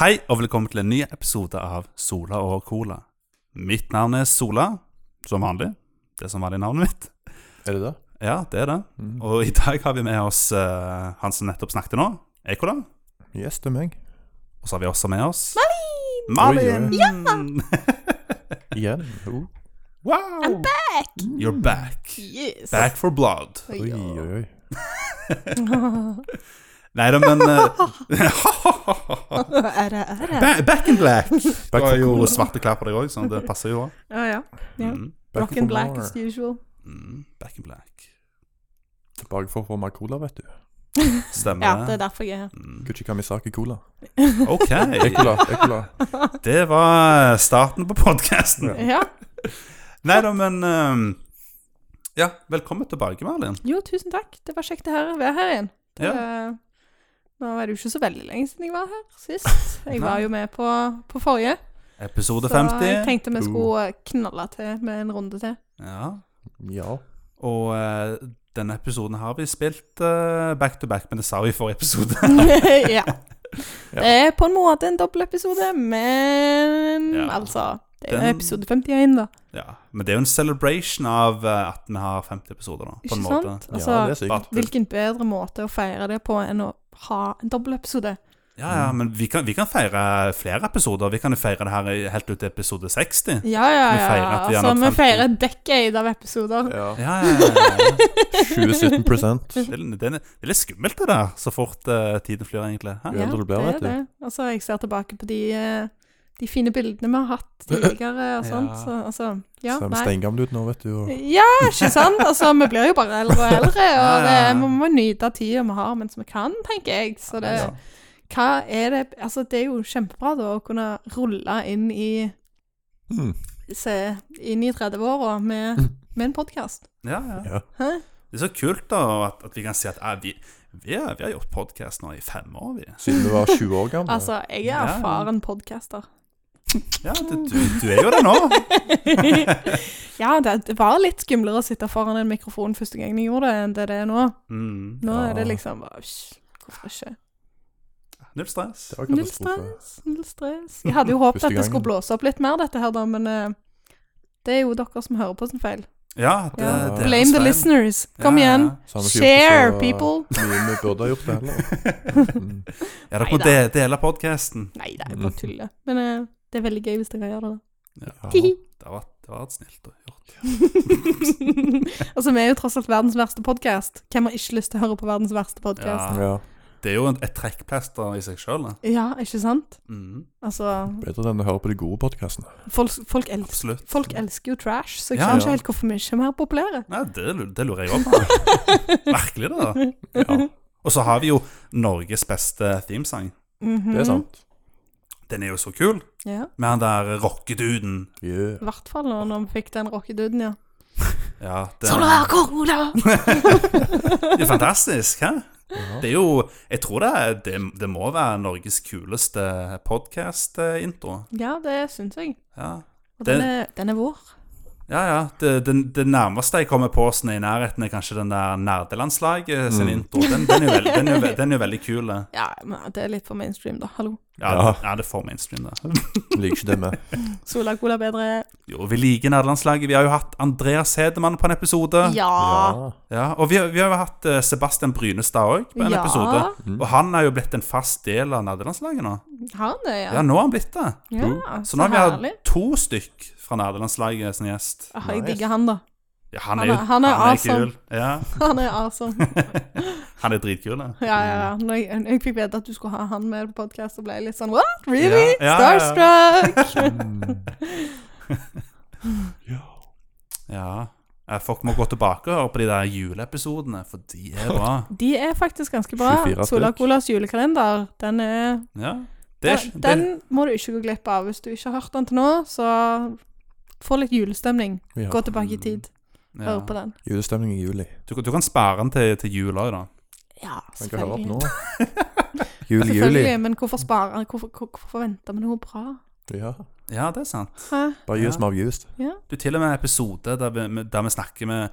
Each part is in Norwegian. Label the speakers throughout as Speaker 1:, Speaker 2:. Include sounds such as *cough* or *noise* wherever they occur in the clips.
Speaker 1: Hei, og velkommen til en ny episode av Sola og Cola. Mitt navn er Sola, som vanlig. Det som var i navnet mitt.
Speaker 2: Er det det?
Speaker 1: Ja, det er det.
Speaker 2: Mm.
Speaker 1: Og i dag har vi med oss eh, han som nettopp snakket nå, Ekola.
Speaker 2: Yes, det er meg.
Speaker 1: Og så har vi også med oss
Speaker 2: Oi,
Speaker 1: Malin!
Speaker 2: oi. Igjen. Oh.
Speaker 1: *laughs* Wow!
Speaker 3: back!
Speaker 1: You're back.
Speaker 3: Yes. *laughs*
Speaker 1: Back for blood.
Speaker 2: Oi, oi, oi.
Speaker 1: Nei da, men
Speaker 3: *laughs*
Speaker 1: eh,
Speaker 3: Er det, er det?
Speaker 1: ba- Back in black. Du
Speaker 2: Back
Speaker 1: har
Speaker 2: for
Speaker 1: jo
Speaker 2: cola.
Speaker 1: svarte klær på deg òg, så det passer jo òg.
Speaker 3: Ja, ja. ja.
Speaker 1: Mm.
Speaker 2: Back
Speaker 3: Rock and
Speaker 2: for
Speaker 3: black
Speaker 2: more.
Speaker 3: as usual.
Speaker 1: Mm. Back in black.
Speaker 2: Tilbake for å få mer cola, vet du.
Speaker 1: Stemmer
Speaker 3: Ja, det er derfor jeg er her.
Speaker 1: Mm.
Speaker 2: Gucci Kamisaki
Speaker 1: *laughs*
Speaker 2: Cola.
Speaker 1: OK.
Speaker 2: E-cola, e-cola.
Speaker 1: Det var starten på podkasten.
Speaker 3: Ja.
Speaker 1: Nei da, men ehm, Ja, velkommen tilbake, Malin.
Speaker 3: Jo, tusen takk. Det var kjekt å høre- være her igjen. Det, Nå er det jo ikke så veldig lenge siden jeg var her sist. Jeg var jo med på, på forrige.
Speaker 1: Episode
Speaker 3: Så jeg
Speaker 1: 50.
Speaker 3: tenkte vi skulle knalle til med en runde til.
Speaker 1: Ja.
Speaker 2: Ja.
Speaker 1: Og eh, denne episoden har vi spilt eh, back to back, men det sa vi i forrige episode. *laughs*
Speaker 3: ja. Det er på en måte en dobbeltepisode, men
Speaker 1: Ja.
Speaker 3: altså Det er jo
Speaker 1: Den-
Speaker 3: episode 51, da.
Speaker 1: ja. Men det er jo en celebration av eh, at vi har 50 episoder, da. På
Speaker 3: Ikke
Speaker 1: en måte.
Speaker 3: sant? Altså,
Speaker 2: ja, det er sikkert.
Speaker 1: Bare-
Speaker 3: Hvilken bedre måte å feire det på enn å ha en dobbeltepisode?
Speaker 1: Ja, ja, men vi kan, vi kan feire flere episoder. Vi kan jo feire det her i- helt ut til episode 60.
Speaker 3: Ja, ja,
Speaker 1: Vi
Speaker 3: ja.
Speaker 1: feirer at vi har
Speaker 3: altså,
Speaker 1: nådd
Speaker 3: vi
Speaker 1: 50.
Speaker 3: feirer et decade av episoder.
Speaker 1: *laughs*
Speaker 2: Ja.
Speaker 1: Ja, ja, ja, ja.
Speaker 2: 2017 prosent.
Speaker 1: Det, er, det er- det er litt skummelt, det der, så fort eh, tiden flyr, egentlig. Hæ?
Speaker 2: Jo eldre du blir,
Speaker 3: det er
Speaker 2: vet du.
Speaker 3: det. Altså, jeg ser tilbake på de, eh, de fine bildene vi har hatt tidligere og
Speaker 1: *laughs*
Speaker 3: sånt.
Speaker 1: Ja.
Speaker 3: Så, altså, ja,
Speaker 2: Ser vi
Speaker 3: nei.
Speaker 2: steingamle ut nå, vet du. Og
Speaker 3: Ja, ikke sant? Altså, vi blir jo bare eldre og eldre,
Speaker 1: *laughs* Ja,
Speaker 3: og det,
Speaker 1: ja, ja.
Speaker 3: vi må nyte tida vi har mens vi kan, tenker jeg. Så det,
Speaker 1: Ja.
Speaker 3: hva er det Altså, det er jo kjempebra da å kunne rulle inn i
Speaker 2: Mm.
Speaker 3: se, inn i
Speaker 1: *laughs*
Speaker 3: 30-åra med, med en podkast.
Speaker 1: Ja, ja.
Speaker 2: Ja.
Speaker 3: Hæ?
Speaker 1: Det er så kult da at, at vi kan si at eh, vi, vi, har, vi har gjort podkast nå i fem år, vi.
Speaker 2: Siden du var 20 år gammel.
Speaker 3: Altså, jeg er
Speaker 1: Ja.
Speaker 3: erfaren podcaster.
Speaker 1: Ja, du, du, du er jo det nå.
Speaker 3: *laughs* ja, det, det var litt skumlere å sitte foran en mikrofon første gang jeg gjorde det, enn det det er nå.
Speaker 1: Mm.
Speaker 3: Nå
Speaker 2: Ja.
Speaker 3: er det liksom bare «Hysj, Hvorfor ikke?
Speaker 1: Null stress.
Speaker 2: det var
Speaker 3: Null
Speaker 2: katastrofe.
Speaker 3: stress, null stress. Jeg hadde jo håpet
Speaker 2: Første
Speaker 3: at det skulle
Speaker 2: gangen.
Speaker 3: blåse opp litt mer, dette her, da, men eh, det er jo dere som hører på sin feil.
Speaker 1: Ja, det,
Speaker 3: Ja.
Speaker 1: det er
Speaker 3: Blame the
Speaker 1: feil.
Speaker 3: listeners. Kom
Speaker 1: Ja, *laughs* ja.
Speaker 3: igjen.
Speaker 2: Så har vi ikke
Speaker 3: Share,
Speaker 2: gjort det så
Speaker 3: people.
Speaker 2: Mye vi burde ha gjort det
Speaker 3: *laughs*
Speaker 2: heller. Mm.
Speaker 1: Ja, dere må de, dele podkasten.
Speaker 3: Nei, det er jo bare tull, det. Men eh, det er veldig gøy hvis dere gjør det.
Speaker 1: Ja,
Speaker 3: da.
Speaker 1: det har vært, det har vært snilt å gjort.
Speaker 3: *laughs* altså, vi er jo tross alt verdens verste podkast. Hvem har ikke lyst til å høre på verdens verste podkast?
Speaker 1: Ja.
Speaker 2: Ja.
Speaker 1: Det er jo en- et trekkplaster i seg sjøl.
Speaker 3: Ja. ikke sant?
Speaker 1: Mm.
Speaker 3: Altså,
Speaker 2: Bedre enn å høre på de gode podkastene.
Speaker 3: folk, folk, elsker,
Speaker 1: Absolutt.
Speaker 3: folk elsker jo trash, så jeg
Speaker 1: Ja,
Speaker 3: skjønner
Speaker 2: ja.
Speaker 3: ikke helt hvorfor vi ikke er mer populære.
Speaker 1: Nei, det, lu- det lurer jeg òg
Speaker 3: *laughs*
Speaker 1: på. Virkelig, det.
Speaker 2: Ja,
Speaker 1: Og så har vi jo Norges beste themesang.
Speaker 2: det
Speaker 3: Mm-hmm.
Speaker 2: er sant.
Speaker 1: Den er jo så kul,
Speaker 3: Ja,
Speaker 1: med han der rockeduden.
Speaker 2: Yeah.
Speaker 3: I hvert fall når vi fikk den rockeduden, ja.
Speaker 1: Ja, den-
Speaker 3: Sola Cola!
Speaker 1: Det er fantastisk, hæ?
Speaker 2: Ja.
Speaker 1: Det er jo Jeg tror det, er- det, det må være Norges kuleste podkast-intro.
Speaker 3: *laughs* Ja, det syns jeg.
Speaker 1: Ja.
Speaker 3: Og
Speaker 1: Det-
Speaker 3: den er, den er vår.
Speaker 1: ja, ja. Det, det, det nærmeste jeg kommer på sånn i nærheten, er kanskje den der nerdelandslaget sin
Speaker 2: Mm.
Speaker 1: intro. Den, den, er jo veld, den, er jo, ve- den er jo veldig kul. det.
Speaker 3: Ja, men det er litt for mainstream, da. Hallo.
Speaker 1: Ja,
Speaker 2: Ja.
Speaker 1: ja. det er for mainstream, det.
Speaker 2: Liker ikke det med.
Speaker 3: Sola Cola bedre.
Speaker 1: *laughs* Jo, vi liker nerdelandslaget. Vi har jo hatt Andreas Hedemann på en episode.
Speaker 3: Ja.
Speaker 1: Ja, og vi, har- vi har jo hatt eh, Sebastian Brynestad òg på en
Speaker 3: Ja.
Speaker 1: episode. Og han er jo blitt en fast del av nerdelandslaget nå.
Speaker 3: Har han det, ja?
Speaker 1: Ja, nå har han blitt det.
Speaker 3: ja
Speaker 1: Så nå har vi
Speaker 3: herlig.
Speaker 1: hatt to stykk fra Nerdelandslaget som gjest.
Speaker 3: Ah, jeg
Speaker 2: Nice.
Speaker 3: digger han, da. *laughs*
Speaker 1: Ja, han
Speaker 3: Han
Speaker 1: er jo
Speaker 3: er- han er awesome.
Speaker 1: kul. Ja,
Speaker 3: Han er awesome.
Speaker 1: han er dritkul, da.
Speaker 3: Ja, ja, ja. Når jeg, når jeg fikk vite at du skulle ha han med på podkast, ble jeg litt sånn What? Really?
Speaker 1: Ja, ja, ja.
Speaker 3: Starstruck!
Speaker 2: Mm. *laughs*
Speaker 1: Ja. Eh, Folk må gå tilbake og høre på de der juleepisodene, for de er bra.
Speaker 3: De er faktisk ganske bra.
Speaker 2: 24
Speaker 3: Sola
Speaker 2: stykk.
Speaker 3: Colas julekalender, den er
Speaker 1: Ja. Det er,
Speaker 3: den,
Speaker 1: det,
Speaker 3: den må du ikke gå glipp av. Hvis du ikke har hørt den til nå, så få litt julestemning.
Speaker 2: Ja.
Speaker 3: Gå tilbake i tid,
Speaker 1: ja.
Speaker 3: hør på den.
Speaker 2: Julestemning i juli.
Speaker 1: Du, kan- du kan spare den til, til jul òg, da.
Speaker 3: Ja,
Speaker 2: Man kan høre opp nå. *laughs*
Speaker 3: selvfølgelig.
Speaker 2: Juli, juli.
Speaker 3: Selvfølgelig, men hvorfor spare? Hvorfor, hvor- hvorfor vente med noe bra?
Speaker 2: Ja.
Speaker 1: Ja, det er sant.
Speaker 3: Hæ?
Speaker 2: Bare
Speaker 1: Ja.
Speaker 2: gi oss mer views.
Speaker 1: Du, til og med en episode der vi, med- der vi snakker med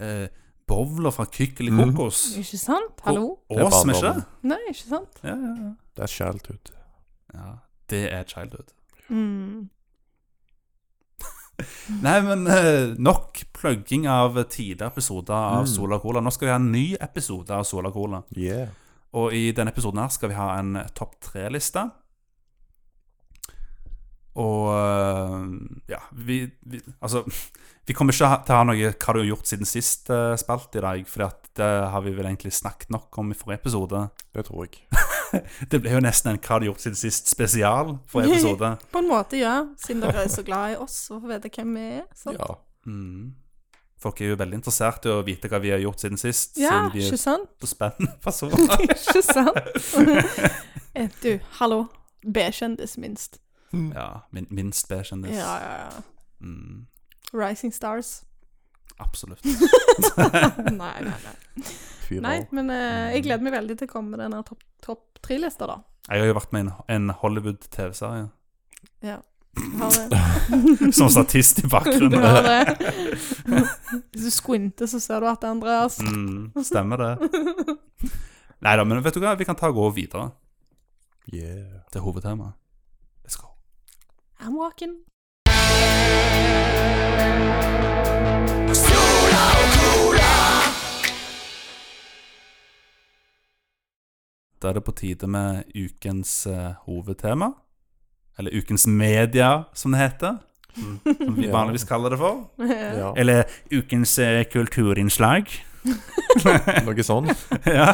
Speaker 1: eh, bowler fra Kykkel i kokos.
Speaker 3: Ikke sant? Hallo?
Speaker 1: Ås, vi ikke?
Speaker 2: barndommen.
Speaker 3: Nei, ikke sant?
Speaker 1: Ja, ja, ja.
Speaker 2: Det er childhood.
Speaker 1: Ja, det er childhood.
Speaker 3: Mm.
Speaker 1: Nei, men eh, nok plugging av tidligere episoder av
Speaker 2: Mm.
Speaker 1: Sola Cola. Nå skal vi ha en ny episode av Sola Cola.
Speaker 2: Yeah.
Speaker 1: Og i denne episoden her skal vi ha en topp tre-liste. Og eh, ja, vi, vi Altså, *laughs* vi kommer ikke ha- til å ha noe 'Hva har du gjort siden sist?' eh, spalt i dag, for det har vi vel egentlig snakket nok om i forrige episode.
Speaker 2: Det tror jeg.
Speaker 1: Det ble jo nesten en 'Hva har du gjort siden sist?' spesial forrige
Speaker 3: *laughs*
Speaker 1: episode.
Speaker 3: På en måte, ja. Siden dere er så glad i oss og får vite hvem vi er. sant?
Speaker 2: Ja.
Speaker 1: Mm. Folk er jo veldig interessert i å vite hva vi har gjort siden sist.
Speaker 3: Ja,
Speaker 1: siden vi er
Speaker 3: ikke sant? *laughs*
Speaker 1: så spennende personer.
Speaker 3: Ikke sant? *laughs* Eh, Du, hallo. B-kjendis, minst.
Speaker 1: ja, min, minst B-kjendis.
Speaker 3: Ja, ja, ja.
Speaker 1: Mm,
Speaker 3: Rising Stars.
Speaker 1: absolutt.
Speaker 3: Nei, nei, nei.
Speaker 2: Fire
Speaker 3: nei
Speaker 2: år.
Speaker 3: men eh, jeg gleder meg veldig til å komme med denne topp top tre-lista, da.
Speaker 1: Jeg har jo vært med i en, en Hollywood-TV-serie *laughs*
Speaker 3: Har det.
Speaker 1: som statist i
Speaker 3: *laughs* Du
Speaker 1: bakgrunnen.
Speaker 3: har det. Hvis du squinter, så ser du at det er Andreas.
Speaker 1: Mm, stemmer det. Nei da, men vet du hva? Vi kan ta og gå videre
Speaker 2: Yeah.
Speaker 1: til hovedtemaet. Let's go.
Speaker 3: I'm walking.
Speaker 1: Da er det på tide med ukens eh, hovedtema. Eller ukens media, som det heter. Mm, som vi
Speaker 2: Ja.
Speaker 1: vanligvis kaller det for.
Speaker 2: Ja.
Speaker 1: Eller ukens eh, kulturinnslag. *laughs*
Speaker 2: Noe sånn.
Speaker 1: ja.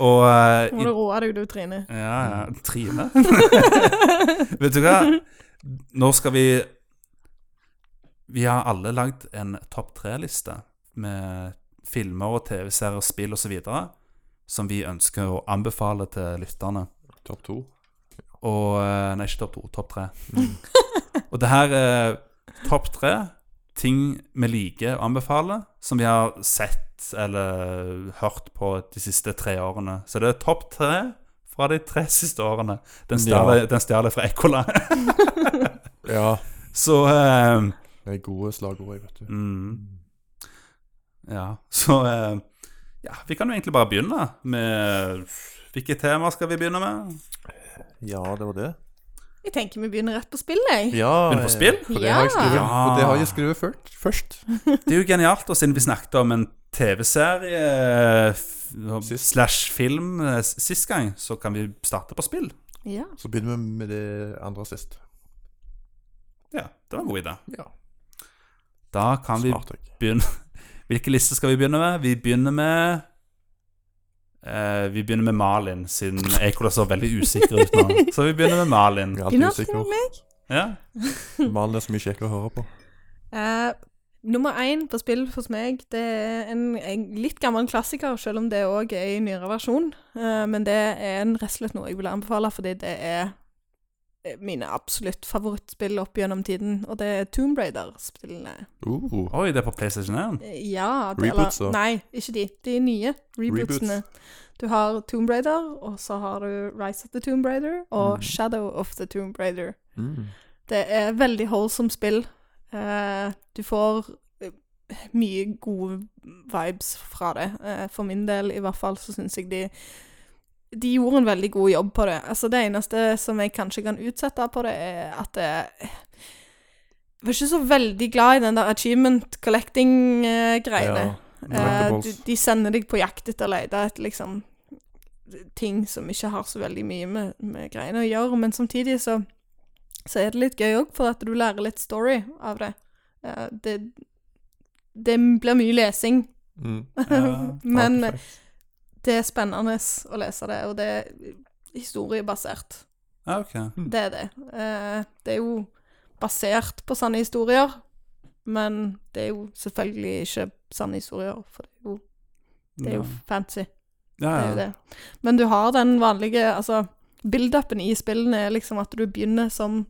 Speaker 1: Og eh,
Speaker 3: *laughs* Nå må
Speaker 1: i,
Speaker 3: du roe deg, du, Trine.
Speaker 1: Ja, ja. Trine. *laughs* Vet du hva? Nå skal vi Vi har alle lagd en topp tre-liste med filmer og TV-serier, spill osv. som vi ønsker å anbefale til lytterne.
Speaker 2: Topp to.
Speaker 1: Og eh, Nei, ikke topp to. Topp tre. *laughs* Og det her er topp tre ting vi liker å anbefale, som vi har sett eller hørt på de siste tre årene. Så det er topp tre fra de tre *laughs* siste årene. Den stjal
Speaker 2: Ja.
Speaker 1: den stjal jeg fra Ekkola.
Speaker 2: Ja.
Speaker 1: *laughs* Så eh,
Speaker 2: Det er gode slagord, jeg, vet du.
Speaker 1: mm, Ja, så eh, Ja, vi kan jo egentlig bare begynne med Hvilke temaer skal vi begynne med?
Speaker 2: Ja, det var det.
Speaker 3: Jeg tenker vi begynner rett på spillet, jeg.
Speaker 2: Ja,
Speaker 1: Begynne på spill?
Speaker 2: For det har jeg skrevet,
Speaker 1: Ja.
Speaker 2: for det har jeg skrevet først. først.
Speaker 1: Det er jo genialt, og siden vi snakket om en TV-serie eh, f-
Speaker 2: Sist.
Speaker 1: slash film eh, s- sist gang, så kan vi starte på spill.
Speaker 3: Ja.
Speaker 2: Så begynner vi med det andre sist.
Speaker 1: Ja, det var en god idé.
Speaker 2: Ja,
Speaker 1: Da kan vi
Speaker 2: smart. jeg.
Speaker 1: begynne Hvilke lister skal vi begynne med? Vi begynner med eh, Vi begynner med Malin, siden Ekola så veldig usikker ut nå.
Speaker 3: *laughs*
Speaker 1: Så vi begynner med Malin.
Speaker 2: Jeg er
Speaker 3: Begynner
Speaker 2: alltid
Speaker 3: alltid
Speaker 2: usikker.
Speaker 3: med meg.
Speaker 1: Ja.
Speaker 2: Malen er så mye kjekkere å høre på.
Speaker 3: Eh, nummer én på spill hos meg, det er en, en litt gammel klassiker, selv om det òg er i nyere versjon. Eh, men det er en rett og slett noe jeg vil anbefale, fordi det er eh, mine absolutt favorittspill opp gjennom tiden, og det er Tomb Raider-spillene.
Speaker 2: Uh,
Speaker 1: Oi, det er på PlayStation 1?
Speaker 3: Eh, Ja det,
Speaker 2: Reboots, da?
Speaker 3: Nei, ikke de. De nye rebootsene. Du har Tomb Raider, og så har du Rise of the Tomb Raider
Speaker 2: Mm.
Speaker 3: og Shadow of the Tomb Raider.
Speaker 2: mm.
Speaker 3: Det er veldig wholesome spill. Eh, du får eh, mye gode vibes fra det. Eh, for min del, i hvert fall, så syns jeg de De gjorde en veldig god jobb på det. Altså, det eneste som jeg kanskje kan utsette på det, er at det jeg var ikke så veldig glad i den der achievement collecting-greiene. Eh,
Speaker 2: Collectibles.
Speaker 3: du, de sender deg på jakt etter å lete etter liksom ting som ikke har så veldig mye med, med greiene å gjøre, men samtidig så, så er det litt gøy òg, for at du lærer litt story av det. Eh, det, det blir mye lesing,
Speaker 2: Mm.
Speaker 1: Ja.
Speaker 3: *laughs* men
Speaker 2: Ja, perfekt.
Speaker 3: det er spennende å lese det, og det er historiebasert.
Speaker 1: Ja, ok.
Speaker 3: Det er det. Eh, det er jo basert på sanne historier, men det er jo selvfølgelig ikke sanne historier, for det er jo, *laughs* det er jo fancy.
Speaker 1: Ja,
Speaker 3: Det er jo
Speaker 1: ja.
Speaker 3: det. Men du har den vanlige altså, Build-upen i spillene er liksom at du begynner som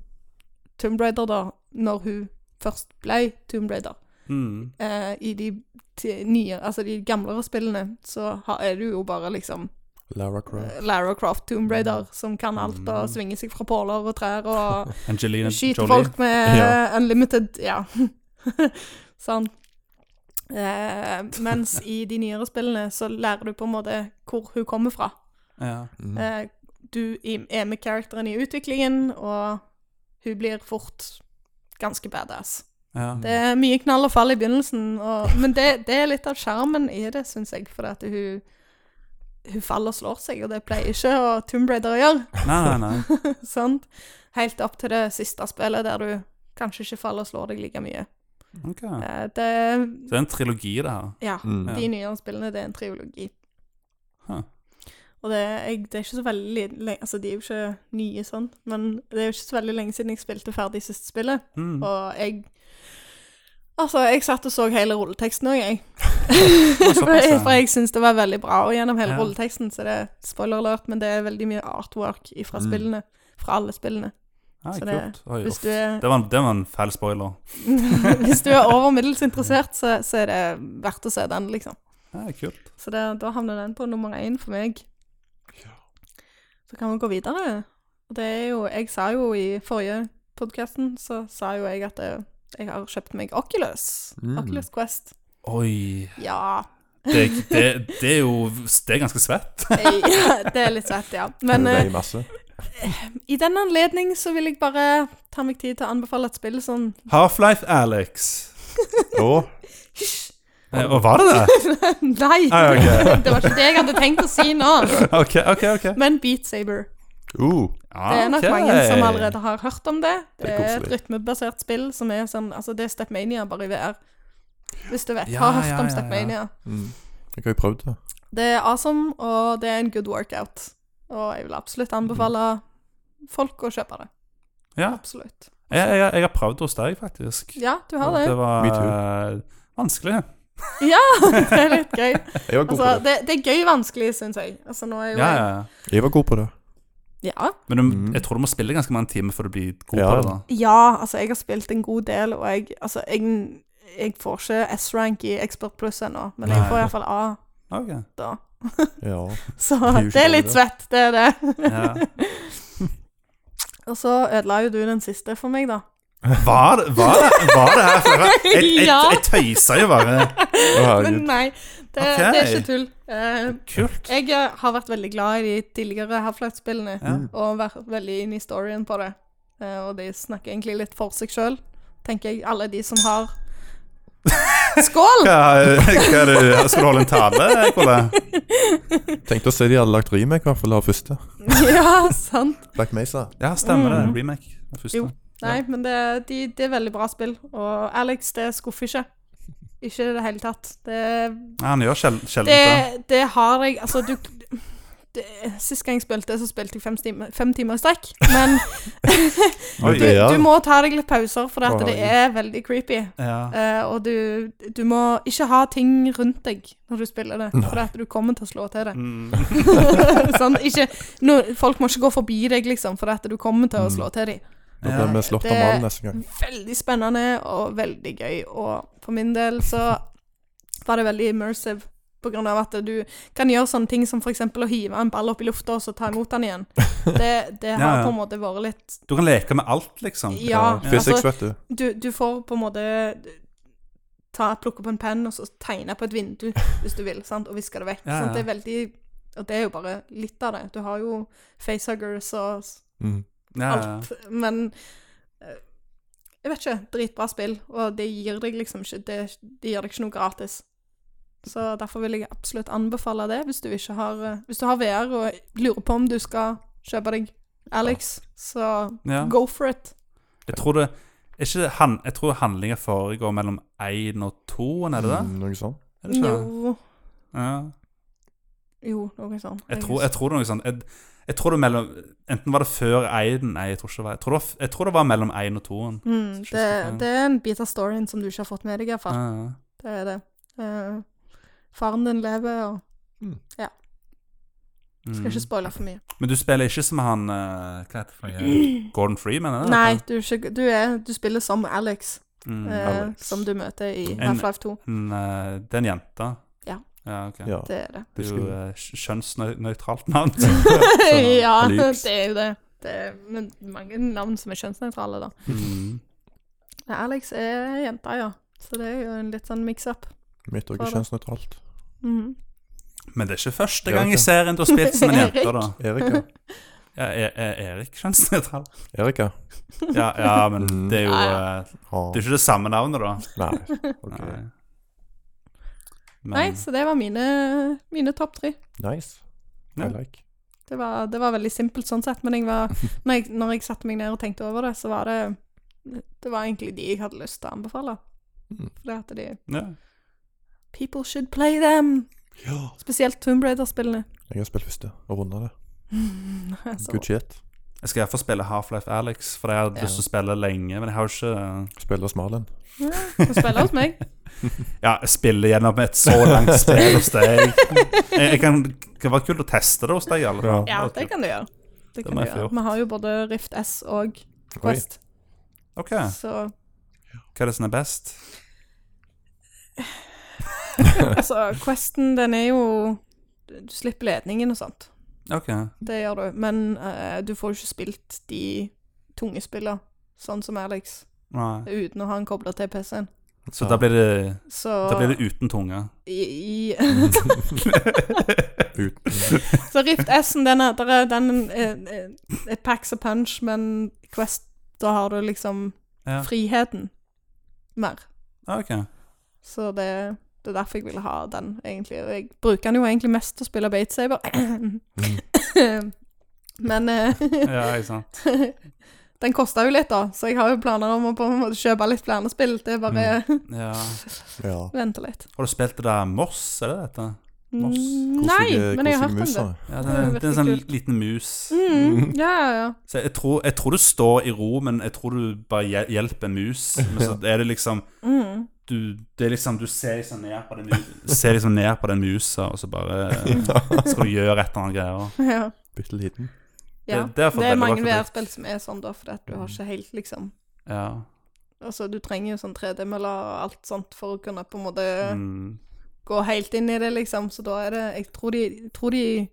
Speaker 3: Tomb Raider, da, når hun først ble Tomb Raider.
Speaker 1: Mm.
Speaker 3: Eh, I de, ti- nye, altså de gamlere spillene så har, er du jo bare liksom
Speaker 2: Lara Croft.
Speaker 3: eh, Lara Croft Tomb Raider som kan alt og
Speaker 1: Mm.
Speaker 3: svinger seg fra påler og
Speaker 1: *laughs*
Speaker 3: trær og
Speaker 1: Angelina
Speaker 3: skyter
Speaker 1: Jolie.
Speaker 3: folk med
Speaker 2: Ja.
Speaker 3: eh, unlimited Ja. *laughs* sånn. Eh, mens i de nyere spillene så lærer du på en måte hvor hun kommer fra.
Speaker 1: Ja.
Speaker 2: Mm.
Speaker 3: Eh, du i- er med karakteren i utviklingen, og hun blir fort ganske badass.
Speaker 1: Ja.
Speaker 3: Det er mye knall og fall i begynnelsen, og, men det, det er litt av sjarmen i det, syns jeg. For at hun, hun faller og slår seg, og det pleier ikke å Tomb Raider å gjøre. *laughs*
Speaker 1: Nei, nei, nei.
Speaker 3: sant? Helt opp til det siste spillet, der du kanskje ikke faller og slår deg like mye.
Speaker 1: Ok. Så
Speaker 3: Eh, Det,
Speaker 1: det er en trilogi, det her.
Speaker 3: ja,
Speaker 2: Mm.
Speaker 3: de nyere spillene, det er en triologi.
Speaker 1: Huh.
Speaker 3: Og det, er- jeg, det er ikke så veldig li- le- Altså, de er jo ikke nye sånn, men det er jo ikke så veldig lenge siden jeg spilte ferdig siste spillet.
Speaker 1: Mm.
Speaker 3: Og jeg Altså, jeg satt og så hele rulleteksten òg, jeg. *laughs* for,
Speaker 1: såpass, ja.
Speaker 3: for jeg syns det var veldig bra og gjennom hele
Speaker 1: Ja.
Speaker 3: rulleteksten, så det er spoiler alert, men det er veldig mye artwork fra
Speaker 2: Mm.
Speaker 3: spillene. Fra alle spillene. *laughs*
Speaker 1: Nei,
Speaker 3: så det-
Speaker 1: kult. Oi,
Speaker 3: Hvis
Speaker 1: uff.
Speaker 3: du er,
Speaker 1: det, var en, det var en fæl spoiler.
Speaker 3: hvis du er over middels interessert, så, så er det verdt å se den, liksom.
Speaker 1: Nei, kult.
Speaker 3: Så det, da havner den på nummer én for meg. Så kan vi gå videre. Og det er jo Jeg sa jo i forrige podkasten, så sa jo jeg at eh, jeg har kjøpt meg Oculus.
Speaker 2: Mm.
Speaker 3: Oculus Quest.
Speaker 1: Oi.
Speaker 3: Ja.
Speaker 1: Det, det, det er jo Det er ganske svett.
Speaker 3: *laughs* det er litt svett, ja. Men
Speaker 2: det
Speaker 3: eh,
Speaker 2: er masse.
Speaker 3: i den anledning så vil jeg bare ta meg tid til å anbefale et spill som *laughs*
Speaker 1: Half-Life Alex.
Speaker 2: Og
Speaker 1: Eh, Og var det det?
Speaker 3: Nei!
Speaker 1: Ah, ok.
Speaker 3: *laughs* det var ikke det jeg hadde tenkt å si nå.
Speaker 1: *laughs* OK, OK. ok
Speaker 3: Men Beat Saber.
Speaker 2: uh,
Speaker 1: Ah,
Speaker 3: Det er nok
Speaker 1: ok.
Speaker 3: mange som allerede har hørt om det.
Speaker 2: Det
Speaker 3: Det
Speaker 2: er
Speaker 3: er et
Speaker 2: koselig.
Speaker 3: rytmebasert spill som er sånn Altså, det er Stepmania bare i VR. Hvis du vet.
Speaker 1: Ja,
Speaker 3: har hørt
Speaker 1: ja,
Speaker 3: om
Speaker 1: ja, ja.
Speaker 3: Stepmania.
Speaker 2: mm. Jeg har jo prøvd det.
Speaker 3: Det er awesome, og det er en good workout. Og jeg vil absolutt anbefale folk å kjøpe det.
Speaker 1: Ja,
Speaker 3: Absolutt.
Speaker 1: jeg, jeg, jeg har prøvd hos deg, faktisk.
Speaker 3: Ja, du har det.
Speaker 1: Det var
Speaker 2: Me
Speaker 1: eh, vanskelig.
Speaker 3: Ja, *laughs* det er litt
Speaker 1: *laughs*
Speaker 3: gøy.
Speaker 2: Jeg var god
Speaker 3: Altså,
Speaker 2: på det.
Speaker 3: det, det er gøy vanskelig, syns jeg. Altså, nå er jo
Speaker 1: Ja,
Speaker 3: jeg
Speaker 1: ja.
Speaker 2: Jeg var god på det.
Speaker 3: Ja.
Speaker 1: Men du,
Speaker 2: Mm.
Speaker 1: jeg tror du må spille ganske mange timer for å bli god
Speaker 2: Ja.
Speaker 1: på det. da
Speaker 3: ja, altså, jeg har spilt en god del, og jeg Altså, jeg, jeg får ikke S-rank i Expert Plus ennå, men jeg
Speaker 1: Nei.
Speaker 3: får iallfall A *laughs*
Speaker 1: Ok,
Speaker 3: da.
Speaker 2: Ja.
Speaker 3: *laughs* Så
Speaker 2: er jo ikke
Speaker 3: det er litt
Speaker 2: dårlig,
Speaker 3: svett, det er det.
Speaker 1: ja.
Speaker 3: *laughs* Og så ødela jo du den siste for meg, da.
Speaker 1: Var, det- var, det- var det her flere? Jeg, jeg,
Speaker 3: *laughs* Ja.
Speaker 1: jeg tøysa jo bare.
Speaker 2: Å,
Speaker 3: Men
Speaker 2: herregud.
Speaker 3: nei, det,
Speaker 1: Ok.
Speaker 3: det er ikke tull. Eh, *laughs*
Speaker 1: Kult.
Speaker 3: jeg eh, har vært veldig glad i de tidligere Half-Life-spillene,
Speaker 1: Ja.
Speaker 3: og vært veldig inn i storyen på det. Eh, og de snakker egentlig litt for seg sjøl, tenker jeg. Alle de som
Speaker 1: *laughs*
Speaker 3: har Skål!
Speaker 1: Hva, hva er det, skal du holde en tale, Kåle?
Speaker 2: Tenkte å se de hadde lagt remake, i hvert fall av første.
Speaker 3: *laughs* ja, sant.
Speaker 2: Black Mesa.
Speaker 1: Ja, stemmer det. Remake. den Første.
Speaker 3: Mm. Jo. Nei, men det, de, det er veldig bra spill, og Alex, det skuffer ikke. Ikke i det hele tatt. Det
Speaker 1: Nei, han gjør sjel sjelden det.
Speaker 3: det, det har jeg Altså, du det, Sist gang jeg spilte, så spilte jeg fem, time, fem timer i strekk. Men
Speaker 1: Oi.
Speaker 3: du, du må ta deg litt pauser, for at det er veldig creepy.
Speaker 1: Ja.
Speaker 3: Eh, og du, du må ikke ha ting rundt deg når du spiller det, for at du kommer til å slå til *laughs* det.
Speaker 1: Mm.
Speaker 3: sånn, ikke, no, folk må ikke gå forbi deg, liksom, for at du kommer til å slå til dem.
Speaker 2: Nå blir vi slått av
Speaker 3: Det-
Speaker 2: mannen neste gang.
Speaker 3: Veldig spennende og veldig gøy. Og for min del så var det veldig immersive. På grunn av at du kan gjøre sånne ting som f.eks. å hive en ball opp i lufta og så ta imot den igjen.
Speaker 1: *laughs*
Speaker 3: Det, det
Speaker 1: Ja,
Speaker 3: har
Speaker 1: ja.
Speaker 3: på en måte vært litt
Speaker 1: Du kan leke med alt, liksom.
Speaker 3: Ja.
Speaker 2: Physics,
Speaker 3: Altså,
Speaker 2: vet du.
Speaker 3: du, du får på en måte ta, plukke opp en penn og så tegne på et vindu hvis du vil, sant? og viske det vekk.
Speaker 1: Ja, ja.
Speaker 3: Sant? Det er veldig Og det er jo bare litt av det. Du har jo facehuggers og
Speaker 2: Mm.
Speaker 1: Ja, ja.
Speaker 3: alt. Men eh, jeg vet ikke. Dritbra spill, og det gir deg liksom ikke Det, det gir deg ikke noe gratis. Så derfor vil jeg absolutt anbefale det, hvis du ikke har eh, Hvis du har VR og lurer på om du skal kjøpe deg Alex, så
Speaker 1: ja.
Speaker 3: go for it.
Speaker 1: Jeg tror det er ikke han, Jeg tror handlinga foregår mellom én og to, er det det?
Speaker 2: Mm, Noe sånt.
Speaker 1: Er det ikke det?
Speaker 3: Jo,
Speaker 1: Ja.
Speaker 3: jo, noe sånt.
Speaker 1: Jeg tror, jeg tror det er noe sånn jeg, jeg tror det er mellom Enten var det før Eiden Nei, jeg tror ikke det var Jeg tror det var, jeg tror det var mellom 1 og 2
Speaker 3: Mm,
Speaker 1: Ikke
Speaker 3: det,
Speaker 1: skuffa.
Speaker 3: det er en bit av storyen som du ikke har fått med deg,
Speaker 1: ja,
Speaker 3: iallfall. Det er det. Eh, faren din lever, og skal ikke
Speaker 1: mm.
Speaker 3: spoile for mye.
Speaker 1: Men du spiller ikke som han eh, Hva heter det for noe?
Speaker 3: *clears throat*
Speaker 1: Gordon Freeman, er det?
Speaker 3: Nei, du, er ikke, du, er, du spiller som Alex,
Speaker 1: Mm.
Speaker 3: eh,
Speaker 2: Alex.
Speaker 3: som du møter i
Speaker 1: En-
Speaker 3: Half-Life 2.
Speaker 1: En, eh, det er en jente
Speaker 3: Ja.
Speaker 1: ja ok
Speaker 2: Ja.
Speaker 3: Det
Speaker 2: *laughs*
Speaker 3: er det.
Speaker 1: Det er jo
Speaker 2: Skulle-
Speaker 1: eh, kj- kjønnsnøytralt
Speaker 3: *laughs*
Speaker 1: navn
Speaker 3: ja,
Speaker 2: sånn Alex.
Speaker 3: det er jo det. det er, men mange navn som er kjønnsnøytrale, da.
Speaker 1: mm.
Speaker 3: Ja, Alex er jenta, ja. Så det er jo en litt sånn mix-up.
Speaker 2: Mitt òg er
Speaker 3: Hva da?
Speaker 2: kjønnsnøytralt.
Speaker 3: Mhm.
Speaker 1: Men det er ikke første
Speaker 2: Ja,
Speaker 1: gang
Speaker 2: ok.
Speaker 3: *laughs*
Speaker 1: i serien du har spilt som en jente da
Speaker 2: Erik, ja.
Speaker 1: Ja, er, er Erik kjønnsnøytral?
Speaker 2: Erika?
Speaker 1: Ja, ja, men
Speaker 2: Mm.
Speaker 1: det er jo
Speaker 3: Ja,
Speaker 1: eh, Det er ikke det samme navnet, da.
Speaker 2: *laughs* Nei. ok.
Speaker 1: Nei. Men,
Speaker 3: Nei, så det var mine, mine topp tre.
Speaker 2: Nice.
Speaker 1: Ja.
Speaker 2: I like.
Speaker 3: Det var, det var veldig simpelt sånn sett, men jeg
Speaker 2: *laughs*
Speaker 3: var, når, jeg, når jeg satte meg ned og tenkte over det, så var det Det var egentlig de jeg hadde lyst til å anbefale.
Speaker 2: Mm.
Speaker 3: For det at de
Speaker 1: ja.
Speaker 3: People should play them!
Speaker 2: Ja.
Speaker 3: Spesielt Tomb Raider-spillene. *laughs*
Speaker 2: Jeg har spilt første og runda det.
Speaker 3: Så-
Speaker 2: Good shit.
Speaker 1: Jeg skal iallfall spille Half-Life Alex, for jeg har hatt
Speaker 2: Ja.
Speaker 1: lyst til å spille lenge. Men jeg har jo ikke
Speaker 2: Spiller Smalen.
Speaker 3: Ja, du spiller hos meg.
Speaker 1: Ja, jeg spiller gjennom et så langt
Speaker 2: *laughs*
Speaker 1: spill hos deg. Jeg, jeg kan, det kan være kult å teste det hos deg, i alle fall.
Speaker 3: Ja, det kan du gjøre. Det kan
Speaker 1: må
Speaker 3: du
Speaker 1: jeg få
Speaker 3: gjøre.
Speaker 1: gjort.
Speaker 3: Vi har jo både Rift S og
Speaker 2: Oi.
Speaker 3: Quest,
Speaker 1: Ok, Hva *laughs*
Speaker 3: så
Speaker 1: er det som er best?
Speaker 3: Altså, Questen, den er jo Du slipper ledningen og sånt.
Speaker 1: Ok,
Speaker 3: Det gjør du. Men eh, du får jo ikke spilt de tunge spillene, sånn som Alex,
Speaker 1: nei.
Speaker 3: uten å ha en kobla til PC-en.
Speaker 1: Så da blir det,
Speaker 3: Så
Speaker 1: da blir det uten tunge.
Speaker 3: i, *laughs* i,
Speaker 2: *laughs* Ut. Mm.
Speaker 3: Så Rift S-en, den er, der er den er- er- er packs a punch, men Quest, da har du liksom
Speaker 1: Ja.
Speaker 3: friheten mer.
Speaker 1: *laughs* Ok.
Speaker 3: Så det, det er derfor jeg ville ha den, egentlig. Og jeg bruker den jo egentlig mest til å spille Bait Saber. *laughs*
Speaker 2: Mm.
Speaker 3: men eh, *laughs*
Speaker 1: Ja, ikke sant.
Speaker 3: den kosta jo litt, da, så jeg har jo planer om å på en måte kjøpe litt flere spill. Det er bare
Speaker 1: Ja.
Speaker 2: Ja.
Speaker 3: *laughs* vente litt.
Speaker 1: Har du spilt det der Moss, er det dette?
Speaker 3: Mm,
Speaker 1: Moss.
Speaker 3: Nei,
Speaker 2: Kosige-
Speaker 3: men jeg
Speaker 2: kosige
Speaker 3: har hørt om
Speaker 2: musa.
Speaker 3: det.
Speaker 1: Ja, det,
Speaker 3: Det er
Speaker 1: det er en sånn
Speaker 3: virkelig
Speaker 1: liten mus.
Speaker 3: Mm,
Speaker 1: *laughs*
Speaker 3: ja, ja, ja.
Speaker 1: Så jeg tror, jeg tror du står i ro, men jeg tror du bare hjel- hjelper mus. *laughs* Men så er det liksom
Speaker 3: Mm. *laughs*
Speaker 1: du, det er liksom, du ser liksom ned på den, mu- ser liksom ned på den musa, og så bare *laughs*
Speaker 3: Mm.
Speaker 1: skal du gjøre et eller annet greier.
Speaker 3: ja.
Speaker 2: *laughs* Bitte liten.
Speaker 3: Ja,
Speaker 1: Det-
Speaker 3: det,
Speaker 1: det Mm. er for
Speaker 3: er
Speaker 1: veldig
Speaker 3: mange
Speaker 1: bra produkt.
Speaker 3: VR-spill som er sånn, da, fordi at du har ikke helt, liksom
Speaker 1: Ja.
Speaker 3: Altså, du trenger jo sånn 3D-møller og alt sånt for å kunne på en måte
Speaker 1: Mm.
Speaker 3: gå helt inn i det, liksom, så da er det Jeg tror de, jeg tror de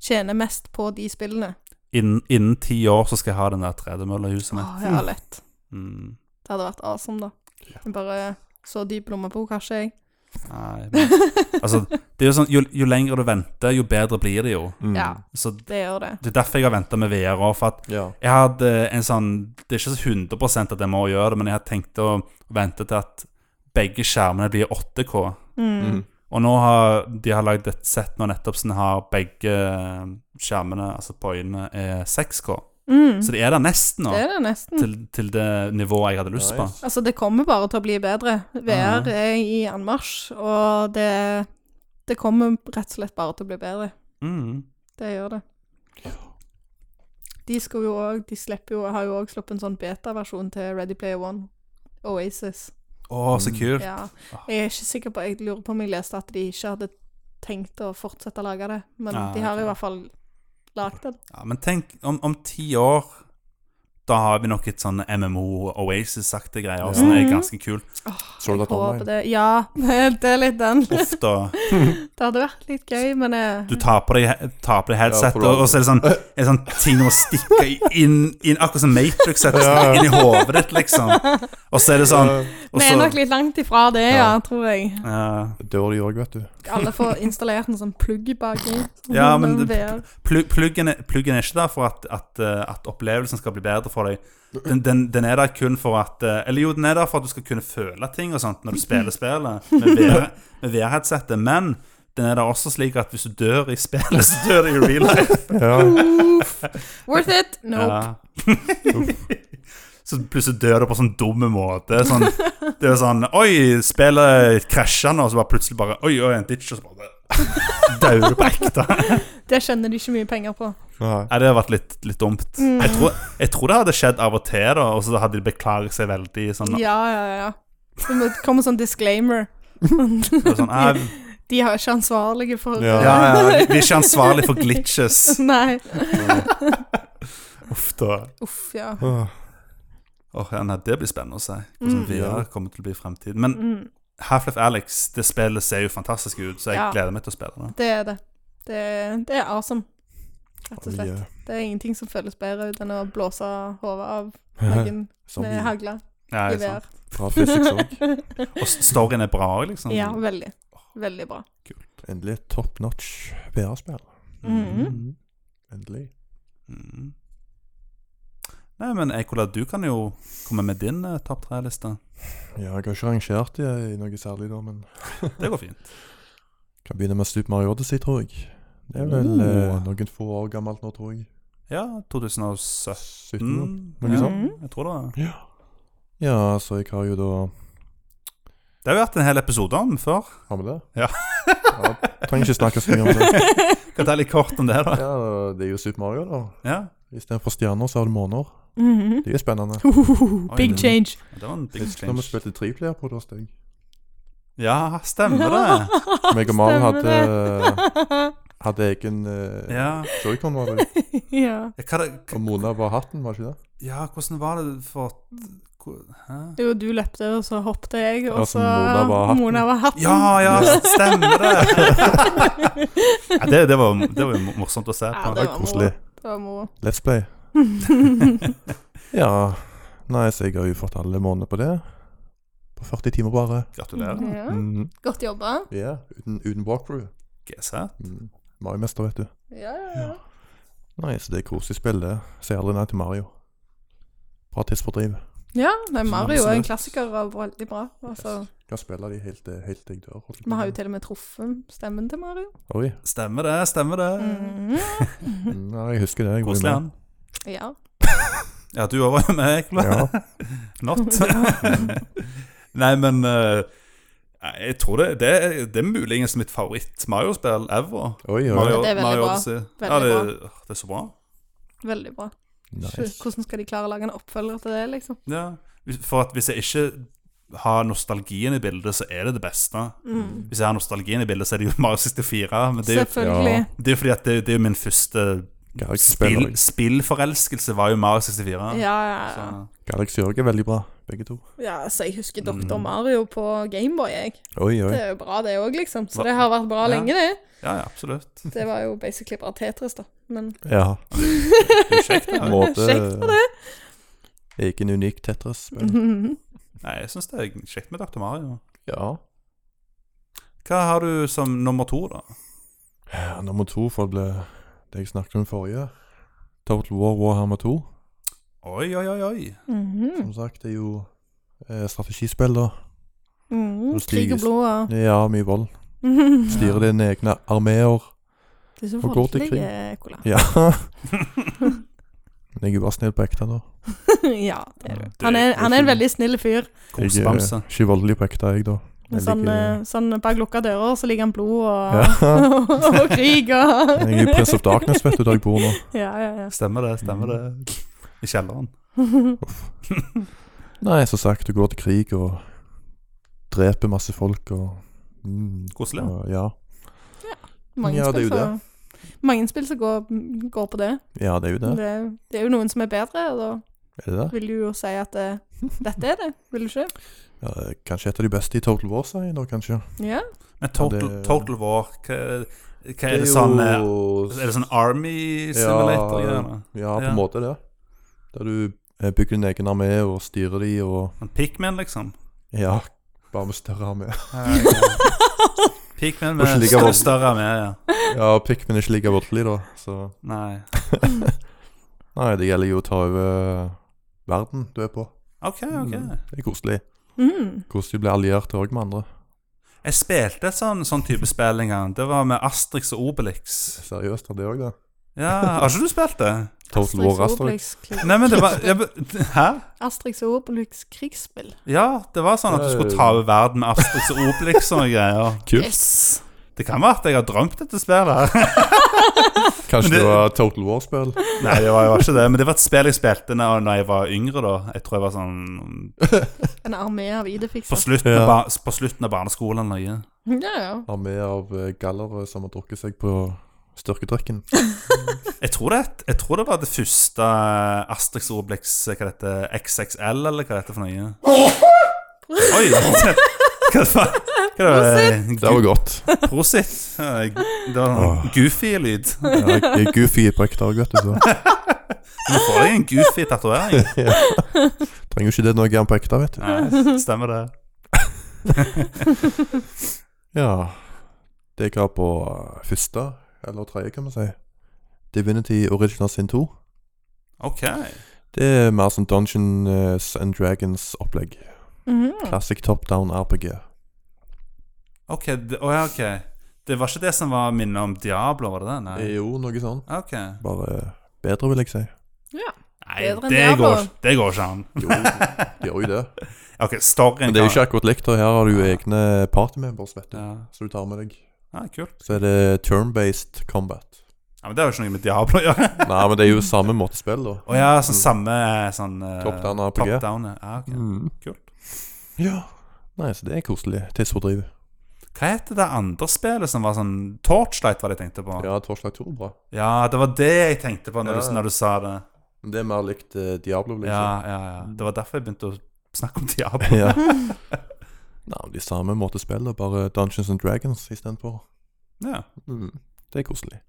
Speaker 3: tjener mest på de spillene.
Speaker 1: Innen, innen ti år så skal jeg ha den der tredemølla i huset
Speaker 3: Å,
Speaker 1: mitt.
Speaker 3: Ah, ja, lett.
Speaker 1: Mm.
Speaker 3: Det hadde vært awesome, da. Jeg Bare så dyp lommebok har ikke jeg. *laughs*
Speaker 1: Nei, men, altså, det er jo sånn, jo, jo lenger du venter, jo bedre blir det jo.
Speaker 2: Mm.
Speaker 3: Ja,
Speaker 1: Så
Speaker 3: det gjør det.
Speaker 1: Det er derfor jeg har venta med VR òg, for at
Speaker 2: Ja.
Speaker 1: Jeg hadde en sånn Det er ikke så 100 at jeg må gjøre det, men jeg hadde tenkt å vente til at begge skjermene blir 8K.
Speaker 2: Mm.
Speaker 1: Og nå har de har lagd et sett nå nettopp som har begge eh, skjermene, altså på øynene, er 6K.
Speaker 3: Mm.
Speaker 1: Så de er der nesten nå,
Speaker 3: Det er det nesten.
Speaker 1: til, til det nivået jeg hadde lyst på.
Speaker 2: Nice.
Speaker 3: Altså, det kommer bare til å bli bedre. VR er i anmarsj, og det Det kommer rett og slett bare til å bli bedre.
Speaker 1: Mm.
Speaker 3: Det gjør det. De skal jo òg De slipper jo Har jo òg sluppet en sånn beta-versjon til Ready Player One. Oasis.
Speaker 1: Å, så
Speaker 2: Mm.
Speaker 1: kult.
Speaker 3: Ja. Jeg er ikke sikker på Jeg lurer på om jeg leste at de ikke hadde tenkt å fortsette å lage det, men
Speaker 1: Ah,
Speaker 3: de har
Speaker 1: ok.
Speaker 3: i hvert fall lagd det.
Speaker 1: Ja, men tenk, om, om ti år da har vi nok et sånn MMO Oasis-aktige greier,
Speaker 2: Ja.
Speaker 1: som er
Speaker 3: Mhm.
Speaker 1: ganske kult.
Speaker 2: Sword Art
Speaker 3: Jeg håper
Speaker 2: Online.
Speaker 3: det. Ja, *laughs* det er litt den. Det *laughs*
Speaker 1: Ofte
Speaker 3: hadde vært litt gøy, men eh,
Speaker 1: du tar på deg, tar på deg headset,
Speaker 2: Ja, for
Speaker 1: og, og så er det sånn, er det sånn ting å stikke inn, inn akkurat som Matrix, setter
Speaker 2: Ja.
Speaker 1: inn i hodet ditt,
Speaker 3: *laughs*
Speaker 1: liksom. Og så er det sånn og
Speaker 3: vi er
Speaker 1: så-
Speaker 3: nok litt langt ifra det, ja, tror jeg.
Speaker 1: Ja.
Speaker 2: Dør de òg, vet du.
Speaker 3: Alle får installert en sånn plugg baki.
Speaker 1: Ja, men det- *laughs*
Speaker 3: VR.
Speaker 1: Plu- Pluggen er, pluggen er ikke der for at, at, eh, at opplevelsen skal bli bedre for deg. Den, den, den er der kun for at eh, Eller jo, den er der for at du skal kunne føle ting og sånt når du spiller spillet med VR med VR-headsetet, men den er der også slik at hvis du dør i spillet, så dør du i real life.
Speaker 2: Ja.
Speaker 3: Uff. Worth it? Nope.
Speaker 1: Ja. *laughs* så plutselig dør du på sånn dum måte. Sånn, det er sånn Oi, spillet krasja nå, og så bare plutselig bare Oi, oi, en ditch, og så bare Dauer du på ekte.
Speaker 3: Det skjønner de ikke mye penger på.
Speaker 2: Nei.
Speaker 1: Nei, det har vært litt, litt dumt.
Speaker 3: Mm.
Speaker 1: Jeg, tror, jeg tror det hadde skjedd av og til, da, og så hadde de beklaget seg veldig. Sånn,
Speaker 3: Ja, ja, ja. Det må komme
Speaker 1: *laughs*
Speaker 3: sånn disclaimer.
Speaker 1: det var sånn «Nei,
Speaker 3: De er ikke ansvarlige for
Speaker 2: Ja.
Speaker 1: *laughs* ja,
Speaker 3: *laughs*
Speaker 1: ja, Vi er ikke ansvarlig for glitches.
Speaker 3: Nei.
Speaker 1: Uff, da.
Speaker 3: Uff, ja.
Speaker 2: Åh.
Speaker 1: Åh, ja, nei, det blir spennende å se hvordan
Speaker 3: Mm.
Speaker 1: VR kommer til å bli i fremtiden. Men
Speaker 3: Mm.
Speaker 1: Half-Life Alex, det spillet ser jo fantastisk ut, så jeg
Speaker 3: Ja.
Speaker 1: gleder meg til å spille det.
Speaker 3: Det er det. det. Det er awesome, rett og
Speaker 2: Oi,
Speaker 3: slett.
Speaker 2: eh,
Speaker 3: Det er ingenting som føles bedre ut enn å blåse hodet av
Speaker 2: Bra
Speaker 3: *laughs* noen med
Speaker 2: Zombie.
Speaker 3: hagle
Speaker 1: Ja,
Speaker 3: i
Speaker 1: ikke sant.
Speaker 3: VR.
Speaker 2: physics òg. *laughs*
Speaker 1: Og s- storyen er bra òg, liksom.
Speaker 3: *laughs* Ja, veldig. Veldig bra.
Speaker 1: Mm.
Speaker 3: Mm-hmm.
Speaker 2: Endelig et top notch VR-spill.
Speaker 1: Mhm.
Speaker 2: Endelig.
Speaker 1: Mm. Nei, men Ekola, du kan jo komme med din eh, topp tre-liste.
Speaker 2: Ja, jeg har ikke rangert de i noe særlig, da, men
Speaker 1: Det går fint.
Speaker 2: kan begynne med Super Mario Odyssey, tror jeg. Det er vel
Speaker 3: Oh.
Speaker 2: eh, noen få år gammelt nå, tror jeg.
Speaker 1: Ja, 2017.
Speaker 2: 17?
Speaker 3: Mm.
Speaker 2: noe
Speaker 1: ja,
Speaker 3: sånt.
Speaker 1: Mm. jeg tror det. var.
Speaker 2: Ja, så jeg har jo da
Speaker 1: Det har vi hatt en hel episode om før.
Speaker 2: Har vi det?
Speaker 1: Ja.
Speaker 2: ja trenger ikke snakke så
Speaker 3: *laughs*
Speaker 2: mye om det.
Speaker 1: Kan ta litt kort om det,
Speaker 2: *laughs*
Speaker 1: da.
Speaker 2: Ja, Det er jo Super Mario, da.
Speaker 1: Ja,
Speaker 2: Istedenfor stjerner, så har du måner.
Speaker 3: *laughs* Mhm.
Speaker 2: Det er spennende.
Speaker 3: Uhuhu,
Speaker 1: Oi.
Speaker 3: Big change. *laughs*
Speaker 1: det var en big
Speaker 2: Når vi
Speaker 1: change.
Speaker 2: spilte triplayer på det, Stig.
Speaker 1: Ja, stemmer
Speaker 3: *laughs*
Speaker 1: det.
Speaker 2: Meg og Maren
Speaker 3: Stemmer
Speaker 2: hadde, hadde egen eh,
Speaker 1: Ja,
Speaker 2: joycon, var det.
Speaker 3: ja.
Speaker 1: hva det
Speaker 2: Og Mona var hatten, var det ikke det?
Speaker 1: Ja, hvordan var det for hvor- Hæ?
Speaker 3: Jo, du løpte, og så hoppte jeg, og
Speaker 2: Ja, så
Speaker 3: så
Speaker 2: Mona var hatten.
Speaker 3: Mona var hatten. *laughs*
Speaker 1: Ja, ja, stemmer
Speaker 2: *laughs*
Speaker 1: det! ja, det, det, var, det var jo morsomt å se
Speaker 3: Ja,
Speaker 1: på.
Speaker 3: det var moro.
Speaker 2: Koselig.
Speaker 3: Det var moro.
Speaker 2: Let's
Speaker 3: *laughs*
Speaker 2: play. ja Nei, så jeg har jo fått alle månedene på det. På 40 timer bare.
Speaker 1: Gratulerer.
Speaker 3: Ja.
Speaker 2: Mhm.
Speaker 3: Mm-hmm. Godt jobba.
Speaker 2: Ja, uten, uten walkthrough.
Speaker 1: GC.
Speaker 2: Mm. Mario-mester, vet du.
Speaker 3: Ja, ja, ja.
Speaker 2: Nei, så det er koselig spill, det. Sier aldri nei til Mario. Bra tidsfordriv.
Speaker 3: ja nei, Mario er en
Speaker 1: Absolutt.
Speaker 3: klassiker og veldig bra. Altså,
Speaker 2: Kan spille de helt, eh, helt til jeg dør. holdt jeg på
Speaker 3: vi har jo
Speaker 2: å si.
Speaker 3: til og med truffet stemmen til Mario.
Speaker 2: Oi.
Speaker 1: Stemmer det, stemmer det.
Speaker 3: Mhm.
Speaker 2: Mm, Ja, jeg husker det. Jeg var
Speaker 1: Koselig,
Speaker 2: med.
Speaker 1: han.
Speaker 3: Ja.
Speaker 1: Ja, du òg var jo med, Ekle.
Speaker 2: Ja.
Speaker 1: *laughs* Not. *laughs* Nei, men eh, jeg tror det, det, er- det er muligens mitt favoritt-Mario-spill ever.
Speaker 2: Oi, oi.
Speaker 1: Mario,
Speaker 3: Det er veldig
Speaker 1: Mario
Speaker 3: bra.
Speaker 1: Odyssey. Ja,
Speaker 3: Veldig
Speaker 1: det,
Speaker 3: bra.
Speaker 1: åh, det er så bra.
Speaker 3: Veldig bra.
Speaker 2: Nice.
Speaker 3: Hvordan skal de klare å lage en oppfølger til det, liksom?
Speaker 1: Ja. Hvis- For at hvis jeg ikke har nostalgien i bildet, så er det det beste.
Speaker 3: Mm.
Speaker 1: Hvis jeg har nostalgien i bildet, så er det jo *laughs* Mario 64. Men det, er jo-
Speaker 3: Selvfølgelig.
Speaker 2: ja.
Speaker 1: det er jo fordi at det, det er jo min første
Speaker 2: Galaxy spiller
Speaker 1: spill, spillforelskelse var jo Mario 64.
Speaker 3: Ja, ja, ja.
Speaker 1: Så,
Speaker 2: Galaxy òg er veldig bra, begge to.
Speaker 3: ja, så jeg husker Dr.
Speaker 1: Mm.
Speaker 3: Mario på Gameboy, jeg.
Speaker 2: Oi, oi.
Speaker 3: Det er jo bra, det òg, liksom. Så
Speaker 1: Hva-
Speaker 3: det har vært bra
Speaker 1: Ja.
Speaker 3: lenge, det.
Speaker 1: ja, ja, absolutt.
Speaker 3: Det var jo basically bare Tetris, da. Men
Speaker 2: Ja.
Speaker 1: Det er jo kjekt.
Speaker 2: på en
Speaker 1: Ja.
Speaker 2: Måte,
Speaker 3: *laughs* Kjekt for Mhm.
Speaker 2: det. Egen unik Tetris-spill.
Speaker 1: Nei, jeg syns det er kjekt med Dr. Mario.
Speaker 2: Ja.
Speaker 1: Hva har du som nummer to, da?
Speaker 2: ja. Nummer to for det ble det jeg snakket om forrige. Total War Warhammer 2.
Speaker 1: Oi, oi, oi, oi.
Speaker 3: Mhm.
Speaker 2: Som sagt, det er jo eh, strategispill, da.
Speaker 3: Mhm.
Speaker 2: Nå
Speaker 3: Krig og
Speaker 2: stiges-
Speaker 3: blod og
Speaker 2: Ja, mye vold.
Speaker 3: Det
Speaker 2: Styre dine egne armeer.
Speaker 3: er så
Speaker 2: Og gå til
Speaker 3: voldelig, Ekola.
Speaker 2: Ja. Men jeg er jo bare snill på ekte, da.
Speaker 3: *laughs* ja, det er du. Han er, han er en veldig snill fyr.
Speaker 2: Jeg er
Speaker 1: Kosebamse.
Speaker 2: ikke voldelig på ekte, jeg, da.
Speaker 3: Men
Speaker 2: Jeg
Speaker 3: sånn,
Speaker 2: liker-
Speaker 3: eh, sånn bak lukka dører så ligger han blod og,
Speaker 2: Ja.
Speaker 3: *laughs* og krig og
Speaker 2: Jeg
Speaker 3: *laughs*
Speaker 2: er jo Prince of Darkness, vet du, der jeg bor nå.
Speaker 3: Ja, ja, ja.
Speaker 1: Stemmer det, stemmer det. I kjelleren.
Speaker 2: Nei, som sagt, du går til krig og dreper masse folk og mm,
Speaker 1: Koselig.
Speaker 2: og- Ja.
Speaker 3: Mange
Speaker 2: Ja, det er
Speaker 3: spill
Speaker 2: jo
Speaker 3: som- Mange spill som går, går på det.
Speaker 2: ja, det er jo det.
Speaker 3: det. Det er jo noen som er bedre, og da
Speaker 2: Er det det?
Speaker 3: vil du jo si at eh, dette er det. Vil du ikke?
Speaker 2: Ja, det er kanskje et av de beste i Total War, sier jeg da, kanskje. *laughs*
Speaker 3: Ja.
Speaker 1: Men Total,
Speaker 2: Ja, det-
Speaker 1: total War, hva, hva er det sånn eh, Er det sånn Army Simulator?
Speaker 2: Ja,
Speaker 1: Ja.
Speaker 2: Ja, på en måte det. Der du eh, bygger din egen armé og styrer de og
Speaker 1: Pikmin, liksom?
Speaker 2: Ja, bare med større armé. *laughs*
Speaker 1: Pikmin
Speaker 2: Må ikke
Speaker 1: med
Speaker 2: ligge
Speaker 1: større,
Speaker 2: vold.
Speaker 1: større med, ja.
Speaker 2: Ja, Pikmin er ikke like voldelig, da, så
Speaker 1: Nei.
Speaker 2: Nei, det gjelder jo å ta over verden du er på.
Speaker 1: OK, OK.
Speaker 2: Mm, Det er koselig.
Speaker 3: Mm.
Speaker 2: Koselig å bli alliert òg med andre.
Speaker 1: Jeg spilte et sånn, sånn type spill en gang. Det var med Astrix og Obelix.
Speaker 2: Seriøst, har det òg det?
Speaker 1: Ja, Har ikke du spilt det?
Speaker 2: Total War Asterix.
Speaker 3: Obelix-
Speaker 1: Nei, men det var ja, men- *laughs* Hæ?
Speaker 3: Asterix og Obelix krigsspill.
Speaker 1: Ja, det var sånn at du skulle ta over verden med Asterix og Obelix og noe greier.
Speaker 2: Kult.
Speaker 3: Yes!
Speaker 1: Det kan være at jeg har drømt dette spillet. Men
Speaker 2: Kanskje det,
Speaker 1: det-
Speaker 2: var Total War-spill?
Speaker 1: *laughs* Nei, det var, det var ikke det. Men det var et spill jeg spilte da når jeg var yngre. da Jeg tror jeg var sånn
Speaker 3: En armé av
Speaker 1: på
Speaker 3: ID-fikser.
Speaker 1: slutten,
Speaker 2: Ja.
Speaker 1: av, ba på slutten av barneskolen. eller noe.
Speaker 3: Ja, ja.
Speaker 2: Armé av eh, gallere som har drukket seg på styrkedrikken.
Speaker 1: Jeg tror, det, jeg tror det var det første eh, Asterix og Obelix eh, Hva det heter XXL, eller hva det heter for noe. Oi! Hva var hva det?
Speaker 2: Det var godt.
Speaker 1: var- Prosit. Eh, Det var sånn goofy-lyd.
Speaker 2: Ja, jeg
Speaker 1: *laughs*
Speaker 2: jeg er goofy på ekte òg, vet *laughs* du. Så.
Speaker 1: Du får deg en goofy tatovering.
Speaker 2: Trenger jo ikke det når jeg er på ekte, vet du.
Speaker 1: Nei, Stemmer det.
Speaker 2: Ja. Det jeg har på eh, første, eller tredje, kan vi si, Divinity Original Sin 2.
Speaker 1: OK.
Speaker 2: Det er mer som Dungeons and Dragons-opplegg.
Speaker 3: Mhm.
Speaker 2: Classic top down RPG.
Speaker 1: ok, det, å ja, ok Det var ikke det som var minnet om Diablo, var det det? Nei.
Speaker 2: Jo, noe sånn.
Speaker 1: Ok.
Speaker 2: Bare eh, bedre, vil jeg si.
Speaker 1: Nei,
Speaker 3: Bedre enn
Speaker 1: det
Speaker 3: Diablo.
Speaker 1: går, ikke- det går ikke an.
Speaker 2: Jo, det gjør jo det.
Speaker 1: OK, storyen
Speaker 2: Men det er jo ikke akkurat likt, og her har du jo egne partymembers, vet du.
Speaker 1: ja.
Speaker 2: Så du tar med deg.
Speaker 1: ja, kult.
Speaker 2: Så er det turn-based combat.
Speaker 1: Ja, men Det har jo ikke noe med Diablo å gjøre.
Speaker 2: Nei, men det er jo samme måte spill, da.
Speaker 1: Å ja, sånn samme sånn eh,
Speaker 2: Mm. Top down RPG.
Speaker 1: Top down, ja, ok.
Speaker 2: Mm.
Speaker 1: Kult.
Speaker 2: Ja. Nei, så det er koselig. Tidsfordriv.
Speaker 1: Hva heter det andre spillet som var sånn Torchlight, var det jeg tenkte på? Ja,
Speaker 2: Ja, Torslag 2 er bra.
Speaker 1: det var det jeg tenkte på når,
Speaker 2: Ja.
Speaker 1: du, når du sa det.
Speaker 2: Men Det er mer likt eh, Diablo,
Speaker 1: Ja,
Speaker 2: liksom.
Speaker 1: ja, ja. Det var derfor jeg begynte å snakke om Diablo.
Speaker 2: *laughs*
Speaker 1: *laughs*
Speaker 2: Ja. Nei, men de samme måte spill, og bare Dungeons and Dragons istedenfor.
Speaker 1: Ja.
Speaker 2: Mm. Det er koselig.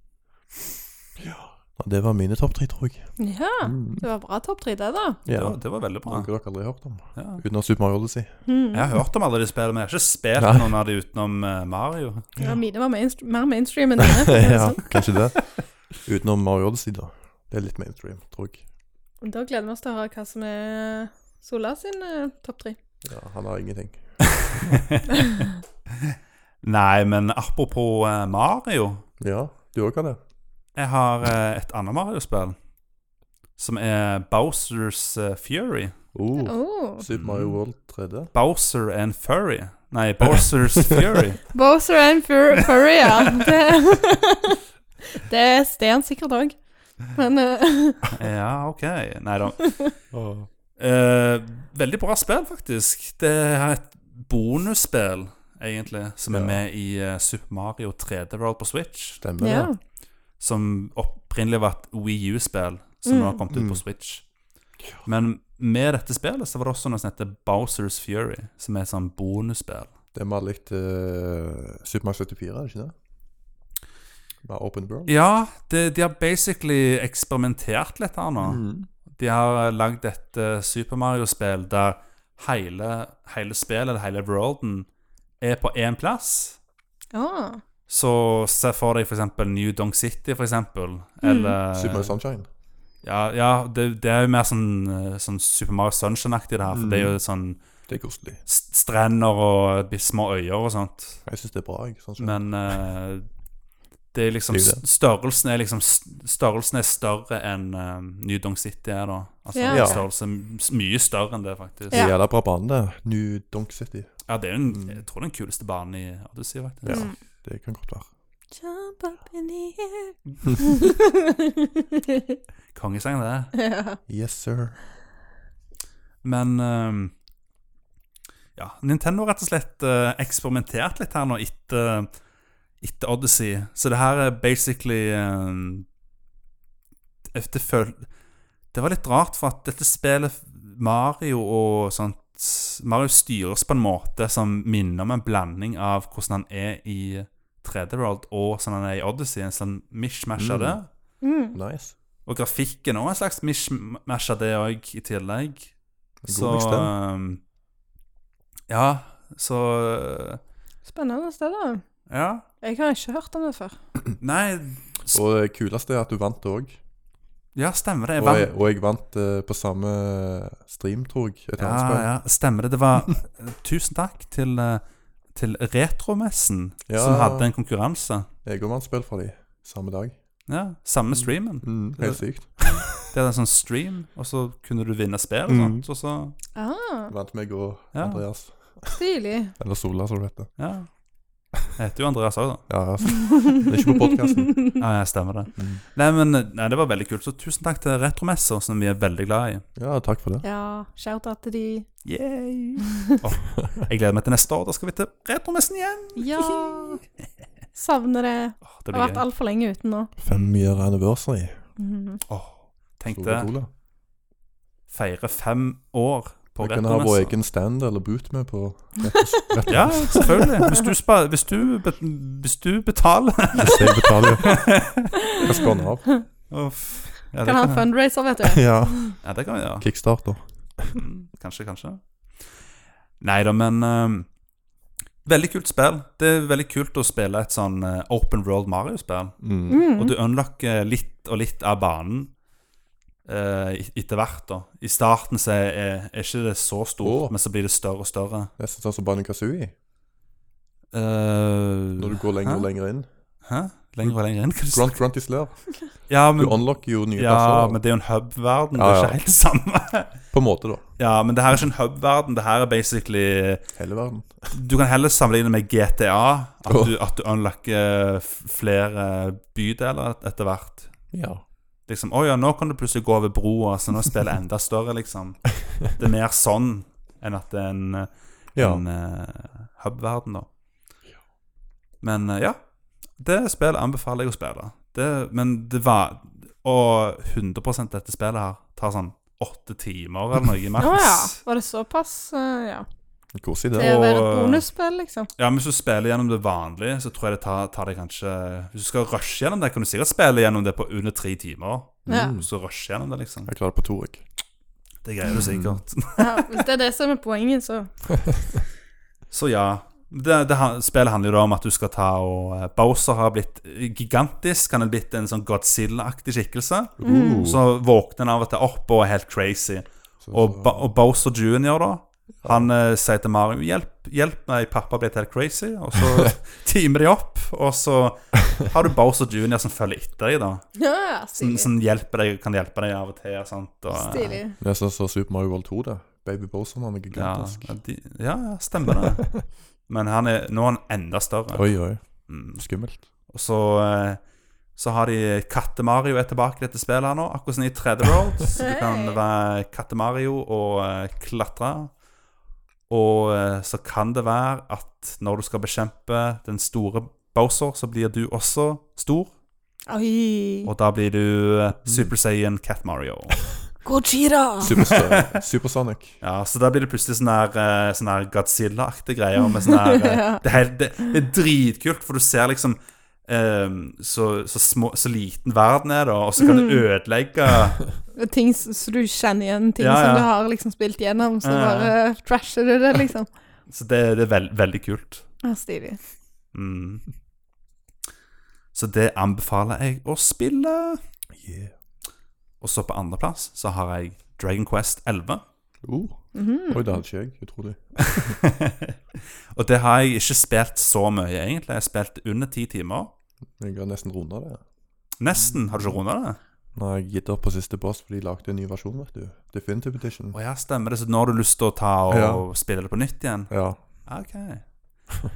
Speaker 2: Ja. Nei, det var mine topp tre, tror jeg.
Speaker 3: Ja,
Speaker 2: Mm.
Speaker 3: det var bra topp tre, det, da.
Speaker 1: Det,
Speaker 2: Ja.
Speaker 1: var, det var veldig bra.
Speaker 2: Noe dere aldri har hørt om.
Speaker 1: Ja.
Speaker 2: Utenom Super Mario Odyssey.
Speaker 3: Mhm.
Speaker 1: Jeg har hørt om alle de spillene, men jeg har ikke spilt
Speaker 2: Nei.
Speaker 1: noen av de utenom eh, Mario. *laughs*
Speaker 3: Ja, mine var mainst mer mainstream enn dine. for å si
Speaker 2: *laughs*
Speaker 3: det
Speaker 2: ja,
Speaker 3: sånn.
Speaker 2: kanskje det. Utenom Mario Odyssey, da. Det er litt mainstream, tror jeg.
Speaker 3: Da gleder vi oss til å høre hva som er Sola sin eh, topp
Speaker 2: *laughs*
Speaker 3: tre.
Speaker 2: Ja, han har ingenting.
Speaker 1: Nei, men apropos eh, Mario
Speaker 2: Ja, du òg har det.
Speaker 1: Jeg har eh, et annet Mario-spill, som er Bowsers eh, Fury.
Speaker 2: Oh,
Speaker 3: Oh.
Speaker 2: Super Mario World 3D.
Speaker 1: Bowser and Furry. Nei, Bowsers
Speaker 2: *laughs*
Speaker 1: Fury.
Speaker 3: Bowser and Fur Furry, ja. Det, *laughs* det er Sten sikkert òg. Men eh,
Speaker 1: Ja, OK. Nei da. Eh, veldig bra spill, faktisk. Det er et bonusspill, egentlig, som
Speaker 2: Ja.
Speaker 1: er med i eh, Super Mario 3D World på Switch.
Speaker 2: Stemmer
Speaker 3: *laughs* ja.
Speaker 2: det.
Speaker 1: Som opprinnelig var et Wii U-spill, som
Speaker 3: Mm.
Speaker 1: nå har kommet ut
Speaker 2: Mm.
Speaker 1: på Switch. Men med dette spillet så var det også noe som heter Bowsers Fury, som er et sånn bonusspill.
Speaker 2: Det er mer likt eh, Super Mario 74, er det ikke det? Mer open world.
Speaker 1: Ja, det, de har basically eksperimentert litt her nå.
Speaker 2: Mm.
Speaker 1: De har lagd et eh, Super Mario-spill der hele, hele spillet, eller hele worlden, er på én plass.
Speaker 3: Ah.
Speaker 1: Så se for deg f.eks. New Donk City, f.eks.
Speaker 2: Super Mario
Speaker 1: Eller
Speaker 2: Sunshine.
Speaker 1: Ja, ja det, det er jo mer sånn, eh, sånn Super Mario Sunshine-aktig, det her. For
Speaker 2: Mm.
Speaker 1: det er jo sånn
Speaker 2: Det er koselig.
Speaker 1: s- strender og bitte små øyer og sånt.
Speaker 2: Jeg syns det er bra. jeg, sånn som-
Speaker 1: Men eh, det er liksom
Speaker 2: Det er jo det.
Speaker 1: s- Størrelsen er liksom s- Størrelsen er større enn uh, New Donk City er, da. Altså
Speaker 3: Ja.
Speaker 1: størrelse m- s- mye større enn det, faktisk.
Speaker 2: Det er jævla bra bane, det. New Donk City.
Speaker 1: Ja, det er jo den,
Speaker 2: Mm.
Speaker 1: jeg tror den kuleste banen i Odyssey, faktisk.
Speaker 2: Ja.
Speaker 3: Mm.
Speaker 2: Det kan godt være.
Speaker 3: Jump up in the air.
Speaker 2: *laughs*
Speaker 3: *laughs*
Speaker 1: Kongesang, det. er.
Speaker 3: ja.
Speaker 2: Yes, sir.
Speaker 1: Men ehm, ja, Nintendo har rett og slett eh, eksperimentert litt her nå etter, etter Odyssey. Så det her er basically ehm, det, føl det var litt rart, for at dette spillet Mario og sånt Mario styres på en måte som minner om en blanding av hvordan han er i 3D World og sånn han er i Odyssey. En sånn mishmash av
Speaker 2: Mm.
Speaker 1: det.
Speaker 3: Mm.
Speaker 2: Nice.
Speaker 1: Og grafikken òg en slags mishmash av det òg, i tillegg.
Speaker 2: God
Speaker 1: Så
Speaker 2: mix, den.
Speaker 1: um, Ja, så uh,
Speaker 3: Spennende sted, da.
Speaker 1: Ja.
Speaker 3: Jeg har ikke hørt om det før.
Speaker 1: Nei,
Speaker 2: Og det kuleste er at du vant òg.
Speaker 1: ja, stemmer det. Jeg
Speaker 2: Og, jeg-
Speaker 1: vant.
Speaker 2: og jeg vant eh, på samme eh, stream, tror jeg. Et annet
Speaker 1: Ja,
Speaker 2: spill.
Speaker 1: ja, stemmer det. Det var eh, Tusen takk til, uh, til Retromessen,
Speaker 2: Ja.
Speaker 1: som hadde en konkurranse.
Speaker 2: Jeg òg vant spill fra de samme dag.
Speaker 1: Ja, Samme streamen.
Speaker 2: Helt sykt.
Speaker 1: Det er en sånn stream, og så kunne du vinne spill og
Speaker 2: Mm.
Speaker 1: sånt. Og så,
Speaker 3: Ah,
Speaker 2: Vant meg og
Speaker 1: Ja.
Speaker 2: Andreas.
Speaker 3: Stilig.
Speaker 2: Eller Sola, som det heter.
Speaker 1: ja. Jeg heter jo Andreas òg, da.
Speaker 2: Ja, altså. Det er ikke på
Speaker 1: *laughs*
Speaker 2: Mm. podkasten.
Speaker 1: Ja, ja, stemmer det. Nei, men eh, nei, det var veldig kult. Så tusen takk til Retromessa, som vi er veldig glad i.
Speaker 2: Ja, takk for det.
Speaker 3: Ja, shout-out til
Speaker 2: *laughs*
Speaker 3: de.
Speaker 1: *laughs* Yay. jeg gleder meg til neste år. Da skal vi til Retromessen igjen.
Speaker 3: Ja. Savner det.
Speaker 1: Åh,
Speaker 3: Det
Speaker 1: det
Speaker 3: har
Speaker 1: blir
Speaker 3: vært
Speaker 1: gøy.
Speaker 3: altfor lenge uten nå.
Speaker 2: Fem year anniversary.
Speaker 3: Mhm.
Speaker 1: Åh, Tenk
Speaker 2: Sola
Speaker 1: det.
Speaker 2: Cola.
Speaker 1: Feire fem år på
Speaker 2: Vi kunne ha vår
Speaker 1: Retromessa.
Speaker 2: egen stand eller boot med på
Speaker 1: *laughs*
Speaker 2: Retros. Retros.
Speaker 1: Ja, selvfølgelig. Hvis du, spa, hvis du, bet- hvis du betaler
Speaker 2: Hvis jeg
Speaker 1: *laughs*
Speaker 2: betaler. Jeg skal den av.
Speaker 1: Uff. Ja, det
Speaker 3: Kan ha en
Speaker 1: kan,
Speaker 3: fundraiser, vet du.
Speaker 2: Ja.
Speaker 1: ja, det kan vi gjøre.
Speaker 2: Kickstarter.
Speaker 1: Mm, Kanskje, kanskje. Nei da, men eh, ehm, Veldig kult spill. Det er veldig kult å spille et sånn eh, open world Mario-spill.
Speaker 2: Mm.
Speaker 3: Mm.
Speaker 1: Og du unlocker litt og litt av banen eh, et- etter hvert. da. I starten så er, er ikke det så stort,
Speaker 2: Åh.
Speaker 1: men så blir det større og større.
Speaker 2: Nesten sånn som Banjo Kazooie.
Speaker 1: Eh,
Speaker 2: Når du går lenger og
Speaker 1: Hæ?
Speaker 2: lenger inn.
Speaker 1: Hæ? Lenger og lenger inn? Hva er det du
Speaker 2: Grunt Grunty Slur.
Speaker 1: snakker- Ja,
Speaker 2: Du
Speaker 1: men,
Speaker 2: unlocker jo nye
Speaker 1: ja,
Speaker 2: plasser.
Speaker 1: men det er jo en hub-verden. Det
Speaker 2: Ja,
Speaker 1: er
Speaker 2: ja.
Speaker 1: ikke helt det samme. *laughs*
Speaker 2: På en måte, da.
Speaker 1: Ja, men det her er ikke en hub-verden. Det her er basically
Speaker 2: Hele verden.
Speaker 1: Du kan heller sammenligne med GTA. At
Speaker 2: Åh.
Speaker 1: du, at du unlocker f- flere bydeler et- etter hvert.
Speaker 2: Ja.
Speaker 1: Liksom, Å ja, nå kan du plutselig gå over broa, så nå spiller jeg enda større, liksom. Det er mer sånn enn at det er en,
Speaker 2: ja.
Speaker 1: en eh, hub-verden, da. Men eh, ja. Det spillet anbefaler jeg å spille. Det, men det var Og 100 dette spillet her tar sånn åtte timer eller noe,
Speaker 3: Å ja.
Speaker 1: maks.
Speaker 3: Var det såpass? eh, ja.
Speaker 2: Koselig,
Speaker 3: Det
Speaker 2: det.
Speaker 1: Ja.
Speaker 3: er bare
Speaker 1: Og-
Speaker 3: et bonusspill, liksom.
Speaker 1: Ja, men hvis du spiller gjennom det vanlige, så tror jeg det tar, tar det kanskje Hvis du skal rushe gjennom det, kan du sikkert spille gjennom det på under tre timer.
Speaker 3: Ja.
Speaker 2: Mm.
Speaker 1: Hvis du rusher gjennom det, liksom.
Speaker 2: Jeg klarer det på to, jeg.
Speaker 1: Det greier du sikkert.
Speaker 3: Ja, hvis det er det som er poenget, så
Speaker 1: Så ja. Det, det, han- spillet handler jo da om at du skal ta og eh, Bowser har blitt gigantisk. Han er blitt en sånn Godzilla-aktig skikkelse.
Speaker 3: Mm.
Speaker 2: Uh,
Speaker 1: Så våkner han av og til opp og er helt crazy.
Speaker 2: så-
Speaker 1: Og, Ba- og Bowser jr., da,
Speaker 2: Ja.
Speaker 1: han eh, sier til Mario 'Hjelp, hjelp meg, pappa er blitt helt crazy'. Og
Speaker 3: *laughs*
Speaker 1: så teamer de opp, og så har du Bowser jr. som følger etter deg, da.
Speaker 3: Ja,
Speaker 1: Som,
Speaker 3: stilig.
Speaker 1: som hjelper deg, kan hjelpe deg av og til. og Sånt, og, eh,
Speaker 3: Stilig.
Speaker 2: Nesten som Super Mario World 2, det. Baby Boson, han er
Speaker 1: Ja,
Speaker 2: gigantisk.
Speaker 1: de, ja, ja, stemmer det.
Speaker 3: *laughs*
Speaker 1: Men han er, nå er han enda større.
Speaker 2: Oi, oi.
Speaker 1: Mm.
Speaker 3: *laughs*
Speaker 2: Skummelt.
Speaker 1: Og så, eh, så har de Katte-Mario er tilbake i dette spillet her nå, akkurat som i 3D Road. Så du kan
Speaker 3: Hei.
Speaker 1: være Katte-Mario og eh, klatre. Og eh, så kan det være at når du skal bekjempe den store Bowser, så blir du også stor.
Speaker 3: Oi.
Speaker 1: Og da blir du eh, Super Saiyan Cat-Mario.
Speaker 3: Gojira!
Speaker 2: Superstar- Supersonic.
Speaker 1: Ja, så da blir det plutselig sånn her, eh, sånn her Godzilla-aktige greier. Med sånn her, eh,
Speaker 3: Ja.
Speaker 1: det, er helt, det, det er dritkult, for du ser liksom eh, så, så, små, så liten verden er, da, og så kan du ødelegge
Speaker 3: Og Ting s- så du kjenner igjen, ting
Speaker 1: Ja, ja.
Speaker 3: som du har liksom spilt gjennom, så
Speaker 1: Ja, ja.
Speaker 3: bare trasher du det, liksom.
Speaker 1: Så det, det er vel- veldig kult.
Speaker 3: Ja, stilig.
Speaker 1: Mm. Så det anbefaler jeg å spille.
Speaker 2: Yeah.
Speaker 1: Og så på andreplass så har jeg Dragon Quest 11.
Speaker 2: Uh,
Speaker 3: Mhm.
Speaker 2: oi, det hadde ikke jeg. Utrolig.
Speaker 1: *laughs* og det har jeg ikke spilt så mye, egentlig. Jeg har spilt under ti timer.
Speaker 2: Jeg har nesten runda det.
Speaker 1: Nesten. Har du ikke runda det?
Speaker 2: Nå har jeg gitt opp på siste boss, for de lagde en ny versjon, vet du. Definitive Edition.
Speaker 1: Å ja, stemmer det. Så nå har du lyst til å ta og
Speaker 2: Ja.
Speaker 1: spille det på nytt igjen?
Speaker 2: Ja.
Speaker 1: Ja,
Speaker 2: *laughs*
Speaker 1: Ok.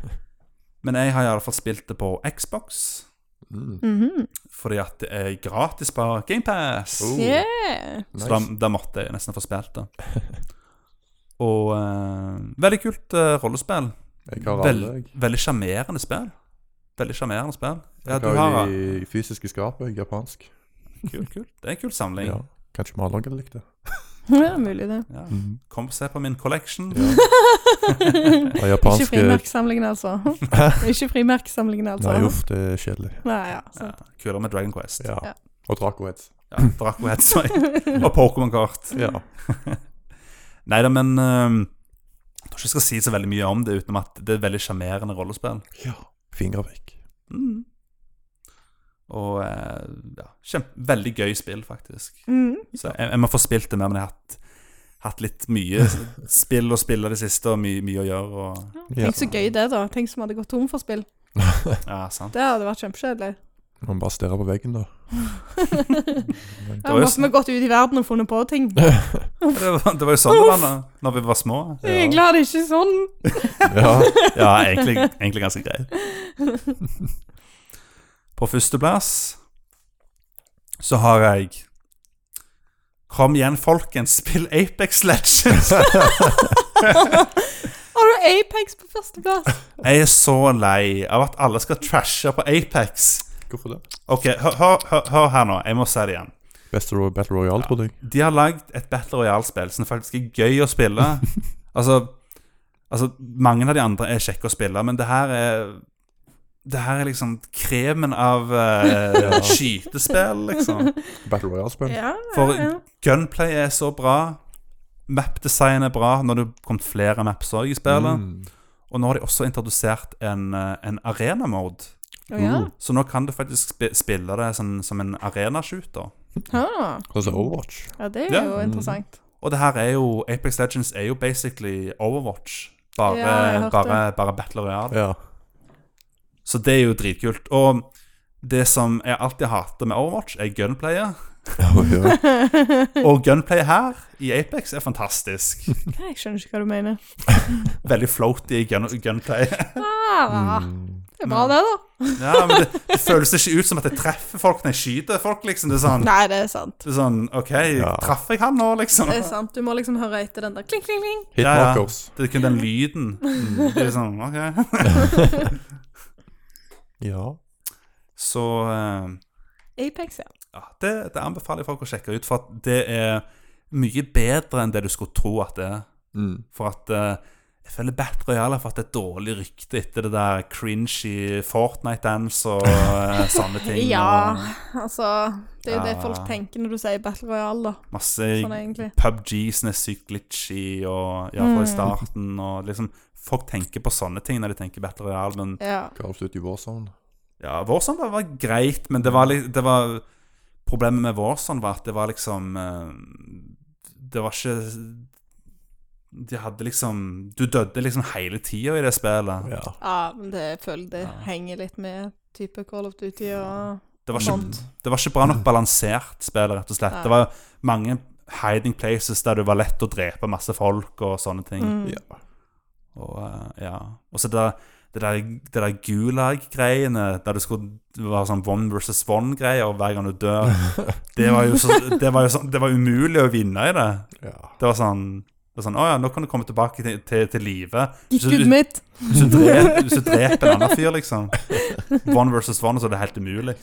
Speaker 1: Men jeg har iallfall spilt det på Xbox,
Speaker 2: Mm.
Speaker 3: Mhm.
Speaker 1: fordi at det er gratis på GamePass.
Speaker 2: Oh,
Speaker 3: Yeah.
Speaker 1: Så da,
Speaker 2: nice.
Speaker 1: da måtte jeg nesten få spilt det. *laughs* Og eh, veldig kult eh, rollespill.
Speaker 2: Jeg har
Speaker 1: Vel-
Speaker 2: alle, jeg.
Speaker 1: veldig sjarmerende spill. Veldig sjarmerende spill. Ja,
Speaker 2: Jeg
Speaker 1: du har
Speaker 2: har de fysiske skapet, japansk.
Speaker 1: Kult, kult. Det er en kul samling.
Speaker 2: Ja. Kanskje vi har laget likt det.
Speaker 3: Ja, mulig det.
Speaker 1: Ja. Kom og se på min
Speaker 2: *laughs*
Speaker 1: collection.
Speaker 2: Ja. Og
Speaker 3: *laughs* Ikke
Speaker 2: japanske
Speaker 3: frimerkesamlingen, altså. Ikke frimerkesamlingen, altså.
Speaker 2: Nei, uff, det er kjedelig.
Speaker 3: Nei, ja.
Speaker 1: Ja,
Speaker 3: sant.
Speaker 1: kulere med Dragon Quest. Ja.
Speaker 2: Ja.
Speaker 3: Ja.
Speaker 2: Og Dracoheads.
Speaker 1: Draco Headsøy og Pokémon-kort. *laughs*
Speaker 2: Ja.
Speaker 1: Nei da, men ehm, jeg tror ikke jeg skal si så veldig mye om det, utenom at det er veldig sjarmerende rollespill.
Speaker 2: ja. Fingre vekk.
Speaker 1: Mm. Og eh, ja, kjempe, veldig gøy spill, faktisk.
Speaker 3: Mhm.
Speaker 1: Så jeg, jeg må få spilt det mer, men jeg har hatt, hatt litt mye spill å spille det siste, og mye, mye å gjøre. Og,
Speaker 2: Ja.
Speaker 3: Tenk så gøy det, da. Tenk som hadde gått tom for spill.
Speaker 1: ja, sant.
Speaker 3: Det hadde vært kjempekjedelig.
Speaker 2: Man bare stirrer på veggen, da.
Speaker 3: Ja, måtte vi gått ut i verden og funnet på ting.
Speaker 1: Det var, det var jo sånn det var da når vi var små.
Speaker 3: Jeg er glad det ikke er sånn.
Speaker 2: Ja.
Speaker 1: Ja, egentlig, egentlig ganske greit. På førsteplass så har jeg Kom igjen, folkens, spill Apex Legends!
Speaker 3: Har du Apex på førsteplass?
Speaker 1: *laughs* Jeg er så lei av at alle skal trashe på Apex.
Speaker 2: Hvorfor det?
Speaker 1: Ok, hør, hør, hør, hør her nå. Jeg må si det igjen.
Speaker 2: Beste Roy Battle Royale, trodde jeg.
Speaker 1: De har lagd et Battle Royale-spill som faktisk er gøy å spille. altså, altså Mange av de andre er kjekke å spille, men det her er Det her er liksom kremen av eh, skytespill, liksom.
Speaker 2: Battle Royale-spill.
Speaker 3: Ja,
Speaker 1: For
Speaker 3: ja.
Speaker 1: gunplay er så bra. Mapdesign er bra. Nå har det kommet flere maps òg i spillet.
Speaker 2: Mm.
Speaker 1: Og nå har de også introdusert en, eh, en arena-mode.
Speaker 3: Å ja.
Speaker 2: Mm.
Speaker 1: Så nå kan du faktisk spi- spille det sånn, som en arena-shooter.
Speaker 3: Ah,
Speaker 2: Altså Overwatch.
Speaker 3: ja, det er
Speaker 1: Ja.
Speaker 3: jo interessant.
Speaker 1: Og det her er jo Apex Legends er jo basically Overwatch. Bare,
Speaker 3: Ja, jeg hørte
Speaker 1: bare, bare Battle Royale.
Speaker 2: Ja.
Speaker 1: Så det er jo dritkult. Og det som jeg alltid hater med Overwatch, er
Speaker 3: *laughs*
Speaker 1: gunplayet.
Speaker 2: Ja, ja.
Speaker 1: Og gunplayet her, i Apex, er fantastisk.
Speaker 3: Jeg skjønner ikke hva du mener.
Speaker 1: Veldig floaty gun
Speaker 3: *laughs*
Speaker 1: gunplay.
Speaker 3: Ah,
Speaker 2: Mm.
Speaker 3: det er bra, det, da.
Speaker 1: Ja, men det, det føles ikke ut som at jeg treffer folk når jeg skyter folk, liksom. Det er sånn,
Speaker 3: Nei, det er sant.
Speaker 1: det er sånn OK,
Speaker 2: Ja.
Speaker 1: traff jeg han nå, liksom?
Speaker 3: Det er sant. Du må liksom høre etter den der kling, kling, kling.
Speaker 2: Hitmarkers.
Speaker 1: Det er
Speaker 3: *laughs*
Speaker 1: kun den lyden. Det er sånn, ok. *laughs*
Speaker 2: Ja.
Speaker 1: Så eh,
Speaker 3: Apex, ja.
Speaker 1: ja, det, det anbefaler jeg folk å sjekke ut, for at det er mye bedre enn det du skulle tro at det er.
Speaker 2: Mm.
Speaker 1: For at eh, jeg føler Battle Royale har fått et dårlig rykte etter det der cringy Fortnite-dance og eh, sånne ting.
Speaker 3: Ja, altså Det er jo det
Speaker 1: Ja.
Speaker 3: folk tenker når du sier Battle Royale, da.
Speaker 1: Og masse
Speaker 3: Sånn egentlig.
Speaker 1: PubG som er sykt glitchy, og ja, fra
Speaker 3: Mm.
Speaker 1: i starten, og liksom Folk tenker på sånne ting når de tenker Battle Royale, men
Speaker 3: Ja.
Speaker 2: Call of Duty Warzone.
Speaker 1: Ja, Warzone var, var greit, men det var, li- det var Problemet med Warzone var at det var liksom eh, Det var ikke De hadde liksom Du døde liksom hele tida i det spillet.
Speaker 2: Ja.
Speaker 3: ja, Ah, men det jeg føler det
Speaker 1: Ja.
Speaker 3: henger litt med type Call of Duty og
Speaker 1: Ah. Det var ikke,
Speaker 3: sånt.
Speaker 1: det var ikke bra nok balansert spill, rett og slett.
Speaker 3: Nei.
Speaker 1: Det var mange hiding places der du var lett å drepe masse folk og sånne ting.
Speaker 3: Mm.
Speaker 2: Ja.
Speaker 1: Og eh, ja Og så det der, det der, det der gulag-greiene, der du skulle det var sånn one versus one-greier hver gang du dør Det var jo så, det var jo sånn Det var umulig å vinne i det.
Speaker 2: ja.
Speaker 1: Det var sånn det var sånn, Å ja, nå kan du komme tilbake til, til, til live.
Speaker 3: Gikk
Speaker 1: Så-
Speaker 3: ut mitt.
Speaker 1: Hvis
Speaker 3: *laughs*
Speaker 1: du dreper, hvis du dreper en annen fyr, liksom. One versus one, så er det helt umulig.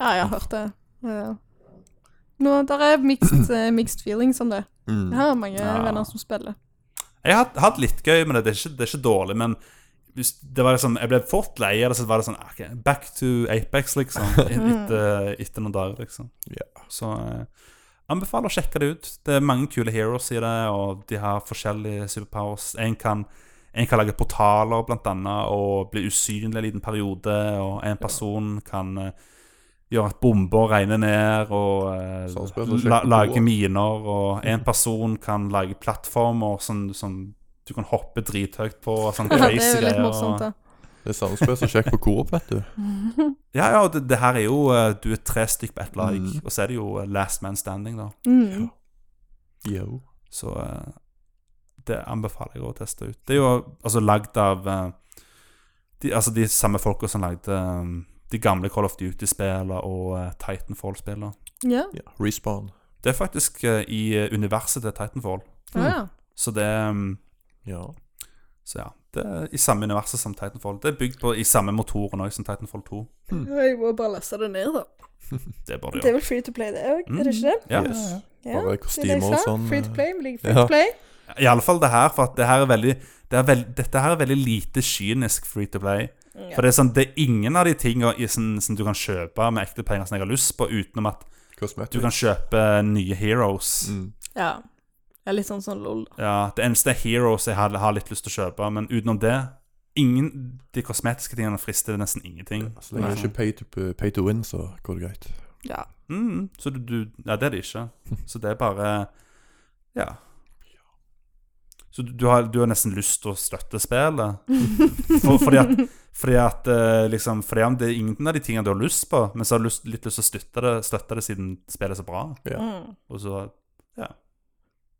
Speaker 3: Ja, jeg har hørt det. Ja. Nå, der er mixed, eh, mixed feelings om det.
Speaker 2: Mm.
Speaker 3: Jeg har mange
Speaker 1: Ja.
Speaker 3: venner som spiller.
Speaker 1: Jeg har hatt- hatt litt gøy med det. Det er ikke, det er ikke dårlig, men hvis, det var liksom, jeg ble fort lei av det, så var det sånn ok, Back to Apex, liksom. et- Etter, etter noen dager, liksom.
Speaker 2: Ja.
Speaker 1: Så eh, anbefaler å sjekke det ut. Det er mange kule heroes i det, og de har forskjellige superpowers. En kan, en kan lage portaler, blant annet, og bli usynlig en liten periode. Og en person kan eh, gjøre at bomber regner ned, og eh,
Speaker 2: Sånn spiller
Speaker 1: la,
Speaker 2: skikkelig
Speaker 1: lage
Speaker 2: god.
Speaker 1: miner.
Speaker 2: *laughs*
Speaker 1: Og en person kan lage plattformer som, som du kan hoppe drithøyt på. Og sånne
Speaker 3: *laughs* Ja, det er
Speaker 1: crazy
Speaker 3: jo litt
Speaker 1: greier,
Speaker 3: morsomt,
Speaker 1: og-
Speaker 3: da.
Speaker 2: Det er samme spill som Sjekk på Coop, vet du.
Speaker 1: Ja, ja, og det, det her er jo eh, Du er tre stykk på ett lag,
Speaker 2: Mm.
Speaker 1: og så er det jo eh, last man standing, da.
Speaker 3: Mm.
Speaker 2: Yo.
Speaker 1: Så eh, det anbefaler jeg å teste ut. Det er jo altså lagd av eh, de, altså, de samme folka som lagde eh, de gamle Call of Duty-spillene og eh, Titanfall-spillene.
Speaker 3: Ja.
Speaker 2: Ja. Respawn.
Speaker 1: Det er faktisk eh, i eh, universet til Titanfall,
Speaker 3: Ah, ja.
Speaker 1: så det mm,
Speaker 2: Ja.
Speaker 1: Så ja. Det er i samme universet som Titanfall. Det er bygd på i samme motoren òg som Titanfall 2.
Speaker 3: Jeg må bare laste det ned, da.
Speaker 1: Det bør det
Speaker 3: Det
Speaker 1: gjøre.
Speaker 3: er vel free to play, det òg?
Speaker 1: Mm.
Speaker 3: Er det ikke det?
Speaker 1: Ja.
Speaker 2: Yes.
Speaker 3: Ja,
Speaker 2: Bare
Speaker 3: det er det jeg
Speaker 2: kostymer og
Speaker 3: sa.
Speaker 2: sånn.
Speaker 3: Free to
Speaker 2: eh,
Speaker 3: play blir free to
Speaker 2: Ja.
Speaker 3: play.
Speaker 1: I alle fall det her, for at det her er veldig, det er veld, dette her er veldig lite kynisk free to play.
Speaker 2: Mm.
Speaker 1: For det er, sånn, det er ingen av de tingene i sånn- som du kan kjøpe med ekte penger som jeg har lyst på, utenom at du
Speaker 2: Cosmetic.
Speaker 1: kan kjøpe nye heroes.
Speaker 2: eh, Mm.
Speaker 3: Ja. Det er litt sånn sånn
Speaker 2: *laughs*
Speaker 3: lol.
Speaker 1: Ja, Det eneste er heroes jeg har, har litt lyst til å kjøpe, men utenom det ingen, De kosmetiske tingene frister nesten
Speaker 3: Mm.
Speaker 1: ingenting.
Speaker 2: Så lenge det ikke er pay to, pay to win, så går det greit.
Speaker 3: Ja.
Speaker 1: Mm, så du, du Ja, det er det
Speaker 2: *laughs*
Speaker 1: ikke. Så det er bare Ja. Så du, du, har, du har nesten lyst til å støtte spillet? For, fordi
Speaker 2: *laughs*
Speaker 3: *laughs*
Speaker 1: at, fordi at eh, liksom, fordi om det er ingen av de tingene du har lyst på, men så har du lyst, litt lyst til å støtte det, støtte det siden spillet er så bra.
Speaker 2: Ja.
Speaker 3: Mm.
Speaker 1: Og så Ja.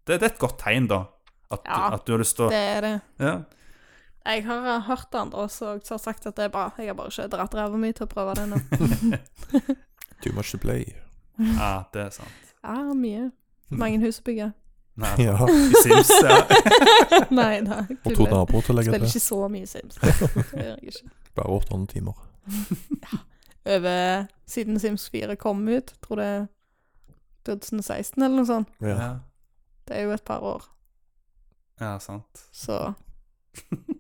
Speaker 1: Det, det er et godt tegn, da. At,
Speaker 3: Ja,
Speaker 1: at du har lyst til å
Speaker 3: Det er det.
Speaker 1: ja.
Speaker 3: Jeg har eh, hørt andre også som har sagt at det er bra. Jeg har bare ikke dratt ræva mi til å prøve det
Speaker 2: *laughs*
Speaker 3: nå.
Speaker 2: Too much to play.
Speaker 1: ja, det er sant.
Speaker 3: Ja, mye. Mange hus å bygge.
Speaker 1: Nei,
Speaker 2: Ja.
Speaker 1: i Sims,
Speaker 3: *laughs*
Speaker 1: ja.
Speaker 3: Nei da.
Speaker 2: Og to
Speaker 3: Spiller
Speaker 2: naboer til å legge til.
Speaker 3: ikke så mye Sims. Det gjør jeg ikke.
Speaker 2: *laughs* Bare 800 timer.
Speaker 3: Over siden Sims 4 kom ut, tror det er 2016 eller noe sånt.
Speaker 1: ja.
Speaker 3: Det er jo et par år.
Speaker 1: Ja, sant.
Speaker 3: Så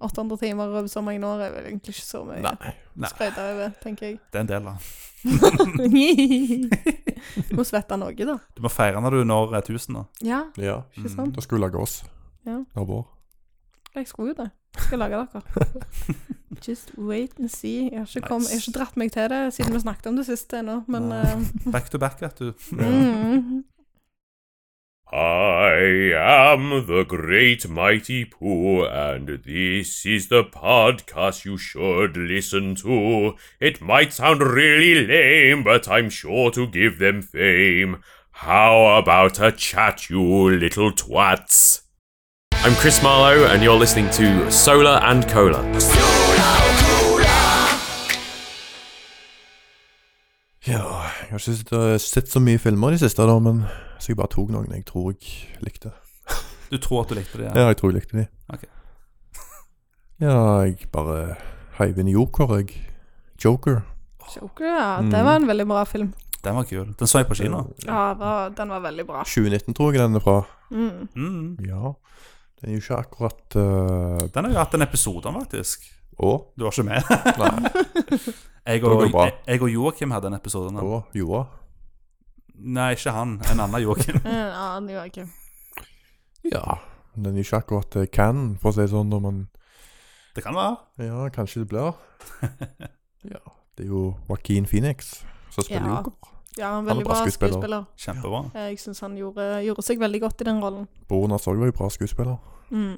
Speaker 3: 800 timer over så mange år er vel egentlig ikke så mye
Speaker 1: Nei.
Speaker 3: å skryte over, tenker jeg.
Speaker 1: Det er en del, da.
Speaker 3: Må svette noe, da.
Speaker 1: Du må feire når du når 1000, da. Mm.
Speaker 3: Ja,
Speaker 2: Ja.
Speaker 3: ikke sant?
Speaker 2: Da skal vi lage oss.
Speaker 3: Ja.
Speaker 2: Naboer.
Speaker 3: Jeg skulle jo det. Jeg skal lage dere. Just wait and see. Jeg har ikke, kom, jeg har ikke dratt meg til det siden vi snakket om det siste ennå, men
Speaker 1: Nei.
Speaker 3: eh,
Speaker 1: *laughs* Back to back, vet du.
Speaker 3: mm,
Speaker 4: I am the great mighty Pooh, and this is the podcast you should listen to. It might sound really lame, but I'm sure to give them fame. How about a chat, you little twats? I'm Chris Marlowe, and you're listening to Solar and Cola.
Speaker 2: Ja, jeg har ikke sett, øh, sett så mye filmer de siste, da, men så jeg bare tok noen jeg tror jeg likte.
Speaker 1: Du tror at du likte det?
Speaker 2: Ja, jeg tror jeg likte de.
Speaker 1: Ok.
Speaker 2: *laughs* ja, jeg bare heiv inn Joker, jeg. Joker.
Speaker 3: Joker, ja. Det var en veldig bra film.
Speaker 1: Den var kul. Den så jeg på kino.
Speaker 3: Ja, det var, den var veldig
Speaker 2: *laughs*
Speaker 3: bra.
Speaker 2: 2019 tror jeg den er fra.
Speaker 3: Mm.
Speaker 1: Mm.
Speaker 2: Ja. Den er jo ikke akkurat øh,
Speaker 1: Den har jo hatt en episode om, faktisk.
Speaker 2: Å?
Speaker 1: Du var ikke med? *laughs*
Speaker 2: Nei.
Speaker 1: Jeg
Speaker 2: Det går
Speaker 1: og,
Speaker 2: bra.
Speaker 1: jeg og Joakim hadde en episode om den.
Speaker 2: Å, Joa.
Speaker 1: Nei, ikke han. En annen
Speaker 2: *laughs*
Speaker 1: Joakim.
Speaker 3: En annen Joakim.
Speaker 2: Ja. Den er jo ikke akkurat øh, canon, for å si det sånn, når man
Speaker 1: Det kan være.
Speaker 2: Ja, kanskje det blir. ja. Det er jo Joaquin Phoenix som spiller
Speaker 3: Ja.
Speaker 2: Joker.
Speaker 3: Ja, en
Speaker 2: er
Speaker 3: veldig
Speaker 2: bra
Speaker 3: bra
Speaker 2: skuespiller.
Speaker 3: skuespiller.
Speaker 1: Kjempebra.
Speaker 3: Eh, Jeg syns han gjorde, gjorde seg veldig godt i den rollen.
Speaker 2: Broren hans òg var jo bra skuespiller.
Speaker 3: Mm.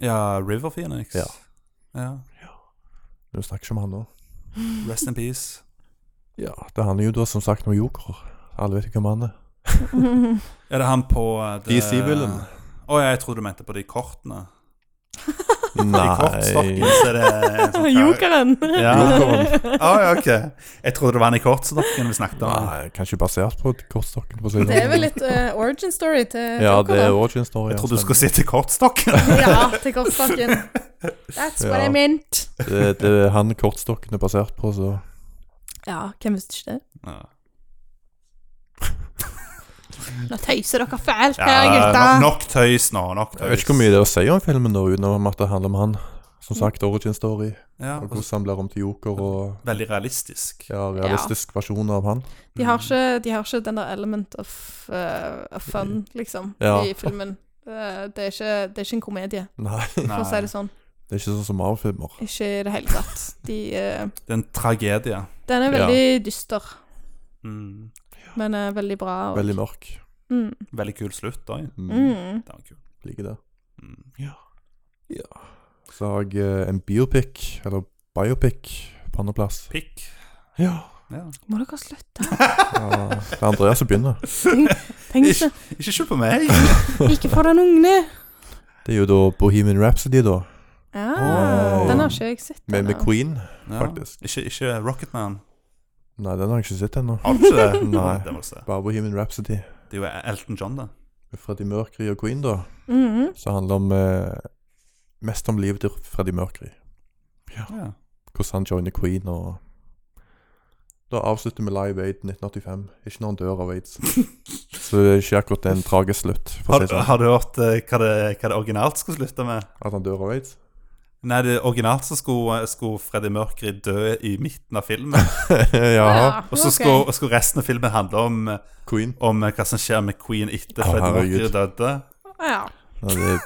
Speaker 1: Ja, River Phoenix.
Speaker 2: Ja.
Speaker 1: Ja.
Speaker 2: Men Vi snakker ikke om han nå.
Speaker 1: Rest in peace.
Speaker 2: Ja, Det handler jo da som sagt om Joker. Alle vet jo hvem han er.
Speaker 1: Er det han på eh, det-
Speaker 2: DC-villain.
Speaker 1: Å ja, jeg tror du mente på de kortene. De kortstokkene,
Speaker 2: Nei
Speaker 1: så er det en sånn
Speaker 3: *laughs*
Speaker 1: kar-
Speaker 3: Jokeren! *laughs*
Speaker 1: Ja.
Speaker 2: Jokeren.
Speaker 1: Å ja, ok. Jeg trodde det var han i kortstokken vi snakket om.
Speaker 2: Nei, kanskje basert på kortstokken, for å si
Speaker 3: Det er vel
Speaker 2: det sånn.
Speaker 3: litt eh, origin story til
Speaker 2: Ja, det er
Speaker 3: Joker, da.
Speaker 2: origin
Speaker 1: Jeg
Speaker 2: story. altså. ja,
Speaker 1: trodde du
Speaker 2: stemmer.
Speaker 1: skulle si til
Speaker 2: *laughs*
Speaker 1: kortstokken.
Speaker 3: *laughs* Ja, til kortstokken. That's what
Speaker 2: Ja.
Speaker 3: I meant.
Speaker 2: det, det er *laughs* han kortstokken er basert på, så
Speaker 3: Ja, hvem visste ikke det?
Speaker 1: Ja.
Speaker 3: Nå tøyser dere fælt her,
Speaker 1: Ja,
Speaker 3: gutta!
Speaker 1: no- nok tøys nå. Nok tøys.
Speaker 2: Jeg vet ikke hvor mye det er å si om filmen, da, utenom at det handler om han. Som sagt, origin story.
Speaker 1: Ja,
Speaker 2: Og
Speaker 1: og
Speaker 2: hvordan han blir om til Joker, og
Speaker 1: veldig realistisk.
Speaker 2: ja, realistisk versjon av han.
Speaker 3: De har, ikke, de har ikke den der element of, eh, of fun, liksom,
Speaker 2: Ja.
Speaker 3: i filmen. Eh, det, er ikke, det er ikke en komedie,
Speaker 2: Nei,
Speaker 3: for å si
Speaker 1: Nei,
Speaker 3: det sånn.
Speaker 2: det er ikke sånn som Marvel-filmer.
Speaker 3: Ikke i det hele tatt. De, eh,
Speaker 1: det er en tragedie.
Speaker 3: den er
Speaker 2: Ja.
Speaker 3: veldig dyster,
Speaker 1: Mm.
Speaker 3: men eh, veldig bra. Og,
Speaker 2: Veldig mørk.
Speaker 3: Mm,
Speaker 1: Veldig kul slutt, da. ja.
Speaker 2: Mm.
Speaker 3: mm.
Speaker 1: Det var kul.
Speaker 2: Liker det.
Speaker 1: Mm.
Speaker 2: Så har jeg eh, en biopic, eller biopic, på andreplass.
Speaker 1: Pikk.
Speaker 2: Ja.
Speaker 1: Ja.
Speaker 3: Må dere slutte?
Speaker 2: ja. Ah, Det er Andreas som begynner.
Speaker 3: Tenk så,
Speaker 1: *laughs* Ikke skyld på
Speaker 2: *laughs*
Speaker 1: meg.
Speaker 3: ikke for den ungene!
Speaker 2: Det er jo da Bohemian Rhapsody, da.
Speaker 3: Ja,
Speaker 1: Åh.
Speaker 3: Den har ikke jeg sett.
Speaker 2: Med,
Speaker 3: den
Speaker 2: med
Speaker 3: da.
Speaker 2: Queen.
Speaker 1: Ja.
Speaker 2: Faktisk.
Speaker 1: Ikke, ikke Rocketman.
Speaker 2: Nei, den har jeg ikke sett ennå.
Speaker 1: Har du ikke det?
Speaker 2: Nei.
Speaker 1: Det må du se.
Speaker 2: Bare Bohemian Rhapsody.
Speaker 1: Det er jo Elton John, det.
Speaker 2: Med Freddie Mercury og Queen, da.
Speaker 3: Mhm.
Speaker 2: Som handler om eh, mest om livet til Freddie Mercury.
Speaker 1: Ja.
Speaker 2: Hvordan han joiner Queen og Da avslutter vi Live Aid 1985. Ikke når han dør av aids. Så det er ikke akkurat en tragisk slutt. For
Speaker 1: Har,
Speaker 2: å si det sånn.
Speaker 1: har du hørt eh, hva det, hva det originalt skulle slutte med?
Speaker 2: At han dør av aids. *laughs*
Speaker 1: Nei, det originalt så skulle, skulle Freddie Mercury dø i midten av
Speaker 2: *laughs*
Speaker 1: filmen.
Speaker 2: Jaha.
Speaker 3: Ja,
Speaker 1: Og så
Speaker 3: ok.
Speaker 1: skulle, skulle resten av filmen handle om,
Speaker 2: Queen.
Speaker 1: om hva som skjer med Queen etter
Speaker 2: Å,
Speaker 1: Freddie
Speaker 2: herregud.
Speaker 1: Mercury døde.
Speaker 3: ja.
Speaker 2: Ja, det er
Speaker 3: Ja,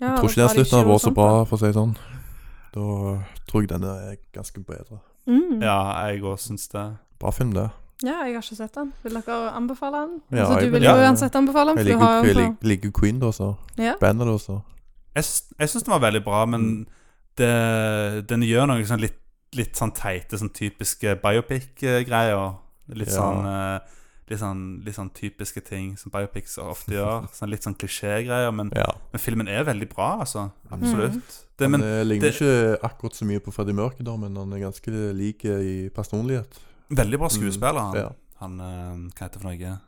Speaker 2: Jeg tror ikke
Speaker 3: da
Speaker 2: den
Speaker 3: var det
Speaker 2: slutten har
Speaker 3: noe
Speaker 2: vært så
Speaker 3: sånt,
Speaker 2: bra,
Speaker 3: da.
Speaker 2: for å si det sånn. Da tror jeg denne er ganske bedre.
Speaker 3: Mm.
Speaker 1: Ja, jeg òg syns det.
Speaker 2: Bra film, det.
Speaker 3: Ja, jeg har ikke sett den. Vil dere anbefale den?
Speaker 2: Ja,
Speaker 3: altså,
Speaker 2: jeg
Speaker 3: du vil
Speaker 1: vil-
Speaker 3: jo
Speaker 1: ja.
Speaker 3: uansett anbefale den.
Speaker 2: Jeg
Speaker 3: for
Speaker 2: liker,
Speaker 3: Sånn du har
Speaker 2: jeg
Speaker 3: jo
Speaker 2: liker, liker Queen, da, så.
Speaker 3: Ja.
Speaker 2: Bandet, da, så.
Speaker 1: Jeg, syns- jeg syns den var veldig bra, men
Speaker 2: Mm.
Speaker 1: det, den gjør noe sånn litt, litt sånn teite, sånn typiske biopic-greier. Litt
Speaker 2: Ja.
Speaker 1: sånn eh, Litt sånn, litt sånn typiske ting som biopics ofte gjør. Sånn litt sånn klisjégreier. Men,
Speaker 2: Ja.
Speaker 3: Mm.
Speaker 1: men filmen er veldig bra, altså.
Speaker 2: Mm.
Speaker 1: Absolutt. Det,
Speaker 2: Han
Speaker 1: men
Speaker 2: eh, ligner
Speaker 1: det-
Speaker 2: ikke akkurat så mye på Freddie Mercury, da, men han er ganske lik i personlighet.
Speaker 1: veldig bra skuespiller, han.
Speaker 2: Mm. Ja.
Speaker 1: Han, eh, Hva heter det for noe?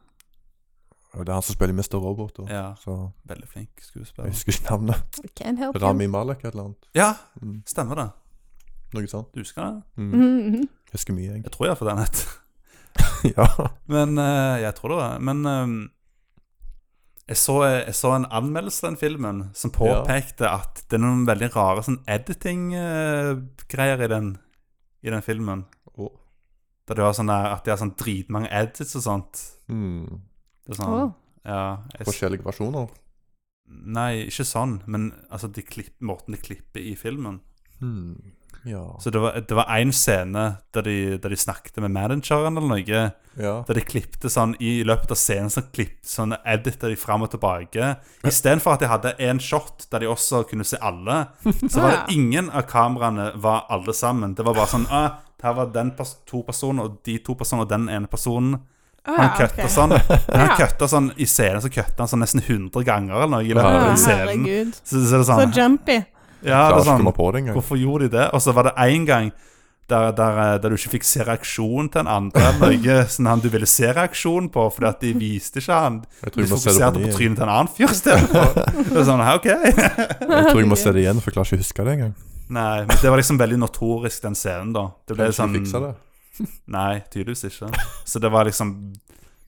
Speaker 2: Og det er han som spiller Mr. Robot, da.
Speaker 1: Ja,
Speaker 2: Så
Speaker 1: Veldig flink
Speaker 2: jeg
Speaker 1: skuespiller.
Speaker 2: husker ikke navnet.
Speaker 3: Can't help you.
Speaker 2: Rami Malek eller noe annet.
Speaker 1: Ja,
Speaker 2: Mm.
Speaker 1: stemmer det.
Speaker 2: Noe sånt.
Speaker 1: Du husker det?
Speaker 2: Mm.
Speaker 3: Mhm.
Speaker 2: Husker mye,
Speaker 1: *laughs*
Speaker 2: jeg.
Speaker 1: Jeg tror iallfall den het
Speaker 2: ja.
Speaker 1: Men eh, jeg tror det var Men eh, jeg, så, eh, jeg så en anmeldelse av den filmen som påpekte at det er noen veldig rare sånn editing-greier i, den, i den filmen.
Speaker 2: Og,
Speaker 1: Der du har sånn der, at de har sånn dritmange edits og sånt.
Speaker 2: mm.
Speaker 1: Det er sånn,
Speaker 3: Åh.
Speaker 1: ja, jeg,
Speaker 2: Forskjellige versjoner.
Speaker 1: Nei, ikke sånn, men altså, de klipp, måten de klipper i filmen.
Speaker 2: Hmm. Ja.
Speaker 1: Så det var- det var én scene der de, der de snakket med manageren eller noe,
Speaker 2: ja.
Speaker 1: der de klippte sånn i løpet av scenen, så klippte sånn edita de fram og tilbake. Istedenfor at de hadde én shot der de også kunne se alle, så var
Speaker 3: Ah,
Speaker 1: det
Speaker 3: ja.
Speaker 1: ingen av kameraene var alle sammen. Det var bare sånn ah, Her var den pers to personer, og de to personene, og den ene personen.
Speaker 3: Å,
Speaker 1: Han
Speaker 3: ja,
Speaker 1: kutta
Speaker 3: ok.
Speaker 1: sånn. Men han
Speaker 3: Ja.
Speaker 1: kutta sånn i scenen så kutta han sånn nesten 100 ganger eller noe i løpet av
Speaker 3: Å,
Speaker 1: den scenen.
Speaker 3: herregud.
Speaker 1: Så, så er det
Speaker 3: Så
Speaker 1: sånn,
Speaker 3: jumpy.
Speaker 1: ja,
Speaker 2: Klarer
Speaker 1: det er
Speaker 2: ikke å
Speaker 1: sånn
Speaker 2: komme på det engang.
Speaker 1: Hvorfor gjorde de det? Og så var det én gang der, der, eh, der du ikke fikk se reaksjonen til en andre. Noe som sånn han du ville se reaksjonen på, fordi at de viste ikke han.
Speaker 2: Jeg tror
Speaker 1: De
Speaker 2: jeg må se det
Speaker 1: fokuserte
Speaker 2: på
Speaker 1: på
Speaker 2: ny. igjen.
Speaker 1: trynet til en annen fyr istedenfor. Det er Sånn, «Hæ, ok. *laughs*
Speaker 2: Jeg tror jeg
Speaker 3: *laughs*
Speaker 2: må se det igjen, for jeg klarer ikke å huske det engang.
Speaker 1: Nei, men det var liksom veldig notorisk, den scenen, da. Det ble
Speaker 2: Kanskje
Speaker 1: sånn
Speaker 2: vi fikser det.
Speaker 1: Nei, tydeligvis ikke. Så det var liksom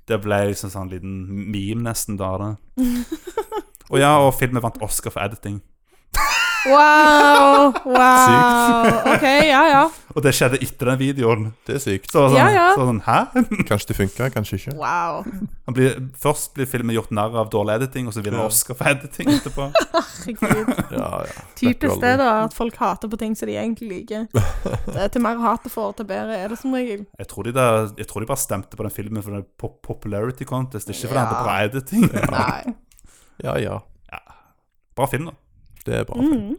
Speaker 1: Det ble liksom sånn liten meme, nesten, da. av Det.
Speaker 2: *laughs*
Speaker 1: Og ja, og filmen vant Oscar for editing.
Speaker 3: Wow! Wow! OK, ja, ja.
Speaker 1: Og det skjedde etter den videoen.
Speaker 2: Det er sykt.
Speaker 1: Så sånn,
Speaker 3: Ja, ja.
Speaker 1: Så sånn Hæ?
Speaker 2: Kanskje det funker, kanskje ikke.
Speaker 3: Wow.
Speaker 1: Han blir, først blir filmen gjort narr av dårlig editing, og så vinner
Speaker 2: Ja.
Speaker 1: Oscar for editing
Speaker 3: *laughs*
Speaker 1: etterpå.
Speaker 3: Herregud.
Speaker 2: Ja, ja.
Speaker 3: Typisk
Speaker 2: Vet
Speaker 3: det,
Speaker 2: du aldri.
Speaker 3: da. At folk hater på ting som de egentlig
Speaker 2: *laughs*
Speaker 3: liker. Det er til mer hat det får, til bedre er det som regel.
Speaker 1: Jeg tror de, da, jeg tror de bare stemte på den filmen for den pop popularity contest, ikke fordi han hadde
Speaker 3: Ja.
Speaker 1: bra editing.
Speaker 3: Nei.
Speaker 2: Ja, ja.
Speaker 1: Bra film, da.
Speaker 2: Det er bra.
Speaker 3: Mm.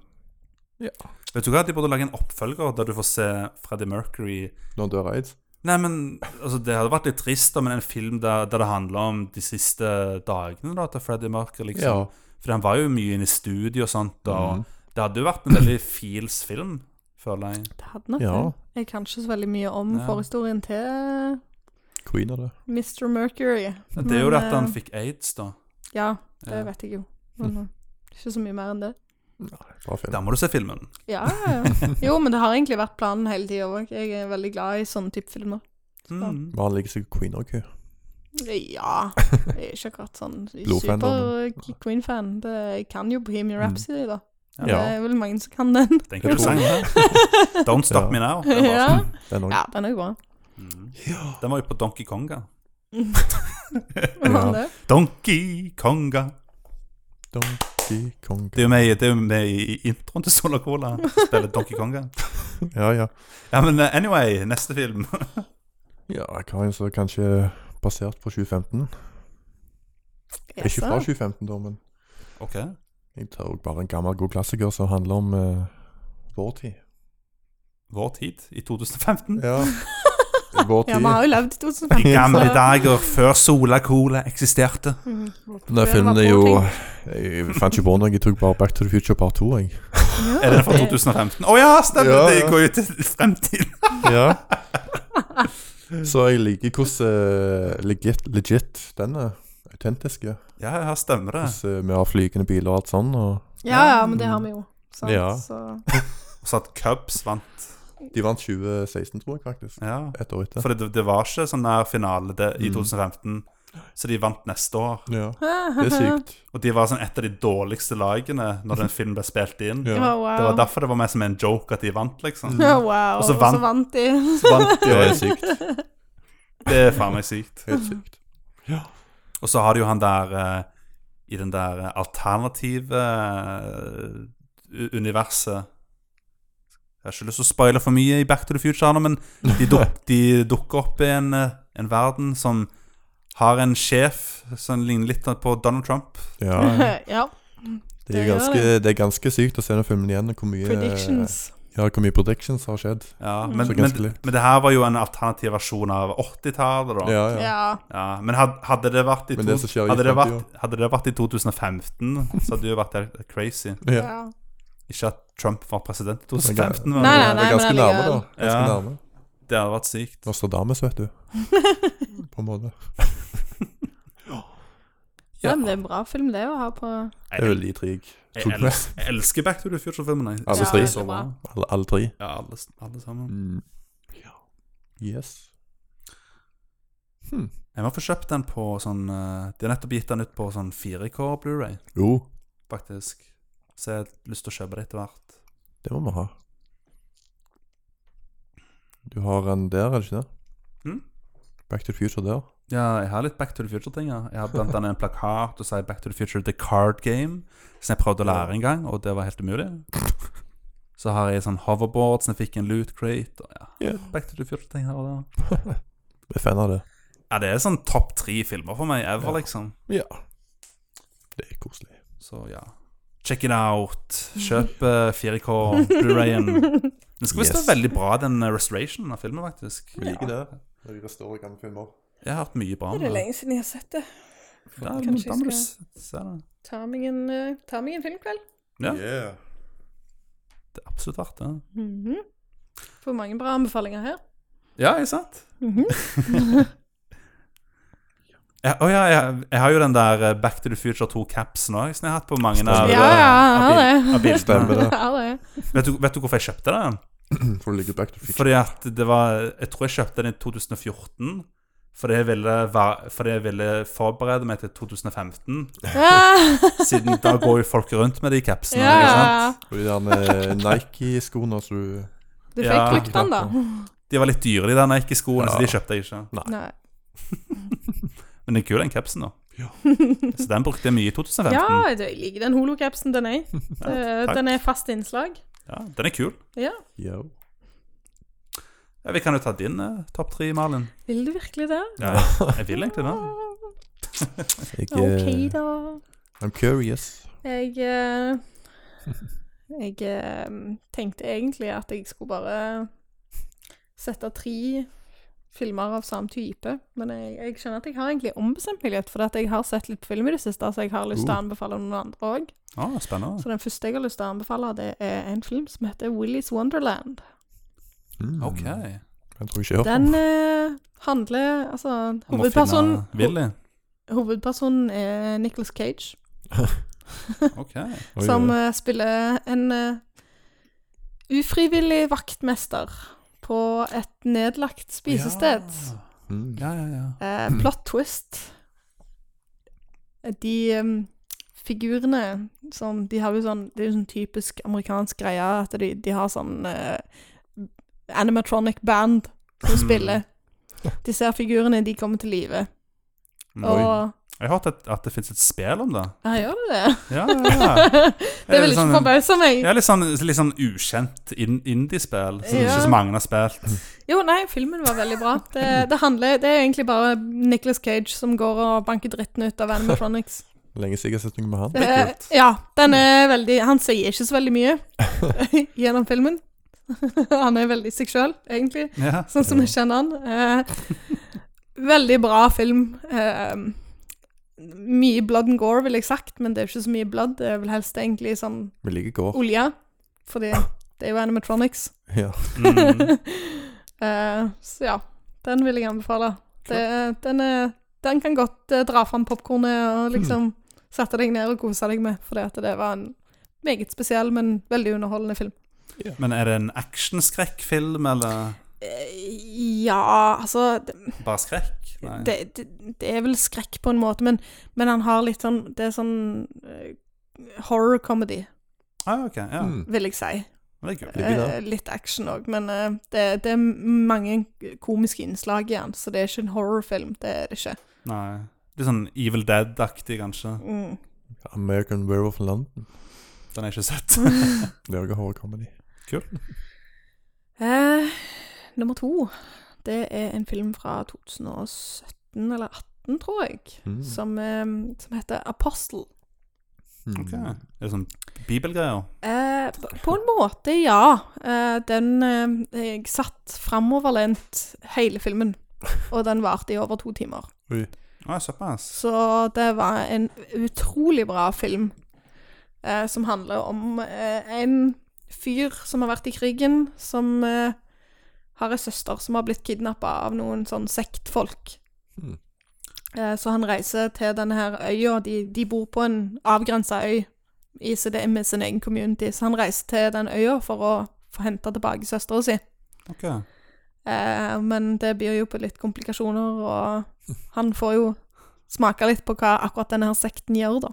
Speaker 1: Vet du hva, de burde lage en oppfølger der du får se Freddie Mercury
Speaker 2: Når han dør av aids.
Speaker 1: Nei, men altså, Det hadde vært litt trist, da, men en film der, der det handler om de siste dagene da, til Freddie Mercury.
Speaker 2: Ja.
Speaker 1: liksom. For han var jo mye inne i studio og sånt. Og
Speaker 2: Mhm.
Speaker 1: Det hadde jo vært en veldig feels film, føler jeg.
Speaker 3: Det hadde nok
Speaker 2: Ja.
Speaker 3: det. Jeg kan ikke så veldig mye om
Speaker 1: Ja.
Speaker 3: forhistorien til
Speaker 2: Queen av det.
Speaker 3: Mr. Mercury.
Speaker 1: Det er jo det
Speaker 3: Men,
Speaker 1: at han
Speaker 3: eh,
Speaker 1: fikk aids, da.
Speaker 3: Ja, det
Speaker 1: Ja.
Speaker 3: vet jeg jo.
Speaker 2: *laughs*
Speaker 3: Men eh, ikke så mye mer enn det.
Speaker 2: Bra film.
Speaker 1: Da må du se filmen.
Speaker 3: Ja, ja,
Speaker 2: *laughs*
Speaker 3: ja. Jo, men det har egentlig vært planen hele tida òg. Jeg er veldig glad i sånne type filmer.
Speaker 1: Mm.
Speaker 2: Men han liker seg Queen òg, hun.
Speaker 3: Ja. Jeg er ikke akkurat sånn
Speaker 2: *laughs* Blodfan, da,
Speaker 3: super-queen-fan. Jeg kan jo Bohemian
Speaker 2: Mm.
Speaker 3: Rhapsody, da.
Speaker 1: Ja.
Speaker 3: Det er vel mange som
Speaker 2: *laughs*
Speaker 3: kan den.
Speaker 1: Det er en
Speaker 2: Jeg
Speaker 1: kul
Speaker 2: tror-
Speaker 1: sang. det. Don't Stop
Speaker 2: Ja.
Speaker 1: Me Now. Den var,
Speaker 3: *laughs* ja.
Speaker 2: Den òg.
Speaker 3: ja, den er *laughs* jo bra.
Speaker 1: Mm. Den var jo på Donkey Konga.
Speaker 3: Var det?
Speaker 1: Donkey Konga.
Speaker 2: Donkey Kong.
Speaker 1: Det er jo med, i- det er jo med i introen til Sola Cola. som Spiller Donkey Konga.
Speaker 2: Ja, ja.
Speaker 1: Ja, men eh, anyway, neste film. *laughs*
Speaker 2: Ja, Karin, så kanskje basert på 2015. Ikke fra 2015, da, men
Speaker 1: Ok.
Speaker 2: jeg tar også bare en gammel, god klassiker som handler om eh, vår tid.
Speaker 1: Vår tid i 2015.
Speaker 3: *laughs*
Speaker 2: Ja. Vår
Speaker 3: Ja, vi har
Speaker 2: tid.
Speaker 3: jo levd i *laughs* 2015.
Speaker 1: I gamle
Speaker 3: så-
Speaker 1: dager før Sola Cola eksisterte.
Speaker 3: Mhm.
Speaker 2: Denne
Speaker 3: Det
Speaker 2: filmen
Speaker 3: var
Speaker 2: er jo
Speaker 3: vår
Speaker 2: Jeg fant ikke på noe. Jeg tok bare Back to the Future part 2, jeg.
Speaker 3: Ja.
Speaker 1: Er den fra 2015? Å ja, stemmer!
Speaker 2: Ja,
Speaker 1: Det
Speaker 2: ja.
Speaker 1: går jo til fremtiden.
Speaker 2: Ja. *laughs* Så jeg liker hvordan eh, legit, legit den er. Autentiske.
Speaker 1: Ja, ja, stemmer det.
Speaker 2: Hvordan eh, vi har flygende biler og alt sånn. Og
Speaker 3: Ja, ja, men det har vi jo. Sant?
Speaker 2: Ja.
Speaker 3: Så
Speaker 1: Og så at Cubs vant.
Speaker 2: de vant 2016, tror jeg faktisk.
Speaker 1: Ja.
Speaker 2: Et år etter.
Speaker 1: For det, det var ikke sånn nær finale det, i
Speaker 2: Mm.
Speaker 1: 2015, så de vant neste år.
Speaker 2: Ja. Det er
Speaker 3: *laughs*
Speaker 1: *laughs*
Speaker 2: sykt.
Speaker 1: Og de var sånn et av de dårligste lagene når den filmen ble spilt inn.
Speaker 2: Ja.
Speaker 3: Oh, wow.
Speaker 1: Det var derfor det var mer som en joke at de vant, liksom.
Speaker 3: Ja, wow.
Speaker 1: Og
Speaker 3: Og
Speaker 1: så
Speaker 3: så
Speaker 1: vant-
Speaker 3: vant de.
Speaker 1: Så vant de
Speaker 2: Det er
Speaker 1: også.
Speaker 2: sykt.
Speaker 1: Det er faen meg sykt.
Speaker 2: Helt sykt.
Speaker 1: Og så har du jo han der eh, i den der eh, alternative eh, u- universet Jeg har ikke lyst til å spoile for mye i Back to the Future, nå, men de,
Speaker 2: *laughs*
Speaker 1: duk, de dukker opp i en, eh, en verden som har en sjef som ligner litt på Donald Trump. *laughs*
Speaker 2: Ja,
Speaker 3: *laughs* ja.
Speaker 2: det er,
Speaker 3: Det gjør
Speaker 2: ganske, det er ganske sykt å se den filmen igjen. og Hvor mye,
Speaker 3: Predictions.
Speaker 2: ja, hvor mye predictions har skjedd.
Speaker 1: Ja,
Speaker 3: Mm.
Speaker 1: men,
Speaker 2: Så
Speaker 1: men,
Speaker 2: ganske likt.
Speaker 1: men det her var jo en alternativ versjon av 80-tallet, da.
Speaker 2: Ja,
Speaker 3: Ja.
Speaker 2: ja.
Speaker 1: Ja, men had, hadde det vært i,
Speaker 2: Men
Speaker 1: to,
Speaker 2: det som skjer i
Speaker 1: hadde, det
Speaker 2: fremtiden.
Speaker 1: vært, hadde det vært i 2015, så hadde det jo vært helt crazy.
Speaker 3: ja.
Speaker 2: ja.
Speaker 1: Ikke at Trump var president i
Speaker 2: Det er
Speaker 1: 2015,
Speaker 2: ga-
Speaker 1: men
Speaker 3: Nei, nei.
Speaker 2: det er ganske
Speaker 3: men
Speaker 2: nærme, da.
Speaker 3: allikevel.
Speaker 2: Ganske
Speaker 1: Ja.
Speaker 2: nærme.
Speaker 1: det hadde vært sykt.
Speaker 2: Nostradamus, vet
Speaker 3: *laughs*
Speaker 2: du. På en måte.
Speaker 3: Ja, men det er en bra film det å ha på
Speaker 2: Det er veldig trig.
Speaker 1: Jeg,
Speaker 2: Tok
Speaker 1: jeg,
Speaker 2: med
Speaker 1: els- jeg elsker Back to the Future-filmene.
Speaker 2: Alle
Speaker 1: Jeg
Speaker 2: tre.
Speaker 1: synes det er så bra.
Speaker 2: alle, alle tre.
Speaker 1: Ja, alle, alle sammen.
Speaker 2: Mm. Yes.
Speaker 1: Jeg må få kjøpt den på sånn eh, De har nettopp gitt den ut på sånn 4K Blu-ray,
Speaker 2: Jo,
Speaker 1: faktisk. Så jeg har lyst til å kjøpe det etter hvert.
Speaker 2: det må vi ha. Du har en der, er det ikke det?
Speaker 1: Mm.
Speaker 2: Back to the Future der.
Speaker 1: Ja, jeg har litt Back to the Future-ting. Ja. Jeg har blant annet en plakat og sier Back to the Future The Card Game, som jeg prøvde å lære en gang, og det var helt umulig. Så har jeg sånn hoverboard, som jeg fikk en loot crate. Og ja,
Speaker 2: Ja.
Speaker 1: Back to the Future-ting her og der.
Speaker 2: Jeg er fan av det.
Speaker 1: Ja, det er sånn topp tre filmer for meg ever,
Speaker 2: Ja.
Speaker 1: liksom.
Speaker 2: Ja. Det er koselig.
Speaker 1: Så ja. Check it out. Kjøp eh, 4K Blu-rayen.
Speaker 3: *laughs*
Speaker 1: Den skal visst
Speaker 2: Yes.
Speaker 1: være veldig bra, den eh, restorationen av filmen, faktisk.
Speaker 2: Vi liker det. Når vi restaurerer gamle filmer.
Speaker 1: Jeg har hørt mye bra om
Speaker 3: Det
Speaker 1: det.
Speaker 3: er lenge siden jeg har sett det.
Speaker 1: Ja,
Speaker 3: Kanskje
Speaker 1: men
Speaker 3: jeg
Speaker 1: da må du
Speaker 3: skal-
Speaker 1: s- se det.
Speaker 3: Ta meg en, eh, ta meg en filmkveld.
Speaker 1: Ja.
Speaker 2: Yeah.
Speaker 1: Det er absolutt verdt det.
Speaker 3: Mhm. Får mange bra anbefalinger her.
Speaker 1: Ja, ikke sant?
Speaker 3: Mhm.
Speaker 1: Ja, å ja, jeg, jeg har jo den der eh, Back to the Future 2 capsen òg, som jeg har hatt på mange av,
Speaker 2: Stemmer
Speaker 3: Ja, ja,
Speaker 1: av,
Speaker 3: jeg har
Speaker 1: bil-
Speaker 3: det.
Speaker 1: av bildene.
Speaker 2: Stemmer det.
Speaker 3: *laughs* Ja, det.
Speaker 1: Vet du, vet du hvorfor jeg kjøpte den?
Speaker 2: Mm, For å ligge back to future.
Speaker 1: Fordi at det var Jeg tror jeg kjøpte den i 2014. Fordi jeg ville, va- fordi jeg ville forberede meg til 2015.
Speaker 3: Ah,
Speaker 1: Siden da går jo folk rundt med de capsene.
Speaker 3: ja,
Speaker 1: ikke
Speaker 3: ja.
Speaker 1: sant?
Speaker 3: ja.
Speaker 2: Og de der eh, Nike-skoene som du
Speaker 3: Du
Speaker 1: Ja.
Speaker 3: fikk likt den, da.
Speaker 1: De var litt dyre, de der Nike-skoene, så
Speaker 2: Ja.
Speaker 1: de kjøpte jeg ikke.
Speaker 3: Nei.
Speaker 1: Men det er kul, den capsen, da.
Speaker 2: Ja.
Speaker 1: Så den brukte jeg mye i 2015.
Speaker 3: Ja,
Speaker 1: Ja.
Speaker 3: jeg liker den holocapsen, den
Speaker 1: *laughs*
Speaker 3: er. Eh,
Speaker 1: takk.
Speaker 3: Den er fast innslag.
Speaker 1: den er kul.
Speaker 3: Ja.
Speaker 2: Yo.
Speaker 1: Ja, vi kan jo ta din eh, topp tre, Malin.
Speaker 3: Vil du virkelig det?
Speaker 1: Ja, jeg vil egentlig det.
Speaker 2: Jeg
Speaker 3: OK,
Speaker 2: eh,
Speaker 3: da.
Speaker 2: I'm curious.
Speaker 3: Jeg eh, Jeg eh, tenkte egentlig at jeg skulle bare sette tre filmer av samme type, men jeg, jeg skjønner at jeg har egentlig ombestemt meg litt, for at jeg har sett litt film i det siste, så jeg har lyst til å
Speaker 2: Uh.
Speaker 3: anbefale noen andre òg.
Speaker 1: Å, spennende.
Speaker 3: Så den første jeg har lyst til å anbefale, det er en film som heter Willy's Wonderland.
Speaker 2: Mm.
Speaker 1: OK.
Speaker 2: Den tror jeg ikke jeg har hørt om.
Speaker 3: Den eh, handler Altså,
Speaker 1: Om å
Speaker 3: hovedpersonen,
Speaker 1: finne *laughs* Willy.
Speaker 3: hovedpersonen er Nicholas Cage.
Speaker 1: *laughs* OK.
Speaker 2: Oi,
Speaker 3: som
Speaker 2: oi.
Speaker 3: eh, spiller en eh, ufrivillig vaktmester på et nedlagt spisested.
Speaker 2: Mm.
Speaker 1: Ja, ja, ja.
Speaker 3: Eh, plot twist. De em, figurene som De har jo sånn Det er jo sånn typisk amerikansk greie at de, de har sånn eh, animatronic band som
Speaker 1: Hmm.
Speaker 3: spiller. Disse her figurene, de kommer til live.
Speaker 1: Mm.
Speaker 3: Og
Speaker 1: Jeg har hørt at, at det fins et spill om det.
Speaker 3: Ja, gjør de det?
Speaker 1: Ja, ja, *laughs* ja.
Speaker 3: *laughs* det vil ikke
Speaker 1: sånn-
Speaker 3: forbause meg.
Speaker 1: Ja, litt sånn, litt sånn ukjent in indie-spill som
Speaker 3: Ja.
Speaker 1: ikke så mange har spilt.
Speaker 3: Jo, nei, filmen var veldig bra. Det, det handler Det er egentlig bare Nicholas Cage som går og banker dritten ut av animatronics.
Speaker 2: Lenge siden jeg har sett noe med
Speaker 3: *laughs*
Speaker 2: han.
Speaker 1: Det er kult.
Speaker 3: Eh, ja, den er veldig Han sier ikke så veldig mye gjennom filmen. *laughs* han er veldig seg sjøl, egentlig,
Speaker 1: *laughs* Ja.
Speaker 3: sånn som jeg kjenner han. Eh, veldig bra film. Eh, mye blood and gore, ville jeg sagt, men det er jo ikke så mye blood. Det er vel helst egentlig sånn
Speaker 2: Vi liker går.
Speaker 3: olje, fordi det er jo animatronics.
Speaker 2: Ja.
Speaker 1: Mm.
Speaker 3: Eh, så ja, den vil jeg anbefale. Det, den, er, den kan godt eh, dra fram popkornet og liksom sette deg ned og kose deg med, fordi at det var en meget spesiell, men veldig underholdende film.
Speaker 1: Men er det en actionskrekkfilm, eller
Speaker 3: Eh, ja, altså det,
Speaker 1: bare skrekk? Nei.
Speaker 3: det, det, det er vel skrekk på en måte, men, men han har litt sånn Det er sånn eh, horror comedy,
Speaker 1: Ah, ok, ja.
Speaker 2: Mm.
Speaker 3: vil jeg si.
Speaker 1: Men det er kult.
Speaker 2: Ligger der.
Speaker 3: Eh, litt action òg, men eh, det, det er mange komiske innslag i den, så det er ikke en horrorfilm. Det er det ikke.
Speaker 1: Nei. Litt sånn Evil Dead-aktig, kanskje.
Speaker 3: Mm.
Speaker 2: American Werewolf in London.
Speaker 1: Den har jeg ikke sett.
Speaker 2: Det er jo ikke horror comedy.
Speaker 3: Eh, nummer to, det er en film fra 2017 eller 18, tror jeg,
Speaker 2: Mm.
Speaker 3: som, eh, som heter Apostel.
Speaker 2: Mm.
Speaker 1: Ok. Er det sånn bibelgreier?
Speaker 3: Eh, p- på en måte, ja. Eh, den eh, Jeg satt framoverlent hele filmen, og den varte i over to timer.
Speaker 2: Oi.
Speaker 1: Å, såpass.
Speaker 3: Så det var en utrolig bra film eh, som handler om eh, en fyr som har vært i krigen, som eh, har ei søster som har blitt kidnappa av noen sånn sektfolk.
Speaker 2: Mm.
Speaker 3: Eh, så han reiser til denne her øya. De, de bor på en avgrensa øy i sin, med sin egen community, så han reiser til den øya for å få hente tilbake søstera si.
Speaker 1: Ok.
Speaker 3: Eh, men det byr jo på litt komplikasjoner, og han får jo smake litt på hva akkurat denne her sekten gjør, da.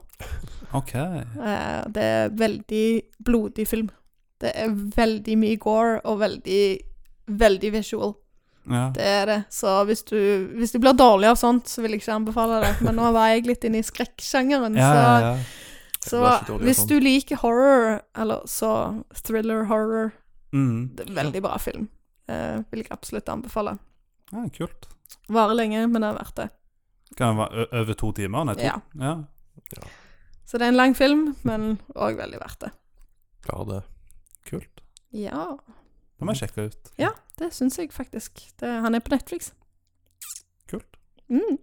Speaker 1: Ok.
Speaker 3: Eh, det er veldig blodig film. Det er veldig mye gore og veldig, veldig visual.
Speaker 1: Ja.
Speaker 3: Det er det. Så hvis du, hvis du blir dårlig av sånt, så vil jeg ikke anbefale det. Men nå var jeg litt inne i skrekksjangeren,
Speaker 1: Ja, ja, ja.
Speaker 3: så,
Speaker 2: Jeg ble ikke
Speaker 3: så
Speaker 2: dårlig av
Speaker 3: hvis
Speaker 2: sånt.
Speaker 3: du liker horror, eller så thriller-horror
Speaker 1: Mm.
Speaker 3: det er en Veldig bra film. Eh, vil jeg absolutt anbefale.
Speaker 1: ja Ah, kult.
Speaker 3: Varer lenge, men det er verdt det.
Speaker 1: Kan det være ø- over to timer? Nei, to.
Speaker 3: Ja.
Speaker 1: Ja.
Speaker 3: Så det er en lang film, men òg veldig verdt det.
Speaker 2: Klarer det.
Speaker 1: Kult.
Speaker 3: Ja,
Speaker 1: Det må jeg sjekke ut.
Speaker 3: det syns jeg faktisk. Det, han er på Netflix.
Speaker 1: Kult.
Speaker 3: Mm.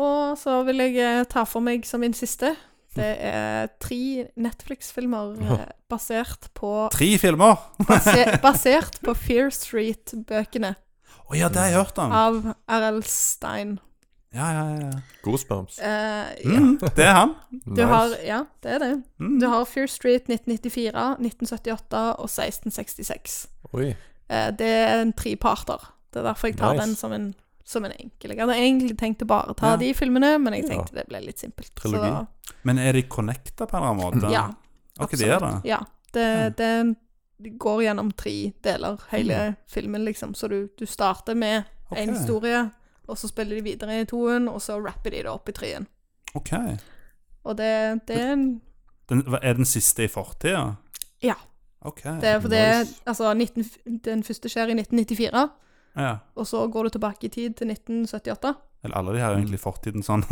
Speaker 3: Og så vil jeg eh, ta for meg som min siste. Det er tre Netflix-filmer eh, basert på
Speaker 1: Tre filmer! *laughs*
Speaker 3: base, Basert på Fear Street-bøkene
Speaker 1: Å ja, det har jeg hørt om!
Speaker 3: av R.L. Stein.
Speaker 1: Ja, ja, ja.
Speaker 2: Goosebumps.
Speaker 3: Eh, ja,
Speaker 1: Mm, det er han.
Speaker 3: du
Speaker 2: Nice.
Speaker 3: har, ja, det er det.
Speaker 1: Mm.
Speaker 3: Du har Fear Street 1994, 1978 og 1666.
Speaker 2: Oi.
Speaker 3: Eh, det er en treparter. Det er derfor jeg tar
Speaker 2: Nice.
Speaker 3: den som en, som en enkel. Jeg hadde egentlig tenkt å bare ta
Speaker 1: Ja.
Speaker 3: de filmene, men jeg
Speaker 2: Ja.
Speaker 3: tenkte det ble litt simpelt. Så
Speaker 2: Trilogi.
Speaker 3: da-
Speaker 1: Men er de connecta på en eller annen måte?
Speaker 3: Ja,
Speaker 1: Ok, de er det.
Speaker 3: Ja. Det,
Speaker 1: Ja.
Speaker 3: det er en- det går gjennom tre deler, hele filmen, liksom. Så du, du starter med
Speaker 1: Ok.
Speaker 3: en historie, og så spiller de videre i toen, og så rapper de det opp i treen.
Speaker 1: Ok.
Speaker 3: Og det, det er en
Speaker 1: Den, hva- er den siste i fortida?
Speaker 3: Ja.
Speaker 1: Ok.
Speaker 3: det er fordi
Speaker 2: Nice.
Speaker 3: altså, 19, Den første skjer i 1994,
Speaker 1: Ja.
Speaker 3: og så går du tilbake i tid til 1978.
Speaker 1: Eller alle de har
Speaker 3: Mm.
Speaker 1: jo egentlig fortiden
Speaker 3: *laughs*
Speaker 1: sånn.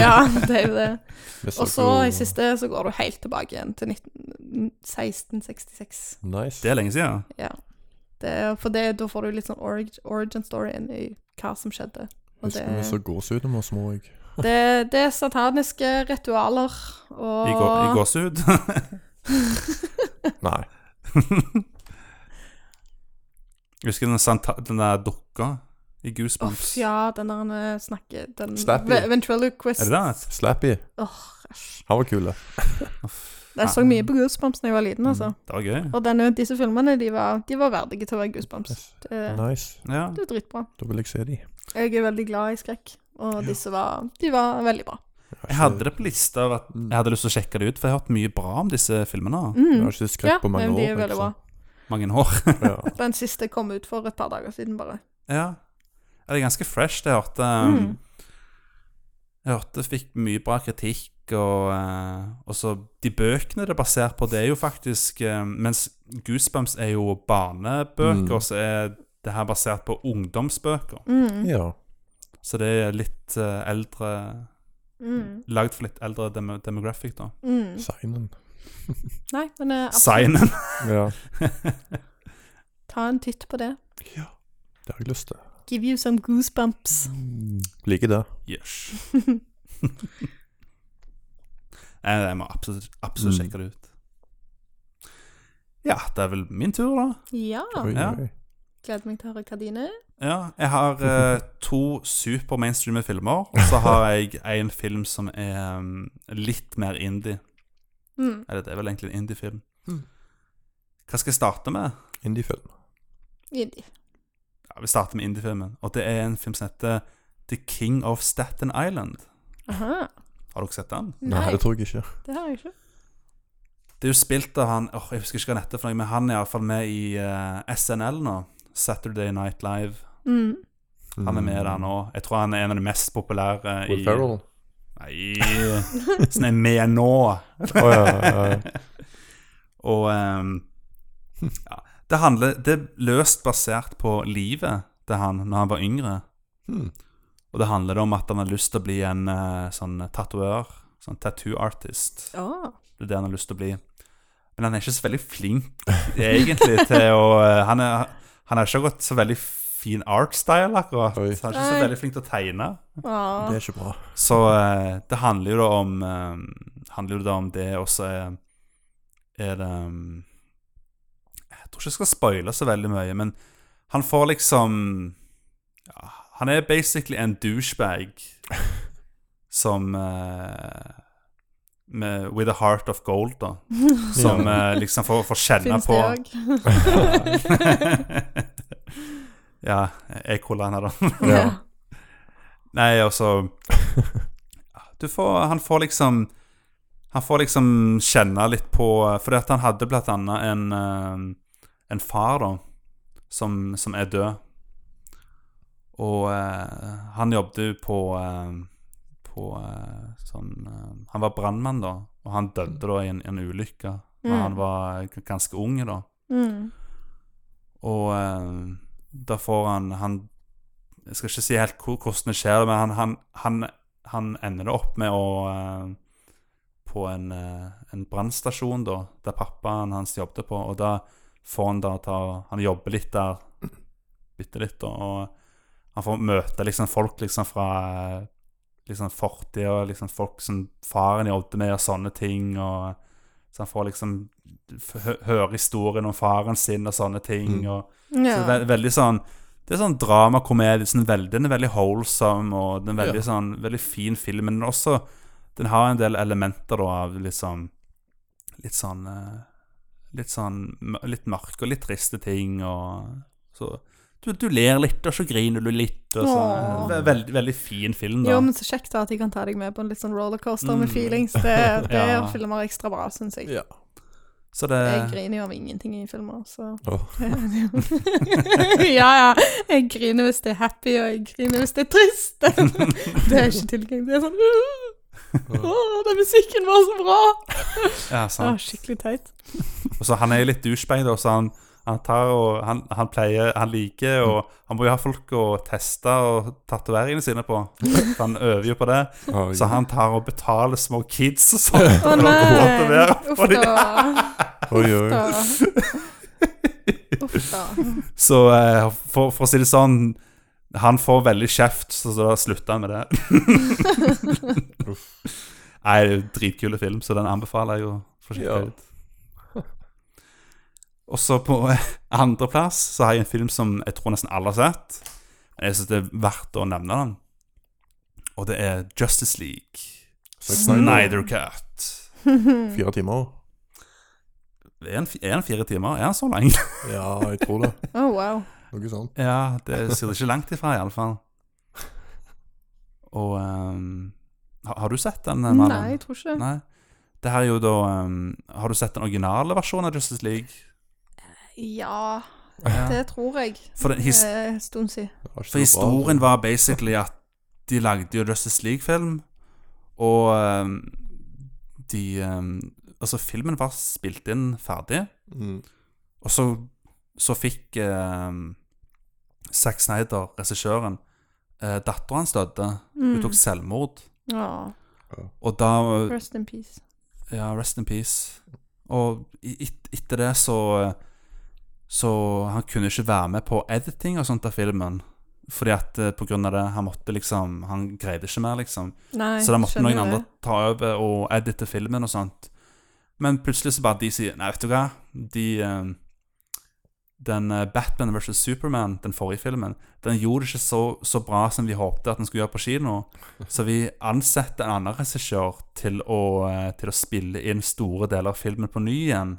Speaker 3: ja, det er jo det.
Speaker 2: Vi så
Speaker 3: Og så
Speaker 2: jo-
Speaker 3: i siste så går du helt tilbake igjen til 19, 1666.
Speaker 2: Nice.
Speaker 1: Det er lenge siden.
Speaker 3: Det, er- for det, da får du litt sånn orig, origin story inn i hva som skjedde. Og
Speaker 2: Husker vi så
Speaker 3: det,
Speaker 2: gåsehud da vi var små òg.
Speaker 3: det, det er sataniske ritualer og
Speaker 1: I, gå, i gåsehud. *laughs*
Speaker 2: Nei.
Speaker 1: Jeg Husker den, santa, den der dukka i Goosebumps?
Speaker 3: Uff, ja, den der han eh, snakker Den
Speaker 2: Slappy.
Speaker 3: ve- ventriloquist.
Speaker 1: Er det det?
Speaker 2: Slappy.
Speaker 3: Åh, æsj.
Speaker 2: Han var kule.
Speaker 1: Uff.
Speaker 3: Jeg så mye på Goosebumps da jeg var liten, altså.
Speaker 2: Mm.
Speaker 1: Det var gøy.
Speaker 3: Og denne, disse filmene, de var, de var verdige til å være Goosebumps.
Speaker 2: Yes.
Speaker 3: Det,
Speaker 2: Nice.
Speaker 1: Ja.
Speaker 3: det er dritbra.
Speaker 2: Da vil jeg se de.
Speaker 3: Jeg er veldig glad i skrekk, og disse var, de var veldig bra.
Speaker 1: Jeg hadde det på lista av at jeg hadde lyst til å sjekke det ut, for jeg har hørt mye bra om disse filmene.
Speaker 2: Mm. Jeg
Speaker 3: Mm.
Speaker 2: har ikke skrekk på mange
Speaker 3: men
Speaker 2: år. liksom.
Speaker 3: de er veldig bra. Mm.
Speaker 1: Mange år.
Speaker 2: Ja.
Speaker 3: Den siste kom ut for et par dager siden, bare.
Speaker 1: Ja. Ja, Det er ganske fresh. Jeg hørte eh,
Speaker 3: Mm.
Speaker 1: Jeg hørte fikk mye bra kritikk, og, eh, og så De bøkene det er basert på, det er jo faktisk eh, Mens Goosebumps er jo barnebøker,
Speaker 2: Mm.
Speaker 1: så er det her basert på ungdomsbøker.
Speaker 3: Mm.
Speaker 2: ja.
Speaker 1: Så det er litt eh, eldre
Speaker 3: Mm.
Speaker 1: Lagd for litt eldre demo demographic, da.
Speaker 3: Mm.
Speaker 2: Seinen.
Speaker 3: Nei, men eh, absolutt,
Speaker 1: Signen.
Speaker 2: Ja.
Speaker 3: ta en titt på det.
Speaker 2: ja. Det har jeg lyst til.
Speaker 3: Give you some goosebumps.
Speaker 1: Mm.
Speaker 2: Liker det.
Speaker 1: Yes.
Speaker 2: *laughs*
Speaker 1: *laughs* Nei, jeg må absolutt, absolutt
Speaker 2: Mm.
Speaker 1: sjekke det ut. Ja, det er vel min tur, da.
Speaker 3: Ja.
Speaker 2: Oi,
Speaker 1: Ja.
Speaker 2: oi.
Speaker 3: Gleder meg til å høre hva dine er.
Speaker 1: Ja, Jeg
Speaker 2: *laughs*
Speaker 1: har eh, to super mainstreame filmer, og så har jeg en film som er mm, litt mer indie.
Speaker 3: Mm.
Speaker 1: Eller det er vel egentlig en indie-film.
Speaker 2: Mm.
Speaker 1: Hva skal jeg starte med?
Speaker 2: Indiefilm.
Speaker 3: Indie.
Speaker 1: Ja, Vi starter med indie-filmen, og det er en film som heter The King of Staten Island.
Speaker 3: Aha.
Speaker 1: Har dere sett den?
Speaker 2: Nei.
Speaker 3: Nei,
Speaker 2: det tror jeg ikke.
Speaker 3: det har jeg ikke.
Speaker 1: Det er jo spilt av han åh, Jeg husker ikke hva han heter, for noe, men han er iallfall med i eh, SNL nå. Saturday Night Live.
Speaker 3: Mm.
Speaker 1: Han er med der nå. Jeg tror han er en av de mest populære
Speaker 2: Mm. Will
Speaker 1: i
Speaker 2: Ferrell?
Speaker 1: Nei Som er med nå.
Speaker 2: Å ja, ja,
Speaker 1: *laughs*
Speaker 2: ja.
Speaker 1: Og ehm, ja, det, handler, det er løst basert på livet til han når han var yngre.
Speaker 2: Hmm.
Speaker 1: Og det handler om at han har lyst til å bli en eh, sånn tatoør. Sånn tattoo artist.
Speaker 3: Å.
Speaker 1: Det er det han har lyst til å bli. Men han er ikke så veldig flink egentlig til å eh, Han, er, han har ikke gått så veldig fin art style, akkurat.
Speaker 2: Oi.
Speaker 1: Så han er ikke så
Speaker 3: Nei.
Speaker 1: veldig flink til å tegne.
Speaker 3: Å.
Speaker 2: Det er ikke
Speaker 1: *laughs*
Speaker 2: bra.
Speaker 1: Så eh, det handler jo da om eh, Handler jo da om det, og så er, er det um, Jeg tror ikke jeg skal spoile så veldig mye, men han får liksom ja, Han er basically en douchebag som eh, med, With a heart of gold, da. Som eh, liksom får, får kjenne
Speaker 3: Finnes
Speaker 1: på
Speaker 3: det òg?
Speaker 1: *laughs* Ja, jeg kolla han her, da.
Speaker 2: Ja.
Speaker 1: Nei, altså du får, Han får liksom Han får liksom kjenne litt på Fordi at han hadde blant annet en eh, En far da Som, som er død Og eh, han jobbet jo på eh, På eh, sånn eh, Han var brannmann, da, og han døde da i en, en ulykke. Og
Speaker 3: Mm.
Speaker 1: han var g- ganske ung da.
Speaker 3: Mm.
Speaker 1: Og eh, da får han Han Jeg skal ikke si helt hvor- hvordan det skjer, men han, han, han, han ender det opp med å eh, På en, eh, en brannstasjon, da, der pappaen hans jobbet på, og da får han da ta Han jobber litt der, bitte litt, da, og han får møte liksom folk liksom fra eh, Liksom fortid og liksom folk som faren jobbet med, og sånne ting, og så han får liksom hø høre historien om faren sin og sånne ting.
Speaker 2: Mm.
Speaker 1: og
Speaker 3: Ja.
Speaker 1: så det er ve veldig sånn Det er sånn dramakomedie. Sånn veldig, den er veldig wholesome, og den er veldig, sånn, veldig fin film. Men den er også Den har en del elementer da, av liksom Litt sånn eh, Litt sånn m- Litt mørke og litt triste ting, og så du, du ler litt, og så griner du litt. Og sånn.
Speaker 3: Åh.
Speaker 1: Ve- Veldig, veldig fin film, da.
Speaker 3: Jo, men så kjekt da at jeg kan ta deg med på en litt sånn rollercoaster med
Speaker 1: Mm.
Speaker 3: feelings. Det,
Speaker 1: *laughs*
Speaker 3: det
Speaker 1: Ja.
Speaker 3: gjør filmer ekstra bra, syns jeg.
Speaker 2: Ja.
Speaker 1: så det
Speaker 3: Jeg griner jo av ingenting i filmer, så
Speaker 2: Åh.
Speaker 3: *laughs* Ja, ja. Jeg griner hvis det er happy, og jeg griner hvis det er
Speaker 1: *laughs*
Speaker 3: trist. det er ikke tilgang. Det er sånn Å, den musikken var så bra!
Speaker 1: Ja, sånn.
Speaker 3: Det
Speaker 1: sant.
Speaker 3: var skikkelig teit.
Speaker 1: Og så han er jo litt douchebag, da, så han, han tar og han, han pleier Han liker og Han må jo ha folk å teste og tatoveringene sine på. For Han øver jo på det.
Speaker 2: Oi.
Speaker 1: Så han tar og betaler små kids og sånn.
Speaker 3: Å
Speaker 1: for å
Speaker 3: nei!
Speaker 1: tatovere
Speaker 3: Uff
Speaker 1: på de.
Speaker 3: da.
Speaker 2: Oi, oi.
Speaker 3: da. Uff da.
Speaker 1: Så eh, for, for å si det sånn Han får veldig kjeft, så da slutter han med det. Nei, det er jo en dritkul film, så den anbefaler jeg jo
Speaker 2: Ja.
Speaker 1: forsiktig. ut. Og så på *laughs* eh, andreplass så har jeg en film som jeg tror nesten alle har sett. Men jeg syns det er verdt å nevne den. Og det er Justice League.
Speaker 2: Zack Snyder.
Speaker 1: Snyder Cut.
Speaker 2: Fire timer?
Speaker 1: Er den fi- er den fire timer? Er den så lang?
Speaker 2: Ja, jeg tror det.
Speaker 3: Oh, wow.
Speaker 2: Noe sånt.
Speaker 1: Ja, det ser det ikke langt ifra, iallfall. Og ehm, ha- Har du sett den, Malin?
Speaker 3: Nei, jeg tror ikke det.
Speaker 1: Nei. Det her er jo da ehm, Har du sett den originale versjonen av Justice League?
Speaker 3: Ja,
Speaker 1: Ja.
Speaker 3: det tror jeg.
Speaker 1: For, den,
Speaker 3: Det
Speaker 1: his,
Speaker 3: er en stund siden.
Speaker 2: Det var ikke
Speaker 1: for
Speaker 2: så bra.
Speaker 1: historien var basically at de lagde jo Justice League-film, og ehm, de ehm, Altså, filmen var spilt inn ferdig.
Speaker 2: mm.
Speaker 1: Og så, så fikk eh, Zack Snyder, regissøren eh, Datteren hans døde. Hun
Speaker 3: Mm.
Speaker 1: tok selvmord.
Speaker 3: Ja.
Speaker 1: Og da
Speaker 3: Rest in peace.
Speaker 1: Ja, rest in peace. Og i- et, etter det så Så han kunne ikke være med på editing og sånt av filmen. Fordi at eh, på grunn av det Han måtte liksom Han greide ikke mer, liksom.
Speaker 3: Nei,
Speaker 1: Så da måtte
Speaker 3: skjønner
Speaker 1: noen andre
Speaker 3: det.
Speaker 1: ta over og edite filmen og sånt. Men plutselig så bare de sier Nei, vet du hva? De eh, Den eh, Batman vs. Superman, den forrige filmen, den gjorde det ikke så, så bra som vi håpte at den skulle gjøre på kino. Så vi ansetter en annen regissør til, å, eh, til å spille inn store deler av filmen på ny igjen.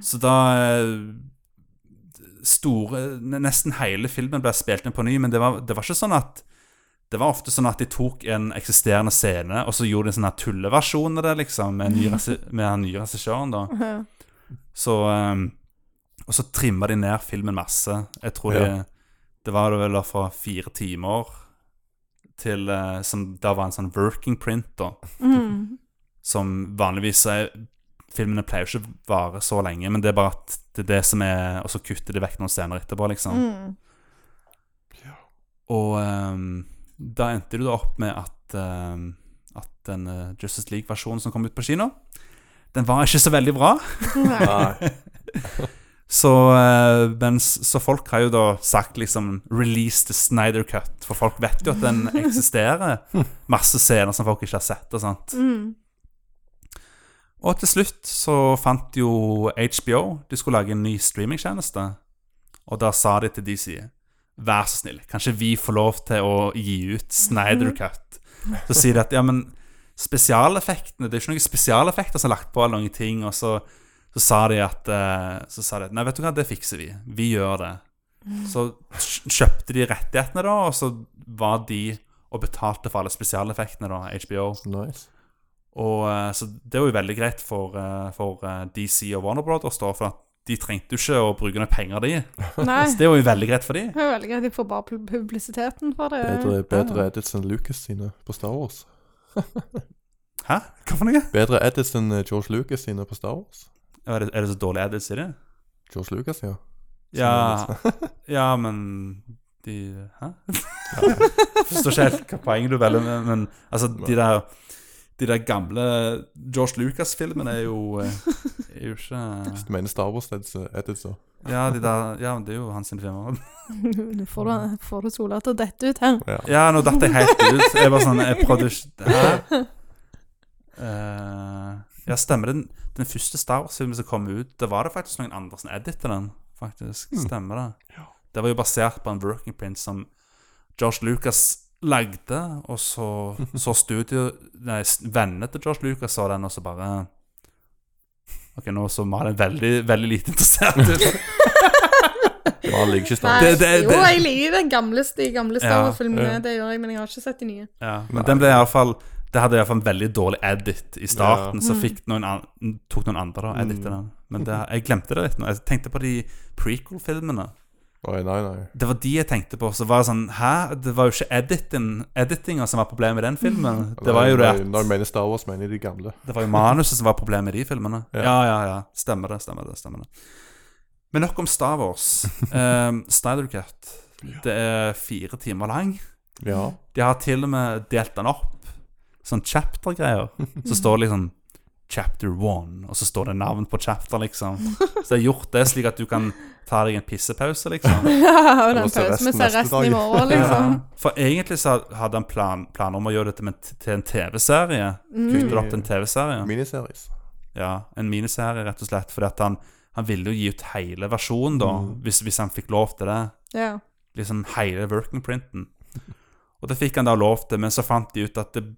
Speaker 1: Så da eh, store, ne- Nesten hele filmen ble spilt inn på ny, men det var, det var ikke sånn at Det var ofte sånn at de tok en eksisterende scene, og så gjorde de en sånn her tulleversjon av det, liksom, med, ny, regi- med den nye regissøren, da.
Speaker 3: Ja.
Speaker 1: Så eh, Og så trimma de ned filmen masse. Jeg tror
Speaker 2: Ja.
Speaker 1: det, det var det vel da fra fire timer til eh, Som da var en sånn working print, da.
Speaker 3: *laughs* Mm.
Speaker 1: Som vanligvis er Filmene pleier jo ikke å vare så lenge, men det er bare at det er det som er Og så kutter de vekk noen scener etterpå, liksom.
Speaker 3: Mm. *laughs*
Speaker 1: Og ehm, da endte du da opp med at, ehm, at den eh, Justice League-versjonen som kom ut på kino, den var ikke så veldig bra.
Speaker 3: Ja.
Speaker 2: Nei.
Speaker 1: Så, eh, men, s- så folk har jo da sagt liksom 'release the Snyder Cut', for folk vet jo at den eksisterer. Masse scener som folk ikke har sett og sånt.
Speaker 3: Mm.
Speaker 1: Og til slutt så fant jo HBO De skulle lage en ny streamingtjeneste. Og da sa de til DC Vær så snill, kanskje vi får lov til å gi ut Snyder Cut? Så sier de at ja, men spesialeffektene Det er ikke noen spesialeffekter som er lagt på, eller noen ting. Og så, så sa de at eh, Så sa de at nei, vet du hva, det fikser vi. Vi gjør det. Så kj- kjøpte de rettighetene, da, og så var de og betalte for alle spesialeffektene, da, HBO.
Speaker 2: Nice.
Speaker 1: Og eh, Så det var jo veldig greit for, eh, for eh, DC og Warner Brothers, da, for at de trengte jo ikke å bruke noe penger, de.
Speaker 3: Nei.
Speaker 1: Så det var jo veldig greit for de.
Speaker 3: Det er veldig greit. Jeg får bare pub- publisiteten for det.
Speaker 2: Bedre, bedre edits enn Lucas sine på Star Wars.
Speaker 1: Hæ? Hva for noe?
Speaker 2: Bedre edits enn eh, George Lucas sine på Star Wars.
Speaker 1: Er det, er det så dårlig edits i det?
Speaker 2: George Lucas, ja.
Speaker 1: Ja,
Speaker 2: *laughs*
Speaker 1: ja men de Hæ? Forstår ikke helt hva poenget du velger, men, men altså, de der de der gamle George Lucas-filmene er jo eh, er jo ikke
Speaker 2: Hvis du mener Star Wars-editser.
Speaker 1: Ja, de der, ja, men det er jo hans sine filmer.
Speaker 3: Nå får *laughs* du, får du sola til å dette ut her.
Speaker 2: Ja.
Speaker 1: Ja, nå datt jeg helt ut. Jeg var sånn Jeg prøvde ikke Hæ?
Speaker 3: *laughs*
Speaker 1: Eh, ja, stemmer det. Den, den første Star Wars-filmen som kom ut, det var det faktisk noen andre som editet den. Faktisk,
Speaker 2: Mm.
Speaker 1: Stemmer det. Det var jo basert på en working print som George Lucas lagde, og så så studio Nei, s- vennene til George Lucas så den, og så bare Ok, nå så Malin veldig, veldig lite interessert ut.
Speaker 2: Man liker ikke
Speaker 3: Nei,
Speaker 2: Star Wars.
Speaker 1: Det- det-
Speaker 3: jo,
Speaker 1: det-
Speaker 3: jeg liker den gamle, de gamle Star
Speaker 1: Ja,
Speaker 3: Wars-filmene.
Speaker 2: ja.
Speaker 3: Det gjør jeg, men jeg har ikke sett de *laughs* nye.
Speaker 1: Ja, men den ble i alle fall Det hadde i alle fall en veldig dårlig edit i starten, så
Speaker 3: Mm.
Speaker 1: fikk noen an, tok noen andre og editet
Speaker 2: Mm.
Speaker 1: den. Men det, jeg glemte det litt nå. Jeg tenkte på de prequel-filmene.
Speaker 2: Oi, nei, nei.
Speaker 1: Det var de jeg tenkte på. Så var det sånn Hæ? Det var jo ikke editing, editinga som var problemet i den filmen. Mm. Det var jo det
Speaker 2: Når- Når jeg mener Star Wars, mener jeg de gamle.
Speaker 1: det var jo manuset som var problemet i de filmene.
Speaker 2: Ja.
Speaker 1: Ja, ja, ja. Stemmer det, stemmer det. stemmer det. Men nok om Star *laughs* Wars. Um, Snyder Cut. Det er fire timer lang.
Speaker 2: Ja.
Speaker 1: De har til og med delt den opp. Sånn chapter-greier. Så står det liksom Chapter 1, og så står det navn på chapter, liksom. Så jeg har gjort det slik at du kan ta deg en pissepause, liksom.
Speaker 3: og
Speaker 2: Eller
Speaker 3: den
Speaker 2: se
Speaker 3: pausen
Speaker 2: resten
Speaker 3: vi ser
Speaker 2: neste
Speaker 3: resten i
Speaker 2: dag.
Speaker 3: morgen, liksom.
Speaker 1: Ja. For egentlig så hadde han plan, planer om å gjøre dette med, til en TV-serie. Kutte det opp til en TV-serie.
Speaker 2: Miniseries.
Speaker 1: Ja, en miniserie, rett og slett. Fordi at han, han ville jo gi ut hele versjonen, da,
Speaker 2: Mm.
Speaker 1: hvis, hvis han fikk lov til det.
Speaker 3: Ja.
Speaker 1: Liksom hele working printen. Og det fikk han da lov til, men så fant de ut at det,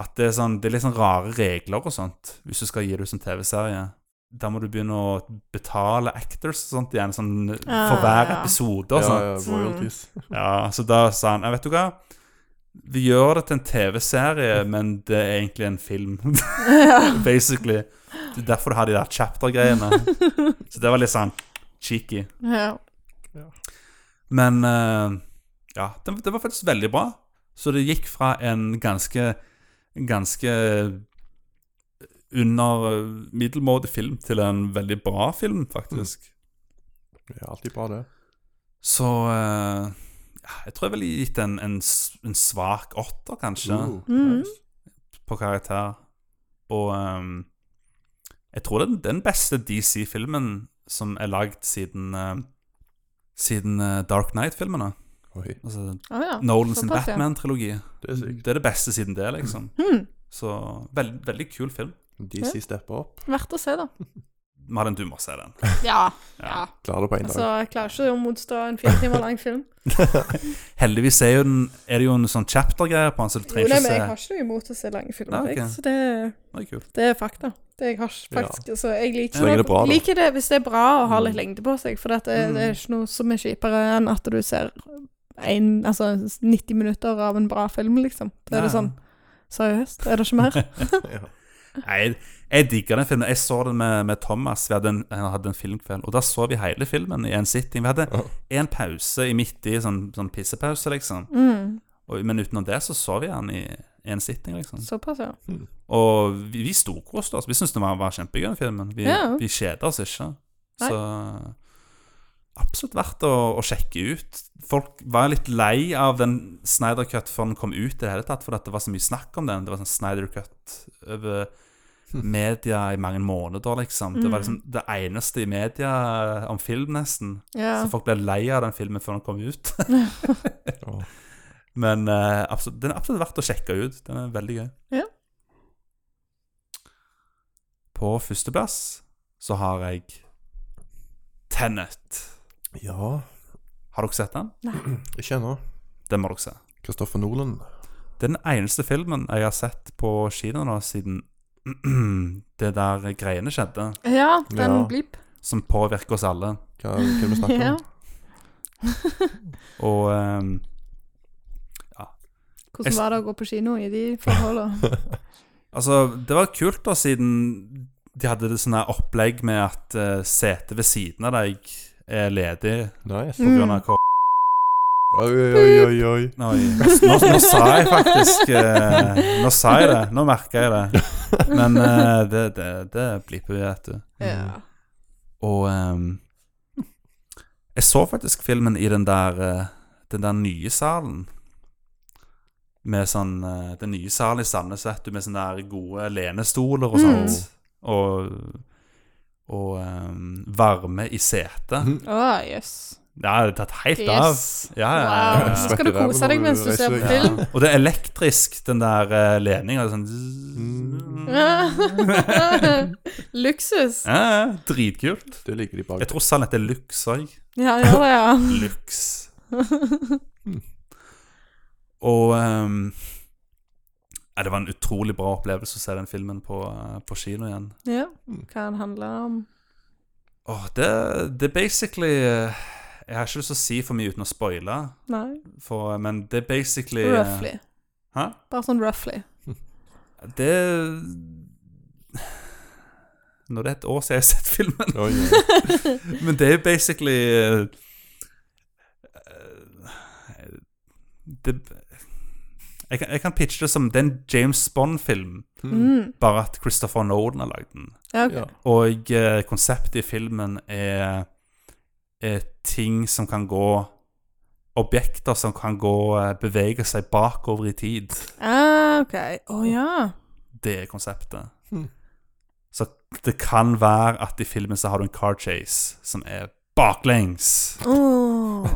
Speaker 1: at det, er, sånn, det er litt sånn rare regler og sånt, hvis du skal gi det ut som TV-serie. Da må du begynne å betale actors og sånt igjen, sånn, for hver
Speaker 3: Ah.
Speaker 1: episode
Speaker 2: Ja,
Speaker 1: og sånt.
Speaker 2: ja, royalties.
Speaker 1: Ja, så da sa han, jeg vet du hva, vi gjør det til en TV-serie, men det er egentlig en film, *laughs* basically. Det er derfor du har de der chapter-greiene. Så det var litt sånn cheeky.
Speaker 3: ja.
Speaker 1: Men eh, ja, det, det var faktisk veldig bra. Så det gikk fra en ganske, ganske under eh, middelmådig film til en veldig bra film, faktisk.
Speaker 3: Mm.
Speaker 2: Ja, alltid bra, det.
Speaker 1: Så eh, ja, jeg tror jeg ville gitt en, en, s- en svak åtter, kanskje,
Speaker 2: Ooh,
Speaker 3: Mhm.
Speaker 2: nice.
Speaker 1: på karakter. Og ehm, jeg tror det er den- den beste DC-filmen som er lagd siden eh, siden eh, Dark Knight-filmene.
Speaker 2: Oi,
Speaker 1: Altså
Speaker 3: Å ja.
Speaker 1: Nolan sin
Speaker 3: Ah, såpass, ja.
Speaker 1: Batman-trilogi.
Speaker 2: det er sykt.
Speaker 1: Det er det beste siden det, liksom.
Speaker 3: Hmm.
Speaker 1: Så veld, veldig kul film.
Speaker 2: DC stepper opp.
Speaker 3: Verdt å se, da.
Speaker 1: Malin, du må se den. Ja.
Speaker 3: Ja. ja.
Speaker 2: Klarer det på én
Speaker 3: Altså,
Speaker 2: dag.
Speaker 3: jeg klarer ikke å motstå en fire timer lang film.
Speaker 1: Heldigvis er, jo den, er det jo en sånn chapter-greie på den, så du
Speaker 3: Jo,
Speaker 1: trenger
Speaker 3: nei,
Speaker 1: ikke
Speaker 3: men jeg
Speaker 1: se.
Speaker 3: har ikke noe imot å se lange filmer.
Speaker 1: Nei, ok.
Speaker 3: jeg. Så det,
Speaker 1: Det er kult.
Speaker 3: det er fakta. Det jeg har ikke faktisk, altså, jeg liker,
Speaker 2: Så lenge det er bra, da.
Speaker 3: liker det hvis det er bra å ha litt
Speaker 1: Mm.
Speaker 3: lengde på seg, for dette, det er ikke noe som er kjipere enn at du ser en, altså, 90 minutter av en bra film, liksom. Da er det
Speaker 1: Ja.
Speaker 3: sånn Seriøst, er det ikke mer?
Speaker 1: *laughs*
Speaker 2: Ja.
Speaker 1: Nei, jeg digger den filmen. Jeg så den med, med Thomas. Vi hadde en, han hadde en filmkveld, og da så vi hele filmen i en sitting. Vi hadde en pause i midt i, sånn, sånn pissepause, liksom.
Speaker 3: Mm.
Speaker 1: Og, men utenom det så så vi han i en sitting, liksom.
Speaker 3: Såpass, ja.
Speaker 1: Og vi, vi storkoste oss. Vi syntes den var, var kjempegøy, den filmen. Vi,
Speaker 3: Ja.
Speaker 1: vi kjeder oss ikke. Så absolutt verdt å, å sjekke ut. Folk var litt lei av den Snyder Cut før den kom ut i det hele tatt, for at det var så mye snakk om den. Det var sånn Snyder Cut over
Speaker 3: Hm.
Speaker 1: media i mange måneder, liksom.
Speaker 3: Mm.
Speaker 1: Det var liksom det eneste i media om film, nesten.
Speaker 3: ja.
Speaker 1: Så folk ble lei av den filmen før den kom ut.
Speaker 2: Åh.
Speaker 1: Men eh, absolutt, den er absolutt verdt å sjekke ut. Den er veldig gøy.
Speaker 3: Ja.
Speaker 1: På førsteplass så har jeg Tenet.
Speaker 2: ja,
Speaker 1: Har dere sett den?
Speaker 2: ikke ennå.
Speaker 1: Den må dere se.
Speaker 2: Kristoffer Nolan.
Speaker 1: Det er den eneste filmen jeg har sett på kino nå siden *clears throat* det der greiene skjedde,
Speaker 3: ja, den
Speaker 2: Ja.
Speaker 3: blip.
Speaker 1: som påvirker oss alle.
Speaker 2: Hva hva er det vi snakker
Speaker 3: Ja.
Speaker 2: om?
Speaker 1: Og eh, Jeg
Speaker 3: Hvordan
Speaker 1: s- *laughs*
Speaker 3: var det å gå på kino i de forholdene?
Speaker 1: Altså, det var kult da, siden de hadde det sånne opplegg med at eh, setet ved siden av deg er ledig
Speaker 2: Nice.
Speaker 1: på grunn av kor...
Speaker 2: Oi, oi, oi, oi.
Speaker 1: Nå, nå, nå sa jeg faktisk eh, Nå sa jeg det. Nå merka jeg det. Men eh, det, det, det blipper vi, vet du.
Speaker 3: Ja.
Speaker 1: Og ehm, jeg så faktisk filmen i den der eh, Den der nye salen. Med sånn eh, Den nye salen i Sandnes, vet du, med sånne der gode lenestoler og sånt. Og, og ehm, varme i setet.
Speaker 2: Mhm.
Speaker 3: Å, jøss.
Speaker 1: Det har tatt helt
Speaker 3: Yes.
Speaker 1: av. Ah, Ja, ja,
Speaker 3: Wow.
Speaker 1: ja.
Speaker 3: Så skal du kose deg mens du ser på
Speaker 1: Ja.
Speaker 3: film.
Speaker 1: Og det er elektrisk, den der uh, leninga. Sånn
Speaker 2: Mm.
Speaker 3: *laughs* Luksus.
Speaker 1: ja, ja, Dritkult.
Speaker 2: Det liker de bak.
Speaker 1: Jeg tror salen heter Lux òg.
Speaker 3: Ja, ja, det, ja. *laughs*
Speaker 1: Lux. Og ehm, ja, Det var en utrolig bra opplevelse å se den filmen på, eh, på kino igjen.
Speaker 3: ja.
Speaker 1: Mm.
Speaker 3: Hva den handler om.
Speaker 1: Åh, det, det er basically eh, Jeg har ikke lyst til å si for mye uten å spoile,
Speaker 3: Nei,
Speaker 1: for, eh, men det er basically eh,
Speaker 3: roughly.
Speaker 1: Hæ?
Speaker 3: Bare sånn roughly.
Speaker 1: Det Nå er det et år siden jeg har sett filmen,
Speaker 2: Oi, oi.
Speaker 1: men det er basically eh, eh, det, jeg, kan, jeg kan pitche det som Det er en James Bond-film.
Speaker 3: Mm.
Speaker 1: Bare at Christopher Nolan har lagd den.
Speaker 3: Ja, ok.
Speaker 2: Ja.
Speaker 1: Og eh, konseptet i filmen er, er ting som kan gå Objekter som kan gå eh, bevege seg bakover i tid.
Speaker 3: Ah, ok. Å ja.
Speaker 1: Det er konseptet.
Speaker 2: Hmm.
Speaker 1: Så det kan være at i filmen så har du en car chase som er baklengs,
Speaker 3: Åh.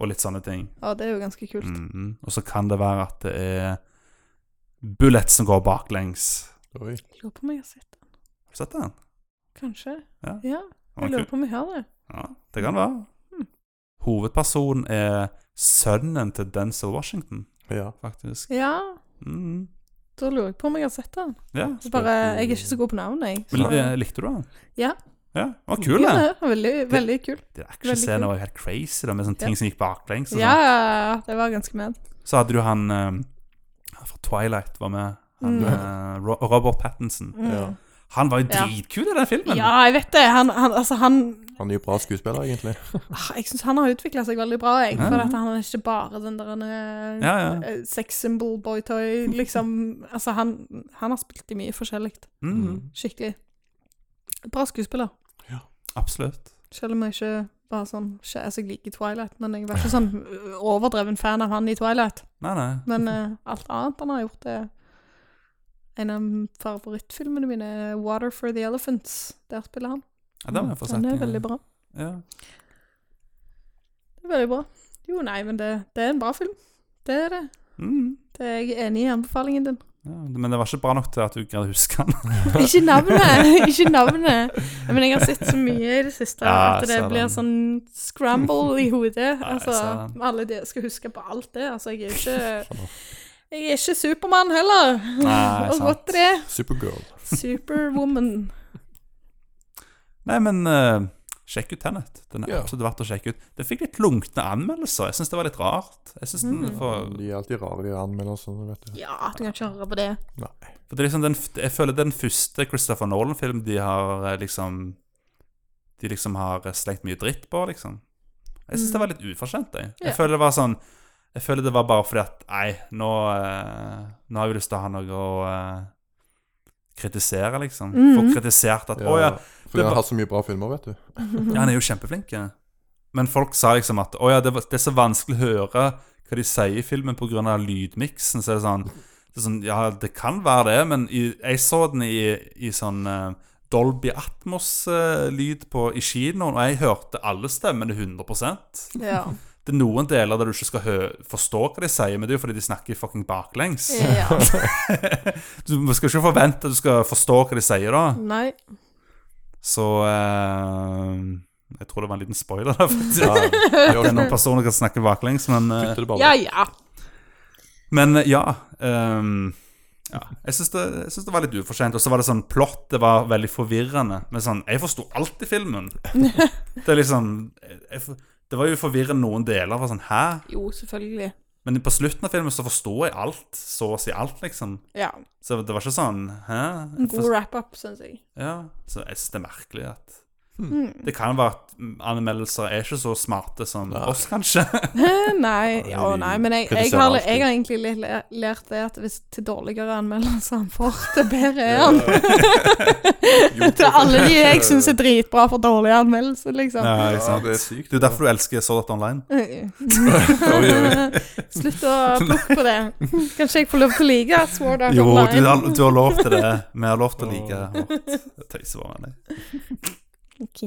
Speaker 1: og litt sånne ting.
Speaker 3: Ja, det er jo ganske kult.
Speaker 1: Mhm. Og så kan det være at det er bullets som går baklengs.
Speaker 2: Oi.
Speaker 3: Jeg lurer på om jeg har sett den.
Speaker 1: Har du sett den?
Speaker 3: Kanskje.
Speaker 1: Ja.
Speaker 3: Ja,
Speaker 1: Ok.
Speaker 3: jeg lurer på om jeg har det.
Speaker 1: Ja, det kan være.
Speaker 3: Mm.
Speaker 1: Hovedpersonen er sønnen til Denzel Washington,
Speaker 2: Ja.
Speaker 1: faktisk.
Speaker 3: Ja,
Speaker 1: Mhm.
Speaker 3: da lurer jeg på om jeg har sett den.
Speaker 1: Ja.
Speaker 3: Det er Bare, jeg er ikke så god på navn, jeg.
Speaker 1: Men, eh, likte du den?
Speaker 3: Ja.
Speaker 1: Ja, det var kul,
Speaker 3: Ja,
Speaker 1: det.
Speaker 3: det var veldig, veldig kul.
Speaker 1: De
Speaker 3: Veldig
Speaker 1: Actionscener
Speaker 3: kul.
Speaker 1: var jo helt crazy, da, med sånne ting
Speaker 3: Ja.
Speaker 1: som gikk baklengs. Og
Speaker 3: Ja,
Speaker 1: sånn.
Speaker 3: ja, det var ganske med.
Speaker 1: Så hadde du han eh, han fra Twilight var med. Han,
Speaker 3: Mm.
Speaker 1: eh, Ro- Robert Pattinson.
Speaker 3: Mm.
Speaker 2: Ja.
Speaker 1: Han var jo
Speaker 3: Ja.
Speaker 1: dritkul i den filmen!
Speaker 3: Ja, jeg vet det. Han, han, altså, han
Speaker 2: Han er jo bra skuespiller, egentlig.
Speaker 3: ah, Jeg syns han har utvikla seg veldig bra, jeg.
Speaker 1: Ja.
Speaker 3: For at han er ikke bare den der han er-
Speaker 1: ja, ja.
Speaker 3: eh, sex symbol boytoy,
Speaker 1: *laughs*
Speaker 3: liksom. Altså, han, han har spilt i mye forskjellig.
Speaker 1: Mhm.
Speaker 3: Skikkelig. Bra skuespiller.
Speaker 1: Absolutt.
Speaker 3: Selv om jeg ikke var sånn ikke, altså, Jeg liker Twilight, men jeg var ikke sånn ø, overdreven fan av han i Twilight.
Speaker 1: Nei, nei.
Speaker 3: Men eh, alt annet han har gjort, er En av favorittfilmene mine er 'Water for the Elephants'. Der spiller han.
Speaker 1: Ja, den var jeg få sett.
Speaker 3: Den er veldig bra.
Speaker 1: Ja.
Speaker 3: Det er veldig bra. Jo, nei, men det, det er en bra film. Det er det.
Speaker 1: Mhm.
Speaker 3: det er jeg enig i anbefalingen din.
Speaker 1: Ja, men det var ikke bra nok til at du greide å huske
Speaker 3: *laughs*
Speaker 1: den. *laughs*
Speaker 3: Ikke navnet! Ikke navnet. Men jeg har sett så mye i det siste
Speaker 1: Ja,
Speaker 3: at
Speaker 1: jeg
Speaker 3: det
Speaker 1: ser
Speaker 3: blir
Speaker 1: den.
Speaker 3: sånn scramble
Speaker 1: *laughs*
Speaker 3: i hodet.
Speaker 1: jeg
Speaker 3: Altså,
Speaker 1: ser den.
Speaker 3: alle de skal huske på alt det. Altså, jeg er ikke Jeg er ikke Supermann heller. *laughs*
Speaker 1: Nei,
Speaker 3: Og
Speaker 1: sant.
Speaker 3: godt det.
Speaker 2: Supergirl.
Speaker 3: Superwoman.
Speaker 1: Nei, men eh, sjekk ut Tenet. Den er
Speaker 2: Ja.
Speaker 1: absolutt verdt å sjekke ut. Det fikk litt lunkne anmeldelser. Jeg syns det var litt rart. Jeg synes den,
Speaker 3: Mm.
Speaker 1: for,
Speaker 2: De er alltid rare, de anmeldelsene, vet du.
Speaker 3: Ja, du kan ikke høre på det.
Speaker 1: for det er liksom den, f- Jeg føler det er den første Christopher Nolan-filmen de har eh, liksom De liksom har slengt mye dritt på, liksom. Jeg syns det var litt ufortjent, jeg. Jeg
Speaker 3: Ja.
Speaker 1: føler det var sånn Jeg føler det var bare fordi at Nei, nå, eh, nå har vi lyst til å ha noe å eh, kritisere, liksom. Få kritisert at Å ja,
Speaker 2: Fordi
Speaker 1: var-
Speaker 2: han har hatt så mye bra filmer, vet du.
Speaker 1: Ja, han er jo kjempeflink. ja. Men folk sa liksom at Å ja, det, var, det er så vanskelig å høre hva de sier i filmen pga. lydmiksen. Så er det sånn, det er sånn Ja, det kan være det, men i, jeg så den i, i sånn eh, Dolby Atmos-lyd i kinoen, og jeg hørte alle stemmene 100
Speaker 3: Ja.
Speaker 1: det er noen deler der du ikke skal hø forstå hva de sier, men det er jo fordi de snakker fucking baklengs.
Speaker 3: ja.
Speaker 1: Du skal ikke forvente at du skal forstå hva de sier da. *laughs*
Speaker 3: Nei.
Speaker 1: Så eh, Jeg tror det var en liten spoiler der, faktisk. *laughs*
Speaker 2: Det
Speaker 1: Det er noen
Speaker 2: er
Speaker 1: personer kan snakke baklengs, men, eh,
Speaker 2: det bare
Speaker 3: Ja, ja.
Speaker 1: men eh, ja, ehm, ja. Jeg syns det, jeg synes det var litt ufortjent. Og så var det sånn plott, det var veldig forvirrende. Men sånn, jeg forsto alt i filmen. Det er liksom jeg, jeg for- Det var jo forvirrende noen deler. Var sånn, Hæ?
Speaker 3: Jo, selvfølgelig.
Speaker 1: Men på slutten av filmen så forstår jeg alt, så å si alt, liksom.
Speaker 3: Ja.
Speaker 1: Så det var ikke sånn Hæ?
Speaker 3: En
Speaker 1: Jeg
Speaker 3: god wrap-up, syns jeg.
Speaker 1: Ja, så jeg synes det er merkelig at
Speaker 3: Mm.
Speaker 1: Det kan være at mm, anmeldelser er ikke så smarte som
Speaker 2: Nei.
Speaker 1: oss, kanskje.
Speaker 3: nei, ja,
Speaker 2: vi
Speaker 3: nei, men jeg, jeg,
Speaker 2: kritiserer
Speaker 3: har,
Speaker 2: alltid.
Speaker 3: jeg har egentlig litt le- lært det at hvis til dårligere anmeldelser han får, til bedre er han.
Speaker 2: Jo,
Speaker 3: *laughs* til alle de jeg syns er dritbra for dårlige anmeldelser, liksom. *laughs*
Speaker 1: Ja, ikke
Speaker 2: Ja,
Speaker 1: sant?
Speaker 2: det er
Speaker 1: Det
Speaker 2: sykt.
Speaker 1: er jo derfor du elsker Sword Art Online.
Speaker 3: Slutt å plukke på det. Kanskje jeg får lov til å like Sword Art
Speaker 1: Jo, du
Speaker 3: Online.
Speaker 1: har, du har lov til det. Vi har lov til å like vårt tøysevare.
Speaker 3: Ok.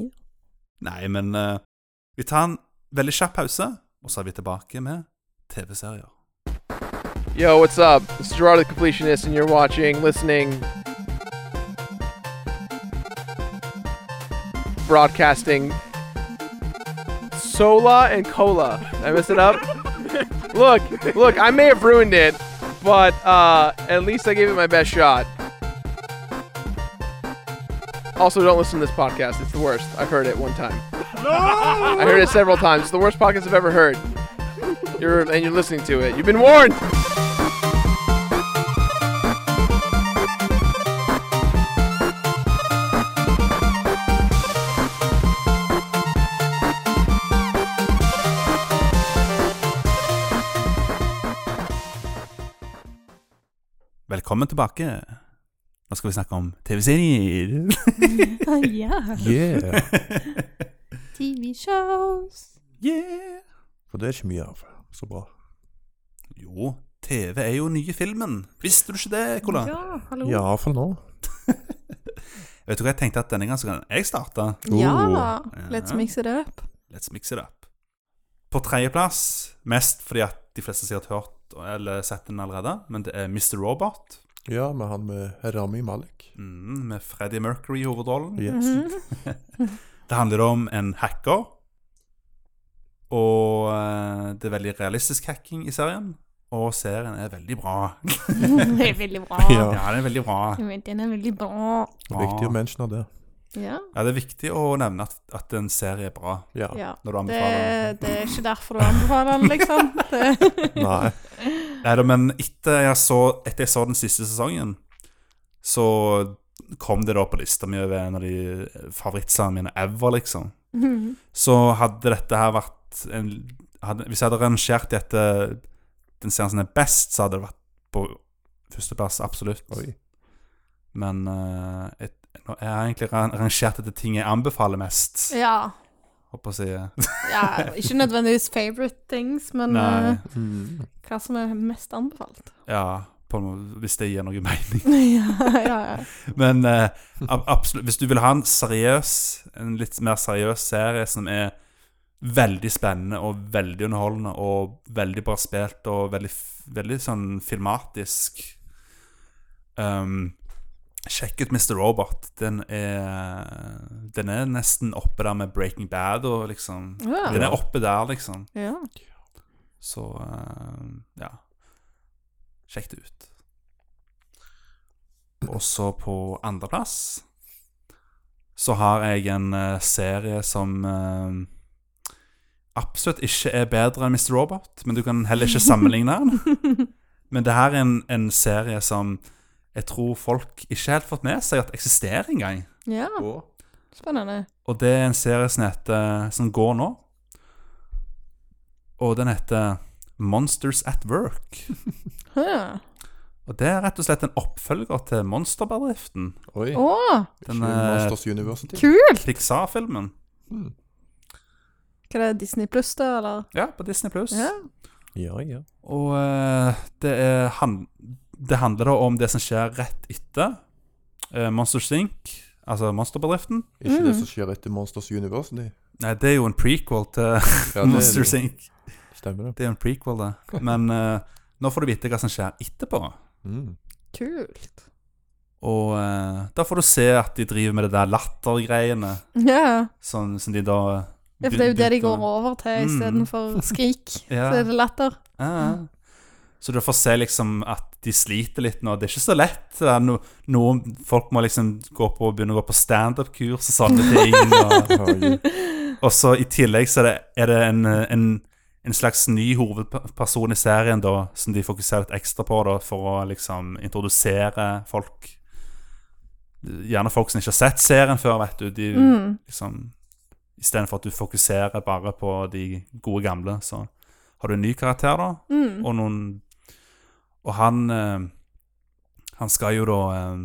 Speaker 1: Nei, men eh, vi tar en veldig kjapp pause, og så er vi tilbake med TV-serier.
Speaker 5: Yo, what's up? This is Gerard the Completionist, and you're watching, listening, broadcasting Sola and Cola. Did I mess it up? look, look, I may have ruined it, but uh, at least I gave it my best shot. Also, don't listen to this podcast. It's the worst. I've heard it one time. I heard it several times. It's the worst podcast I've ever heard. You're and you're listening to it. You've been warned.
Speaker 1: Velkommen tilbake. Nå skal vi snakke om *laughs* TV-serier.
Speaker 3: Ah, ja.
Speaker 2: Yeah.
Speaker 3: *laughs* TV-shows.
Speaker 1: Yeah.
Speaker 2: For det er ikke mye av. Så bra.
Speaker 1: Jo, TV er jo nye filmen. Visste du ikke det, Kola?
Speaker 3: Ja, hallo.
Speaker 2: Ja, for nå.
Speaker 1: Vet du hva jeg tenkte at denne gangen så kan jeg starte?
Speaker 3: Ja,
Speaker 1: Oh.
Speaker 3: let's mix it up.
Speaker 1: Let's mix it up. På tredjeplass, mest fordi at de fleste sikkert har hørt eller sett den allerede, men det er Mr. Robot
Speaker 2: Ja, med han med Rami Malik.
Speaker 1: mm, med Freddie Mercury i hovedrollen.
Speaker 2: Yes.
Speaker 3: Mhm.
Speaker 1: Det handler om en hacker, og eh, det er veldig realistisk hacking i serien. Og serien er veldig bra.
Speaker 3: *laughs* Det er veldig bra.
Speaker 2: Ja.
Speaker 1: *laughs* Ja, den er veldig bra.
Speaker 3: Jeg vet, Den er veldig bra.
Speaker 2: Ah. Viktig å mentionere det.
Speaker 3: Ja.
Speaker 1: Ja, Det er viktig å nevne at, at en serie er bra
Speaker 2: Ja.
Speaker 3: ja.
Speaker 1: når du
Speaker 3: Det,
Speaker 1: anbefaler den.
Speaker 3: det er ikke derfor du anbefaler den, liksom. Det,
Speaker 2: *laughs* Nei.
Speaker 1: Neida, men etter jeg, så, etter jeg så den siste sesongen, så kom det da på lista mi over en av de favorittsangene mine ever, liksom. Så hadde dette her vært en, hadde, Hvis jeg hadde rangert det etter den serien som er best, så hadde det vært på førsteplass, absolutt.
Speaker 2: Oi.
Speaker 1: Men eh, et, nå er jeg har egentlig ran- rangert etter ting jeg anbefaler mest,
Speaker 3: *laughs* ja.
Speaker 1: håper jeg å si.
Speaker 3: ja. Ikke nødvendigvis favorite things, men
Speaker 1: Nei.
Speaker 3: eh,
Speaker 2: Mm.
Speaker 3: hva som er mest
Speaker 1: *laughs*
Speaker 3: anbefalt. *laughs*
Speaker 1: Ja, på, en måte, hvis det gir noe mening.
Speaker 3: ja, ja, ja.
Speaker 1: Men eh, ab absolutt, hvis du vil ha en seriøs En litt mer seriøs serie som er veldig spennende og veldig underholdende og veldig bra spilt og veldig, f- veldig sånn filmatisk um, Sjekk ut Mr. Robot. Den er, den er nesten oppe der med Breaking Bad og liksom
Speaker 3: Ja.
Speaker 1: Den er oppe der, liksom.
Speaker 3: ja.
Speaker 1: Så eh, ja. Sjekk det ut. Og så på andreplass så har jeg en eh, serie som eh, absolutt ikke er bedre enn Mr. Robot, men du kan heller ikke sammenligne den. Men det her er en, en serie som jeg tror folk ikke helt fått med seg at eksisterer engang.
Speaker 3: ja. Spennende.
Speaker 1: Og det er en serie som heter Som går nå. Og den heter Monsters at Work.
Speaker 3: Ja.
Speaker 1: Og det er rett og slett en oppfølger til Monsterbedriften.
Speaker 2: Oi.
Speaker 3: Å,
Speaker 1: Den
Speaker 2: Ikke
Speaker 1: eh,
Speaker 2: Monsters University.
Speaker 3: kult!
Speaker 1: Pixar-filmen.
Speaker 3: Hva er det, Disney pluss, da, eller?
Speaker 1: Ja, på Disney Pluss.
Speaker 3: Ja.
Speaker 2: Ja, ja.
Speaker 1: Og eh, det, er han, det handler da om det som skjer rett etter eh, Monsters Inc., altså Monsterbedriften.
Speaker 2: Ikke
Speaker 3: Mm.
Speaker 2: det som skjer etter Monsters *laughs* University.
Speaker 1: Nei, det er jo en prequel til
Speaker 2: Ja, det
Speaker 1: Monsters Inc.
Speaker 2: stemmer, det.
Speaker 1: Det er jo en prequel, det. Men eh, nå får du vite hva som skjer etterpå.
Speaker 2: Mm.
Speaker 3: Kult.
Speaker 1: Og eh, da får du se at de driver med det der lattergreiene
Speaker 3: Ja.
Speaker 1: som, som de da eh,
Speaker 3: ja, for det er jo det de
Speaker 1: begynte-
Speaker 3: går over til
Speaker 1: Mm. *laughs*
Speaker 3: istedenfor skrik.
Speaker 1: Ja.
Speaker 3: Så er det latter.
Speaker 1: Ja, ja. Så du får se liksom at de sliter litt nå. Det er ikke så lett. Det er no, noen folk må liksom gå på, begynne å gå på standup-kurs og
Speaker 3: *laughs*
Speaker 1: sånne ting. Og,
Speaker 2: Oi.
Speaker 1: og så i tillegg så er det, er det en, en, en slags ny hovedperson i serien da, som de fokuserer litt ekstra på da, for å liksom introdusere folk. Gjerne folk som ikke har sett serien før, vet du. De,
Speaker 3: Mm.
Speaker 1: liksom, Istedenfor at du fokuserer bare på de gode gamle, så har du en ny karakter, da
Speaker 3: Mm.
Speaker 1: og noen Og han eh, Han skal jo da eh,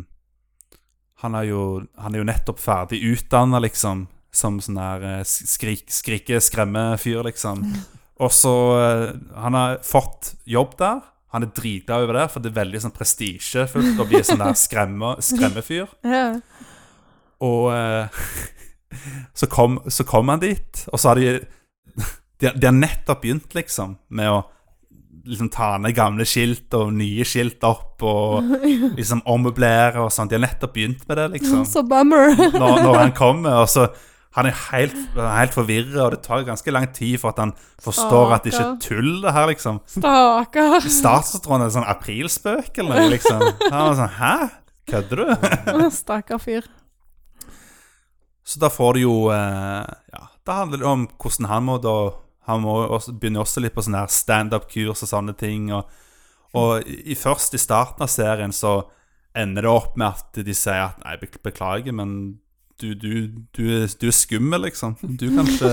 Speaker 1: han, er jo, han er jo nettopp ferdig utdanna, liksom. Som sånn der eh, skrik, skrike-skremme-fyr, liksom. Og så eh, Han har fått jobb der. Han er dritglad over det, for det er veldig sånn prestisjefullt å bli sånn der skremme, skremmefyr.
Speaker 3: Ja.
Speaker 1: Og eh, *laughs* så, kom, så kom han dit, og så har de De, de har nettopp begynt, liksom, med å liksom ta ned gamle skilt og nye skilt opp og liksom ommøblere og sånn. De har nettopp begynt med det, liksom.
Speaker 3: *laughs* Så bummer.
Speaker 1: Når, når han kommer, og så Han er helt, han er helt forvirra, og det tar ganske lang tid for at han forstår at det ikke er tull, det her, liksom.
Speaker 3: Stakkar.
Speaker 1: *laughs* Statsråden er en sånn aprilspøk eller noe, liksom. Han var sånn Hæ? Kødder du?
Speaker 3: Stakkar fyr.
Speaker 1: Så da får du jo eh, Ja, da handler det om hvordan han må da Han må jo også, begynner også litt på sånne her standup-kurs og sånne ting. Og, og i, først i starten av serien så ender det opp med at de sier at Nei, bek- beklager, men du, du, du, er- du er skummel, liksom. Du kan ikke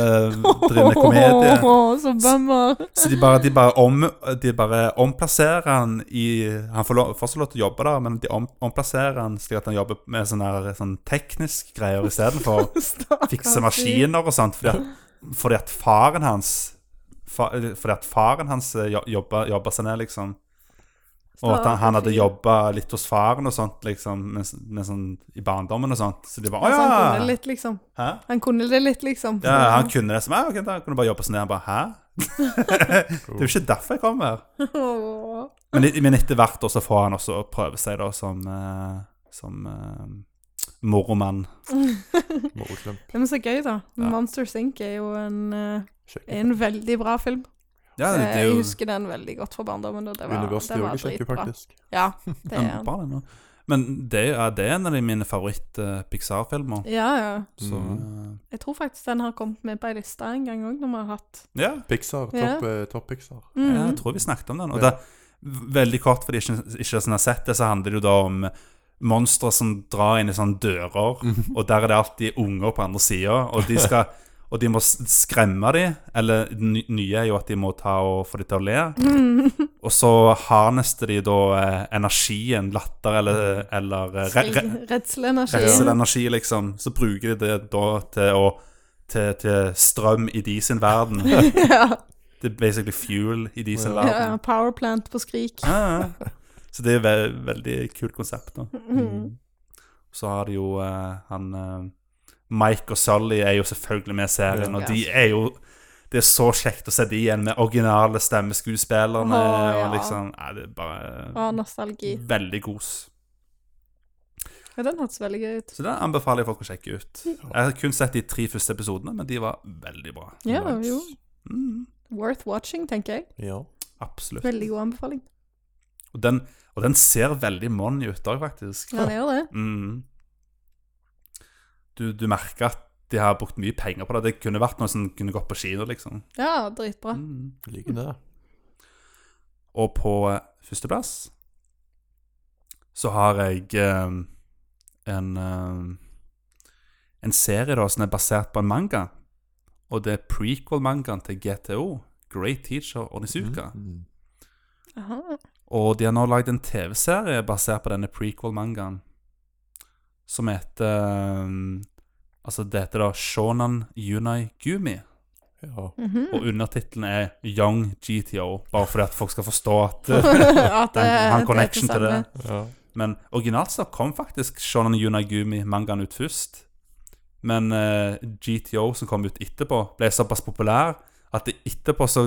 Speaker 1: drive med komedie.
Speaker 3: Åh, *laughs* så bummer.
Speaker 1: Så de bare, de bare, om, de bare omplasserer han i Han får lov, fortsatt lov til å jobbe der, men de om, omplasserer han slik at han jobber med sånne, her- sånn teknisk greier istedenfor
Speaker 3: *laughs* Stakkar
Speaker 1: fikse
Speaker 3: fyr.
Speaker 1: maskiner og sånt. Fordi at, fordi at faren hans fa, Fordi at faren hans eh, jo- jobba, jobba seg ned, liksom. Og at han, han hadde jobba litt hos faren og sånt, liksom, med, med sånn, i barndommen og sånt. Så de bare
Speaker 3: Altså, han
Speaker 1: Å
Speaker 3: kunne
Speaker 1: ja!
Speaker 3: litt, liksom.
Speaker 1: Hæ?
Speaker 3: Han kunne det litt, liksom.
Speaker 1: Ja,
Speaker 3: *laughs*
Speaker 1: han kunne det som jeg, ok, da kunne du bare jobbe sånn. Han bare Hæ? *laughs* det er jo ikke derfor jeg kom her.
Speaker 3: Åh.
Speaker 1: Men, i- men etter hvert da, så får han også prøve seg da som, eh, som eh, moromann.
Speaker 2: Moroklemp.
Speaker 3: Ja, men så gøy, da.
Speaker 1: Ja.
Speaker 3: Monster Sink er jo en, eh,
Speaker 2: Sjekk.
Speaker 3: en veldig bra film.
Speaker 1: Ja, det, det
Speaker 3: Eh,
Speaker 1: er
Speaker 3: jeg
Speaker 1: jo
Speaker 3: husker den veldig godt fra barndommen. Og det var,
Speaker 2: University
Speaker 3: det
Speaker 2: òg
Speaker 3: var
Speaker 2: er kjekke,
Speaker 3: dritbra.
Speaker 2: faktisk.
Speaker 1: *laughs*
Speaker 3: Ja, det er
Speaker 1: Ja,
Speaker 3: den.
Speaker 1: bra det nå. Men det er, det er en av de mine favoritt-Pixar-filmer.
Speaker 3: Ja, ja.
Speaker 1: Så eh,
Speaker 3: Jeg tror faktisk den har kommet med på ei liste en gang òg, når vi har hatt
Speaker 1: eh, ja,
Speaker 2: Pixar. Topp
Speaker 3: Ja.
Speaker 2: eh, topp Pixar.
Speaker 3: mm.
Speaker 1: jeg tror vi snakket om den. Og
Speaker 2: Ja.
Speaker 1: det, veldig kort, for de ikke, ikke som har sett det, så handler det jo da om monstre som drar inn i sånne dører, og der er det alltid unger på andre sida, og de skal Og de må s- skremme dem, eller det ny- nye er jo at de må ta og få dem til å le.
Speaker 3: Mhm.
Speaker 1: Og så harnester de da eh, energien, latter eller,
Speaker 3: *laughs*
Speaker 1: eller eh, re, re,
Speaker 3: Red- Redselsenergi.
Speaker 1: Redsel energi, liksom. Så bruker de det da til å til, til strøm i de sin verden.
Speaker 3: *laughs* ja.
Speaker 1: Det er basically fuel i de sin
Speaker 2: Ja.
Speaker 3: ja,
Speaker 1: verden.
Speaker 3: Powerplant på skrik.
Speaker 1: Ja, ja. Så det er ve veldig kult konsept. da.
Speaker 3: Mm.
Speaker 1: Så har de jo eh, han eh, Mike og Sully er jo selvfølgelig med i serien, og
Speaker 3: Ja.
Speaker 1: de er jo Det er så kjekt å se de igjen med originale stemmeskuespillerne
Speaker 3: Åh, ja.
Speaker 1: og liksom Nei, det er bare
Speaker 3: Og nostalgi.
Speaker 1: veldig kos.
Speaker 3: Ja, den hørtes veldig gøy ut.
Speaker 1: Så den anbefaler jeg folk å sjekke ut. Jeg har kun sett de tre første episodene, men de var veldig bra.
Speaker 3: Ja,
Speaker 2: Nice.
Speaker 3: jo.
Speaker 1: Mm,
Speaker 3: Worth watching, tenker jeg.
Speaker 2: Ja.
Speaker 1: absolutt.
Speaker 3: Veldig god anbefaling.
Speaker 1: Og den, og den ser veldig monny ut òg, faktisk.
Speaker 3: Ja, det gjør det.
Speaker 1: Mm. Du, du merker at de har brukt mye penger på det. Det kunne vært noe som kunne gått på kino, liksom.
Speaker 3: Ja, dritbra.
Speaker 1: Mm.
Speaker 2: Liker det.
Speaker 1: Og på eh, førsteplass så har jeg eh, en eh, en serie da som er basert på en manga. Og det er prequel-mangaen til GTO, Great Teacher Onizuka.
Speaker 3: Mhm.
Speaker 2: Mm.
Speaker 3: Aha.
Speaker 1: Og de har nå lagd en TV-serie basert på denne prequel-mangaen. Som heter um, Altså, det heter da Shonan Yunai Gumi.
Speaker 2: Ja.
Speaker 3: Mhm. *laughs*
Speaker 1: Og undertittelen er Young GTO, bare fordi at folk skal forstå at
Speaker 3: *laughs*
Speaker 1: eh,
Speaker 3: At det-
Speaker 1: *laughs* den,
Speaker 3: det
Speaker 1: han
Speaker 3: er
Speaker 1: connection til det.
Speaker 3: samme.
Speaker 2: ja.
Speaker 1: Men originalt så kom faktisk Shonan Yunai Gumi-mangaen ut først. Men eh, GTO, som kom ut etterpå, ble såpass populær at det etterpå så,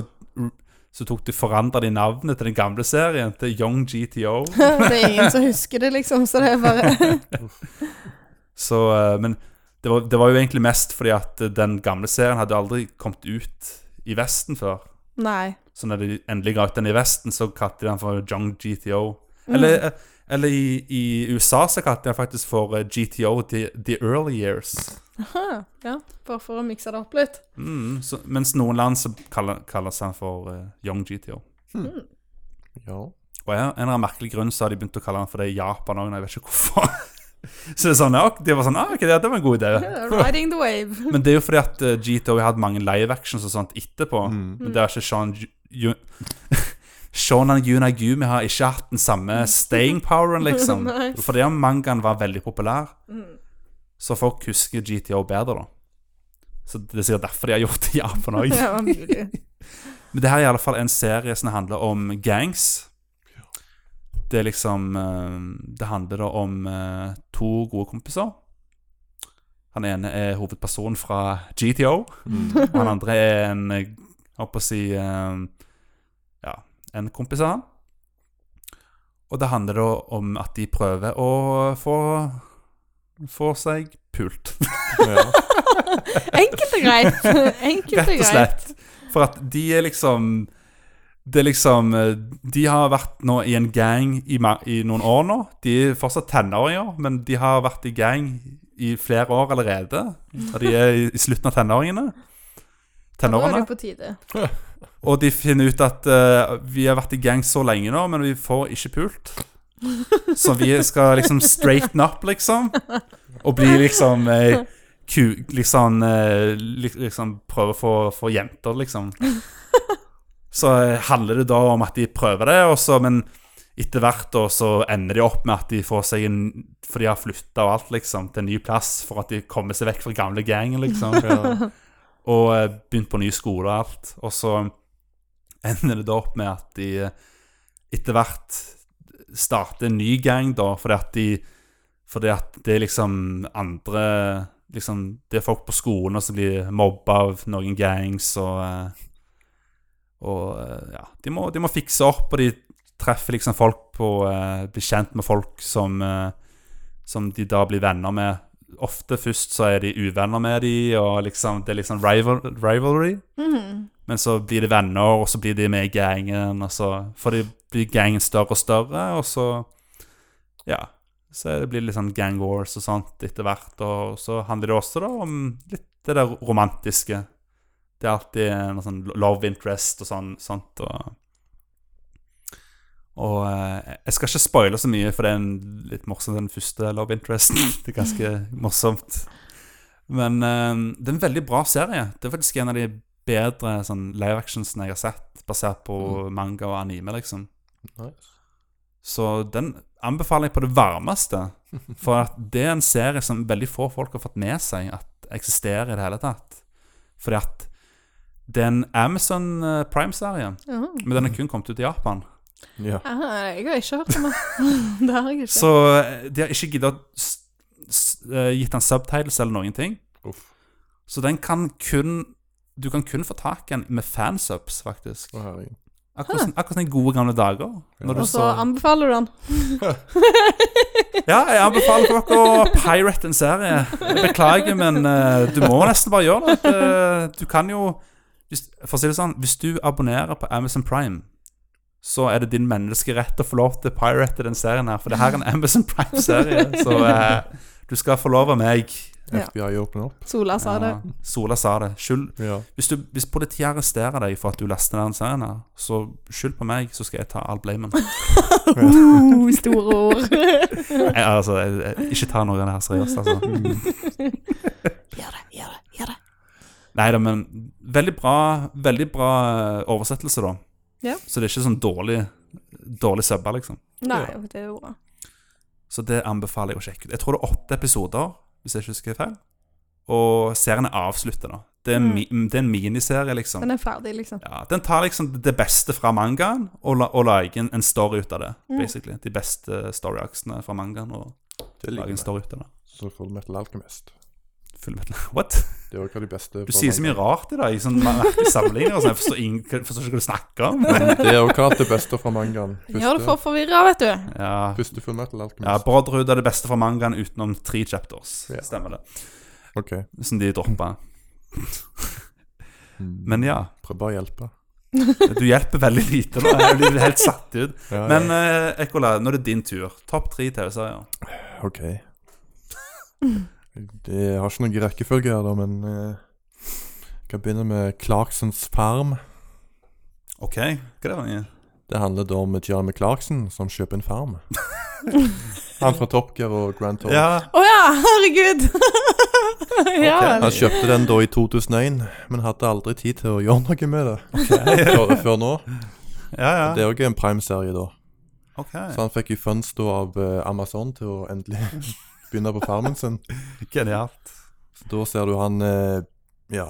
Speaker 1: så tok de forandra de navnet til den gamle serien til Young GTO.
Speaker 3: *laughs* det er ingen som husker det, liksom, så det er bare *laughs*
Speaker 1: Så, eh, men det var, det var jo egentlig mest fordi at eh, den gamle serien hadde aldri kommet ut i Vesten før.
Speaker 3: Nei.
Speaker 1: Så når de endelig ga ut den i Vesten, så kalte de den for Jung GTO. Eller, eh, eller i, i USA så kalte jeg faktisk for eh, GTO the, the Early Years.
Speaker 3: Aha, ja, bare for å mikse det opp litt.
Speaker 1: Mm, så, mens noen land så kaller, kalles han for eh, Young GTO.
Speaker 2: Ja.
Speaker 1: Og av en eller annen merkelig grunn så har de begynt å kalle han for det i Japan òg, jeg vet ikke hvorfor. *laughs* så det er sånn, ja, de var sånn, ah, ok, det, det var en god idé.
Speaker 3: Yeah, *laughs* Riding the wave.
Speaker 1: Men det er jo fordi at eh, GTO har hatt mange live actions og sånt etterpå. Men det har ikke Sean Ju- Ju- *laughs* Shonan Yunagumi har ikke hatt den samme staying poweren, liksom.
Speaker 3: Nei.
Speaker 1: Fordi om mangaen var veldig populær, så folk husker GTO bedre, da. Så det er sikkert derfor de har gjort det i Japan òg.
Speaker 3: *laughs* Ja, mulig.
Speaker 1: *laughs* Men det her er i alle fall en serie som handler om gangs. Det er liksom eh, Det handler da om eh, to gode kompiser. Han ene er hovedpersonen fra GTO, og han andre er en eh, Jeg holdt på å si eh, Ja, en kompis av han. Og det handler da om at de prøver å få Få seg pult. *laughs*
Speaker 2: ja.
Speaker 3: *laughs* Enkelt og greit. Enkelt
Speaker 1: Rett og
Speaker 3: greit.
Speaker 1: slett. For at de er liksom Det er liksom eh, De har vært nå i en gang i, ma- i noen år nå. De er fortsatt tenåringer, men de har vært i gang i flere år allerede. Og de er i, i slutten av tenåringene.
Speaker 3: Mm. Nå er det
Speaker 1: Tenårene.
Speaker 3: jo på tide.
Speaker 1: Og de finner ut at eh, vi har vært i gang så lenge nå, men vi får ikke pult. Så vi skal liksom straighten up, liksom. Og bli liksom eh, ku, liksom, eh, li- liksom prøve å få, få jenter, liksom. Så eh, handler det da om at de prøver det, og så, men etter hvert da, så ender de opp med at de får seg en For de har flytta og alt, liksom, til en ny plass for at de kommer seg vekk fra gamle gangen, liksom
Speaker 2: Ja.
Speaker 1: og eh, begynt på ny skole og alt. Og så ender det da opp med at de eh, etter hvert starter en ny gang, da, fordi at de Fordi at det er liksom andre Liksom, det er folk på skolen og som blir mobba av noen gangs og eh, Og eh, ja, de må, de må fikse opp, og de treffer liksom folk på eh, Blir kjent med folk som eh, som de da blir venner med. Ofte først så er de uvenner med de, og liksom, det er liksom rival, rivalry.
Speaker 3: Mhm.
Speaker 1: Men så blir de venner, og så blir de med i gangen, og så får de blir gangen større og større, og så Ja. Så er det blir det litt sånn gang wars og sånt etter hvert, og så handler det også da om litt det der romantiske. Det er alltid en sånn love interest og sånn, sånt, og og eh, jeg skal ikke spoile så mye, for det er en litt morsom den første Love Interesten. *laughs* Det er ganske morsomt. Men eh, det er en veldig bra serie. Det er faktisk en av de bedre sånn, live actionsene jeg har sett, basert på manga og anime, liksom.
Speaker 2: Nice.
Speaker 1: Så den anbefaler jeg på det varmeste. For at det er en serie som veldig få folk har fått med seg at eksisterer i det hele tatt. Fordi at det er en Amazon eh, Prime-serie,
Speaker 3: Ja.
Speaker 1: men den er kun kommet ut i Japan.
Speaker 2: Ja.
Speaker 3: Aha, jeg har ikke hørt om det. *laughs* Det har jeg ikke.
Speaker 1: Så eh, de har ikke giddet å s- s- eh, gitt den subtitles eller noen ting.
Speaker 2: Uff.
Speaker 1: Så den kan kun Du kan kun få tak i den med fansubs, faktisk.
Speaker 2: Å, herregud.
Speaker 1: Akkurat som- akkurat som i gode gamle dager. Når du
Speaker 3: Og så
Speaker 1: så
Speaker 3: anbefaler du den.
Speaker 1: Ja, jeg anbefaler dere å pirate en serie. Jeg beklager, men eh, du må nesten bare gjøre det. Eh, Du kan jo hvis, For å si det sånn, hvis du abonnerer på Amazon Prime så er det din menneskerett å få lov til å pirate den serien her. For det her er en Amazon Prime-serie, så eh, du skal få lov av meg.
Speaker 3: Ja.
Speaker 2: FBI åpner opp.
Speaker 3: Sola sa
Speaker 1: *laughs*
Speaker 3: det.
Speaker 1: Ja, Sola sa det. Skyld,
Speaker 2: Ja.
Speaker 1: hvis, du, hvis politiet arresterer deg for at du leste den serien, her, så skyld på meg, så skal jeg ta all blamen.
Speaker 3: Uh, *laughs* store ord.
Speaker 1: Jeg, altså, jeg, jeg, ikke ta noe av det her seriøst, altså.
Speaker 3: *laughs* Gjør det, gjør det, gjør det.
Speaker 1: Nei da, men veldig bra, veldig bra eh, oversettelse, da.
Speaker 3: Ja.
Speaker 1: Så det er ikke sånn dårlig, dårlig subba, liksom.
Speaker 3: Nei, det er jo bra.
Speaker 1: Så det anbefaler jeg å sjekke ut. Jeg tror det er åtte episoder, hvis jeg ikke husker feil. Og serien er avsluttet, da. Det er, en mi, mm, det er en miniserie, liksom.
Speaker 3: Mm. Den er ferdig, liksom.
Speaker 1: Ja, den tar liksom det beste fra mangaen og, la, og lager en, en story ut av det.
Speaker 3: Mm.
Speaker 1: basically. De beste story-aksene fra mangaen og
Speaker 2: Det
Speaker 1: lager
Speaker 2: liker
Speaker 1: en
Speaker 2: jeg.
Speaker 1: story ut av det.
Speaker 2: Så får du Metal Alchemist.
Speaker 1: Full metal. What?
Speaker 2: Det er jo ikke de beste
Speaker 1: Du sier så mye rart i dag. i Sånn merkelige sammenligninger. og Sånn, jeg forstår, ingen, forstår ikke hva du snakker om.
Speaker 2: *laughs* Det er jo ikke alt det beste fra mangaen.
Speaker 3: Gjør det for forvirra, vet du.
Speaker 1: Ja,
Speaker 2: Første Full Metal Alchemist.
Speaker 1: ja Brotherhood er det beste fra mangaen utenom tre chapters.
Speaker 2: Ja.
Speaker 1: Stemmer det.
Speaker 2: Ok.
Speaker 1: Som de droppa.
Speaker 2: Mm.
Speaker 1: Men ja.
Speaker 2: Prøv bare å hjelpe.
Speaker 1: Du hjelper veldig lite. Da. Jeg blir helt satt ut.
Speaker 2: Ja,
Speaker 1: Men eh, Ekkola, nå er det din tur. Topp tre TV-serier.
Speaker 2: ja. OK. Det har ikke noen rekkefølge her, da, men eh, jeg kan begynne med Clarksons farm.
Speaker 1: OK, hva er det? Vange?
Speaker 2: Det handler da om Jeremy Clarkson som kjøper en
Speaker 1: *laughs*
Speaker 2: farm. Han fra Top Gear og Grand Tour.
Speaker 1: Ja,
Speaker 2: *laughs*
Speaker 3: Å ja, herregud! *laughs* ja
Speaker 1: Ok,
Speaker 2: Han
Speaker 3: vel.
Speaker 2: kjøpte den da i 2001, men hadde aldri tid til å gjøre noe med det før, før nå.
Speaker 1: ja. *laughs*
Speaker 2: Det
Speaker 1: ja.
Speaker 2: er òg en prime-serie, da.
Speaker 1: Ok,
Speaker 2: Så han fikk jo funds da av eh, Amazon til å endelig *laughs* begynne på farmen sin.
Speaker 1: Genialt.
Speaker 2: Så da ser du han eh, ja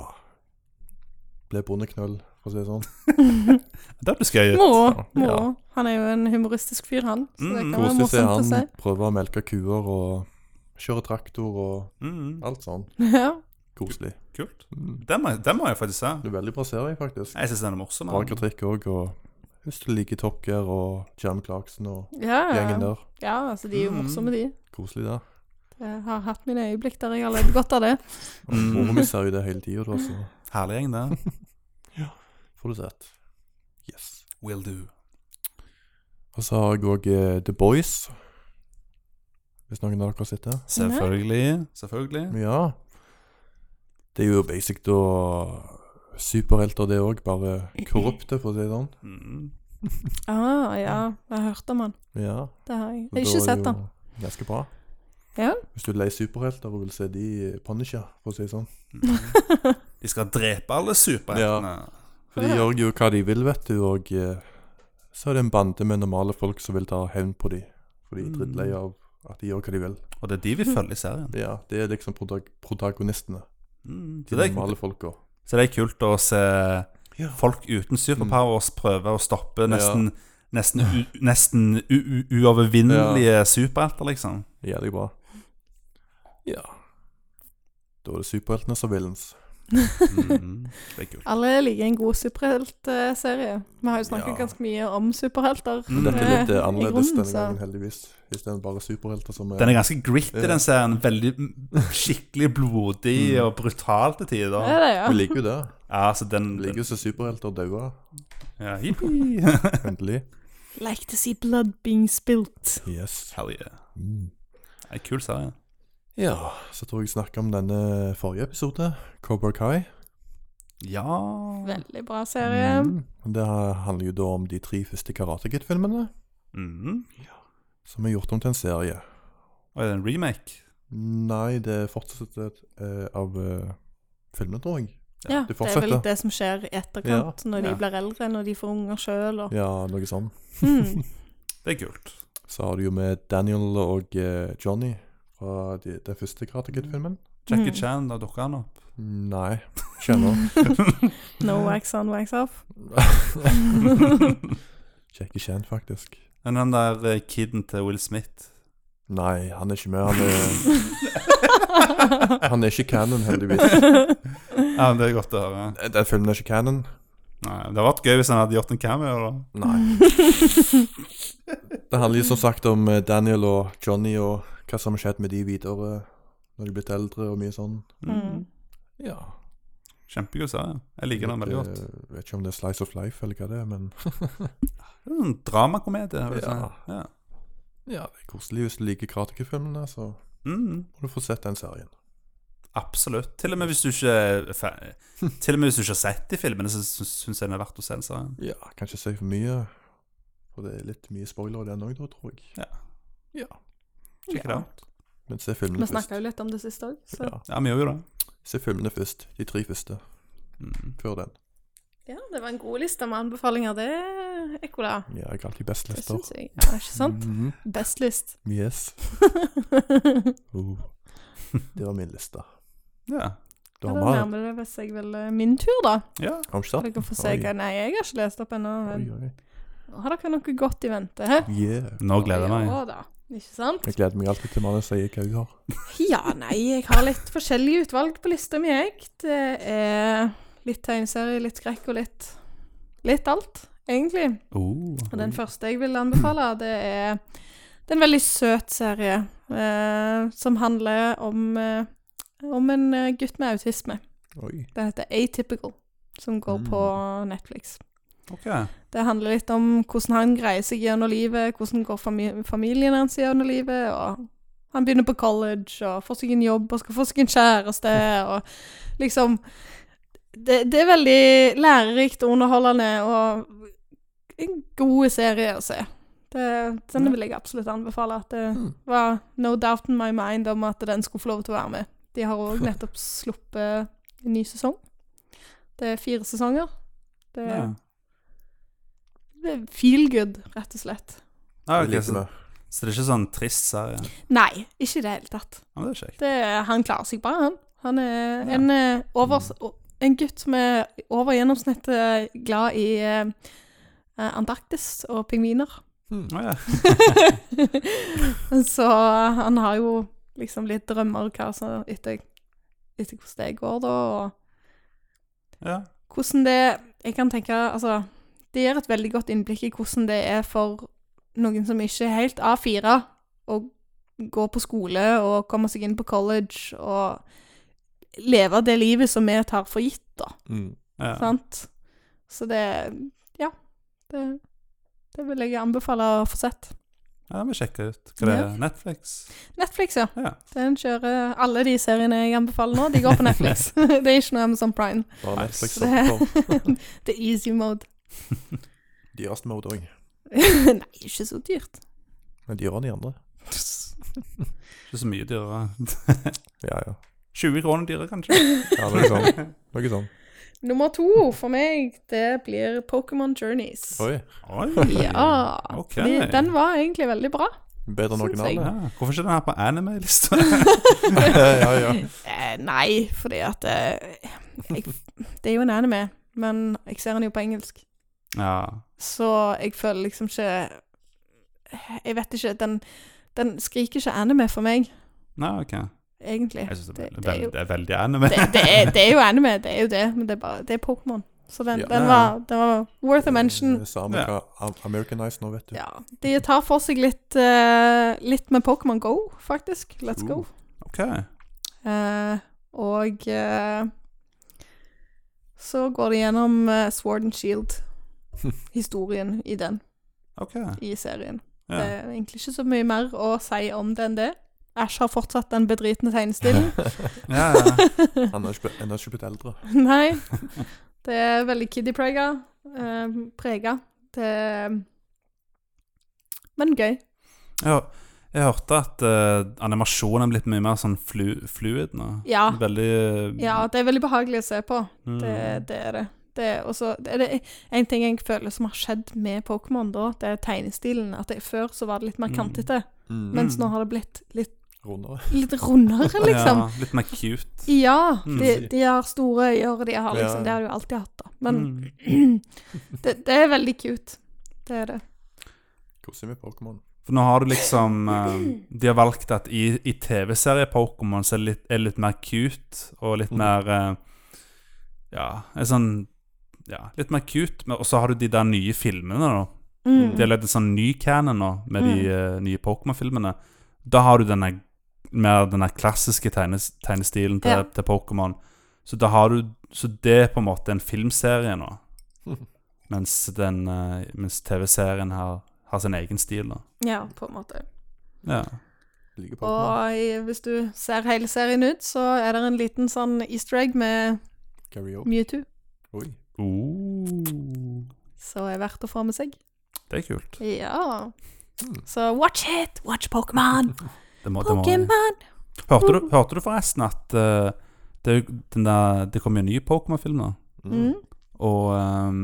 Speaker 2: ble bondeknøll, for å si det sånn.
Speaker 1: Det blir skøy.
Speaker 3: Moro. moro.
Speaker 2: Ja.
Speaker 3: Han er jo en humoristisk fyr, han. Så det
Speaker 1: Mm,
Speaker 3: kan være
Speaker 2: Koselig å se
Speaker 3: morsomt å se. *laughs*
Speaker 2: han prøve å melke kuer og kjøre traktor og
Speaker 1: Mm,
Speaker 2: alt sånn.
Speaker 3: Ja.
Speaker 2: Koselig.
Speaker 1: kult.
Speaker 2: Mm.
Speaker 1: Den må, den må jeg faktisk se.
Speaker 2: Det er veldig bra serie, faktisk.
Speaker 1: Jeg syns den er morsom.
Speaker 2: Bra
Speaker 1: men-
Speaker 2: kritikk òg, og hvis du liker Top Gear og Jam Clarkson og gjengen
Speaker 3: Ja.
Speaker 2: der.
Speaker 3: ja, altså de er jo
Speaker 1: Mm.
Speaker 3: morsomme, de.
Speaker 2: Koselig, det.
Speaker 3: Jeg har hatt mine øyeblikk der jeg har levd godt av det.
Speaker 2: Og
Speaker 1: Mm.
Speaker 2: Mora mi ser jo det hele tida, da, så
Speaker 1: Herlig gjeng, det.
Speaker 2: får du sett. Yes.
Speaker 1: Will do.
Speaker 2: Og så har jeg òg eh, The Boys. Hvis noen av dere har sett det.
Speaker 1: Selvfølgelig. Selvfølgelig.
Speaker 2: Ja. Det er jo basic da superhelter, det òg.
Speaker 3: *laughs*
Speaker 2: Bare korrupte, for å si det sånn.
Speaker 1: Mm.
Speaker 3: Ah, ja, jeg har hørt om han.
Speaker 2: Ja.
Speaker 3: Det har jeg.
Speaker 2: så
Speaker 3: Jeg har
Speaker 2: da
Speaker 3: ikke
Speaker 2: er det
Speaker 3: sett
Speaker 2: jo
Speaker 3: han.
Speaker 2: Ganske bra.
Speaker 3: Ja.
Speaker 2: Hvis du er lei superhelter og vil se de punisher, for å si det sånn.
Speaker 1: Mm. De skal drepe alle superheltene.
Speaker 2: For de gjør jo hva de vil, vet du, og eh, så er det en bande med normale folk som vil ta hevn på de. For
Speaker 3: Mm.
Speaker 2: de er drittlei av at de gjør hva de vil.
Speaker 1: Og det er de vi følger i serien.
Speaker 2: Ja, det er liksom protag protagonistene.
Speaker 1: Mm. Så,
Speaker 2: De
Speaker 1: det
Speaker 2: normale
Speaker 1: er,
Speaker 2: folka.
Speaker 1: så det er kult å se
Speaker 2: Ja.
Speaker 1: folk uten superpowers prøve å stoppe
Speaker 2: Ja.
Speaker 1: nesten Nesten, u, nesten u, u, uovervinnelige superhelter, liksom.
Speaker 2: Jævlig bra. Ja. Da er det superheltene som villens.
Speaker 1: Mm. Det er kult.
Speaker 3: Alle liker en god superheltserie. Vi har jo snakket
Speaker 2: Ja.
Speaker 3: ganske mye om superhelter.
Speaker 1: Mm.
Speaker 2: Dette er litt eh,
Speaker 3: Eh, i
Speaker 2: annerledes
Speaker 3: grunnen,
Speaker 2: denne gangen,
Speaker 3: så-
Speaker 2: heldigvis. Istedenfor bare superhelter som
Speaker 1: Den
Speaker 2: er
Speaker 1: er ganske gritty,
Speaker 2: Ja.
Speaker 1: den serien. Veldig Skikkelig blodig og brutal til
Speaker 3: Det
Speaker 1: tider.
Speaker 3: er
Speaker 2: Vi
Speaker 3: det, ja.
Speaker 2: liker jo det.
Speaker 1: Ja, så den,
Speaker 2: Vi liker jo å se superhelter daue.
Speaker 1: ja, Yippee!
Speaker 2: Endelig.
Speaker 3: Like to see blood being spilt.
Speaker 2: Yes.
Speaker 1: Hell yeah.
Speaker 2: Mm.
Speaker 1: Det er en Kul serie.
Speaker 2: Ja, så tror jeg jeg snakker om denne forrige episode, Cobra Kai.
Speaker 1: Ja
Speaker 3: Veldig bra serie.
Speaker 2: Mm. Det handler jo da om de tre første Karate Kid-filmene,
Speaker 1: Mhm.
Speaker 2: som er gjort om til en serie.
Speaker 1: Og er det en remake?
Speaker 2: Nei, det fortsetter eh, av eh, filmene, tror jeg.
Speaker 3: Ja,
Speaker 2: det
Speaker 3: det er vel
Speaker 2: fortsetter.
Speaker 3: det som skjer i etterkant, når de
Speaker 1: Ja.
Speaker 3: blir eldre, når de får unger sjøl og
Speaker 2: Ja, noe sånn.
Speaker 3: mm.
Speaker 1: Det er kult.
Speaker 2: Så har du jo med Daniel og eh, Johnny fra de, den første Karate Kid-filmen.
Speaker 1: Jackie
Speaker 3: Mm.
Speaker 1: Chan, da dukker han
Speaker 3: *laughs*
Speaker 1: opp.
Speaker 2: Nei, kjenner. *laughs*
Speaker 3: No wax on, wax off.
Speaker 2: Jackie Chan, faktisk.
Speaker 1: Men den der eh, kiden til Will Smith eh,
Speaker 2: Nei, han er ikke med. Han er,
Speaker 3: *laughs*
Speaker 2: han er ikke canon, heldigvis.
Speaker 1: Ja, men Det er godt å høre.
Speaker 2: Den filmen er ikke canon.
Speaker 1: Nei, Det hadde vært gøy hvis han hadde gjort en cameo, da.
Speaker 2: Nei. Det handler jo som sagt om eh, Daniel og Johnny og hva som har skjedd med de videre når de er blitt eldre og mye sånn.
Speaker 3: Mm.
Speaker 2: Ja.
Speaker 1: Kjempegod serie. Jeg liker den veldig
Speaker 3: eh,
Speaker 1: godt.
Speaker 2: Eh, Jeg vet ikke om det er Slice of Life eller hva det er, men
Speaker 1: Det er En dramakomedie. vil jeg
Speaker 2: Ja.
Speaker 1: si. Ja.
Speaker 2: ja, det er koselig hvis du liker Karate-filmene, så
Speaker 1: Mm.
Speaker 2: må du få sett den serien.
Speaker 1: Absolutt. Til og med hvis du ikke er fa- Til og med hvis du ikke har sett de filmene, så syns jeg den er verdt å se den serien.
Speaker 2: Ja, kan ikke si for mye, for det er litt mye spoiler i den òg, da, tror jeg.
Speaker 1: Ja.
Speaker 2: Ja.
Speaker 1: Sjekk det
Speaker 3: Ja.
Speaker 1: ut.
Speaker 2: Men se filmene
Speaker 3: Vi snakka
Speaker 2: først.
Speaker 3: jo litt om det siste òg, så
Speaker 2: Ja.
Speaker 1: Ja, vi gjør jo det.
Speaker 2: Se filmene først. De tre første.
Speaker 1: Mm.
Speaker 2: Før den.
Speaker 3: ja, det var en god liste med anbefalinger, det, Ekkola.
Speaker 2: Ja, jeg har alltid best
Speaker 3: Det
Speaker 2: lister.
Speaker 3: syns jeg. Ja, ikke sant?
Speaker 2: Mhm.
Speaker 3: Best list. *laughs*
Speaker 2: Yes. Oh. Det var min liste.
Speaker 1: Ja.
Speaker 2: Du
Speaker 3: Ja,
Speaker 2: har
Speaker 3: da
Speaker 2: mer?
Speaker 3: nærmer det hvis jeg vel eh, min tur, da.
Speaker 1: ja.
Speaker 2: Har du ikke
Speaker 3: Dere får se
Speaker 2: Oi.
Speaker 3: hva Nei, jeg har ikke lest opp ennå.
Speaker 2: Oi, oi.
Speaker 3: men Har dere noe godt i vente? Hæ?
Speaker 2: Yeah.
Speaker 1: Nå gleder jeg meg.
Speaker 3: Ja da. Ikke sant?
Speaker 2: Jeg gleder meg alltid til mannen sier hva hun har.
Speaker 3: Ja, nei, jeg har litt forskjellige utvalg på lista mi, jeg. Det er litt tegneserie, litt skrekk og litt Litt alt, egentlig.
Speaker 1: Oh.
Speaker 3: Og den første jeg vil anbefale, det er det er en veldig søt serie eh, som handler om, eh, om en eh, gutt med autisme.
Speaker 2: Oi.
Speaker 3: Den heter Atypical, som går
Speaker 2: Mm.
Speaker 3: på Netflix.
Speaker 1: Ok.
Speaker 3: Det handler litt om hvordan han greier seg gjennom livet, hvordan går fami familien hans gjennom livet, og han begynner på college og får seg en jobb og skal få seg en kjæreste, og liksom Det, det er veldig lærerikt og underholdende og en god serie å se. Det, den vil jeg absolutt anbefale. At det
Speaker 2: Mm.
Speaker 3: var no doubt in my mind om at den skulle få lov til å være med. De har òg nettopp sluppet en ny sesong. Det er fire sesonger. Det er
Speaker 1: Ja.
Speaker 3: feel good, rett og slett.
Speaker 1: Ja,
Speaker 2: Jeg
Speaker 1: ok,
Speaker 2: liker
Speaker 1: så,
Speaker 2: det.
Speaker 1: så det er ikke sånn trist serie? Ja,
Speaker 3: Nei, ikke i det hele tatt.
Speaker 1: men det er kjekt.
Speaker 3: Det, han klarer seg bra, han. Han er
Speaker 1: Ja.
Speaker 3: en, eh, overs, o- en gutt som er over gjennomsnittet glad i eh, eh, Antarktis og pingviner. *laughs*
Speaker 1: Å, ja.
Speaker 3: Så han har jo liksom litt drømmer hva som etter, etter hvordan det går, da. og
Speaker 1: ja.
Speaker 3: hvordan det Jeg kan tenke Altså, det gir et veldig godt innblikk i hvordan det er for noen som ikke er helt A4, å gå på skole og komme seg inn på college og leve det livet som vi tar for gitt, da.
Speaker 2: Mm.
Speaker 1: Ja.
Speaker 3: Sant? Så det Ja. Det, det vil jeg anbefale å få sett.
Speaker 1: ja, det må sjekke ut. Hva det er Netflix?
Speaker 3: Netflix, ja.
Speaker 1: Ja.
Speaker 3: Den kjører alle de seriene jeg anbefaler nå, de går på Netflix. *laughs* det er ikke noe Amazon Prime. *laughs*
Speaker 2: Bare
Speaker 1: Nice.
Speaker 2: Netflix
Speaker 3: Det-
Speaker 2: oppå.
Speaker 3: Det er easy mode.
Speaker 2: Dyreste mode òg.
Speaker 3: Nei, ikke så dyrt.
Speaker 2: Men dyrere enn de andre.
Speaker 1: Ikke så mye dyrere.
Speaker 2: Ja, ja.
Speaker 1: 20 kroner dyrere, kanskje?
Speaker 2: ja noe sånn. Noe sånn.
Speaker 3: Nummer to for meg, det blir Pokémon Journeys.
Speaker 2: Oi.
Speaker 1: *laughs* Oi.
Speaker 3: Ja.
Speaker 1: Ok.
Speaker 3: fordi Den var egentlig veldig bra.
Speaker 2: Bedre enn
Speaker 3: Syns
Speaker 2: *laughs*
Speaker 3: jeg.
Speaker 2: originalen.
Speaker 1: Ja. Hvorfor ikke den her på
Speaker 3: *laughs*
Speaker 1: anime-lista?
Speaker 2: ja, ja.
Speaker 3: Eh, nei, fordi at eh, jeg, Det er jo en anime, men jeg ser den jo på engelsk.
Speaker 1: ja.
Speaker 3: Så jeg føler liksom ikke Jeg vet ikke. Den, den skriker ikke anime for meg,
Speaker 1: Nei, ok.
Speaker 3: egentlig.
Speaker 1: Jeg synes det, er
Speaker 3: Det-
Speaker 1: veldig-
Speaker 3: det er jo-
Speaker 1: det er veldig anime.
Speaker 3: Det, det, er, det er jo anime, det er jo det, men det er bare Det er Pokémon. Så den,
Speaker 2: Ja.
Speaker 3: den, var, den var *laughs* worth a mention.
Speaker 2: Eh, Samme
Speaker 1: Ja.
Speaker 2: hva Am- Americanized nå, vet du.
Speaker 3: Ja. De tar for seg litt, eh, litt med Pokémon Go, faktisk. Let's go.
Speaker 1: *laughs* Ok.
Speaker 3: Eh, og eh, så går de gjennom eh, Sword and Shield. Historien i den,
Speaker 1: ok.
Speaker 3: i serien.
Speaker 1: Ja.
Speaker 3: Det er egentlig ikke så mye mer å si om det enn det. Æsj har fortsatt den bedritne tegnestilen.
Speaker 1: Ja, ja.
Speaker 2: *laughs* Han har ikke blitt- han har ikke blitt eldre.
Speaker 3: *laughs* Nei. Det er veldig kiddie-prega. Eh, prega. Det er Men gøy.
Speaker 1: Jeg, hør- jeg hørte at eh, animasjonen er blitt mye mer sånn flu, fluid nå.
Speaker 3: Ja.
Speaker 1: Veldig
Speaker 3: ja. Det er veldig behagelig å se på.
Speaker 1: mm,
Speaker 3: Det, det er det. det er også, det er det, en ting jeg føler som har skjedd med Pokémon, da, det er tegnestilen. At det, Før så var det litt mer
Speaker 1: Mm.
Speaker 3: kantete,
Speaker 2: Mm.
Speaker 3: mens nå har det blitt litt,
Speaker 2: Rundere.
Speaker 3: litt rundere, liksom.
Speaker 1: *laughs* Ja, litt mer cute.
Speaker 3: Ja,
Speaker 1: Mm.
Speaker 3: de, de har store øyne, og de har
Speaker 2: Ja.
Speaker 3: liksom Det har de jo alltid hatt, da. Men
Speaker 1: mm.
Speaker 3: *clears throat* det, det er veldig cute. Det er det.
Speaker 2: Koser med Pokémon.
Speaker 1: For nå har du liksom eh, De har valgt at i, i TV-serie Pokémon så er det litt, er det litt mer cute og litt
Speaker 2: Mhm.
Speaker 1: mer eh, Ja, en sånn Ja, litt mer cute. Men, og så har du de der nye filmene, da.
Speaker 3: Mm.
Speaker 1: De har lagd en sånn ny canon nå, med de eh, nye Pokémon-filmene. Da har du denne mer denne klassiske tegnes, tegnestilen til,
Speaker 3: Ja.
Speaker 1: til Pokémon. Så da har du Så det er på en måte en filmserie nå.
Speaker 2: Mhm.
Speaker 1: Mens, den, eh, mens TV-serien har, har sin egen stil, da.
Speaker 3: Ja, på en måte.
Speaker 1: Ja.
Speaker 2: Liker Pokémon.
Speaker 3: Og i, hvis du ser hele serien ut, så er det en liten sånn easter egg med
Speaker 2: Carry on.
Speaker 3: Mewtwo,
Speaker 2: Oi.
Speaker 1: Oh,
Speaker 3: som er verdt å få med seg.
Speaker 1: det er kult.
Speaker 3: Ja.
Speaker 1: Hmm.
Speaker 2: Mm.
Speaker 3: Så watch it! Watch Pokémon!
Speaker 1: Det må, det må.
Speaker 3: Pokémon!
Speaker 1: Hørte, du, hørte du forresten at eh, det, den der, det kom jo en ny Pokémon-film nå?
Speaker 2: Mm.
Speaker 1: Hmm.
Speaker 3: Mm.
Speaker 1: Og ehm,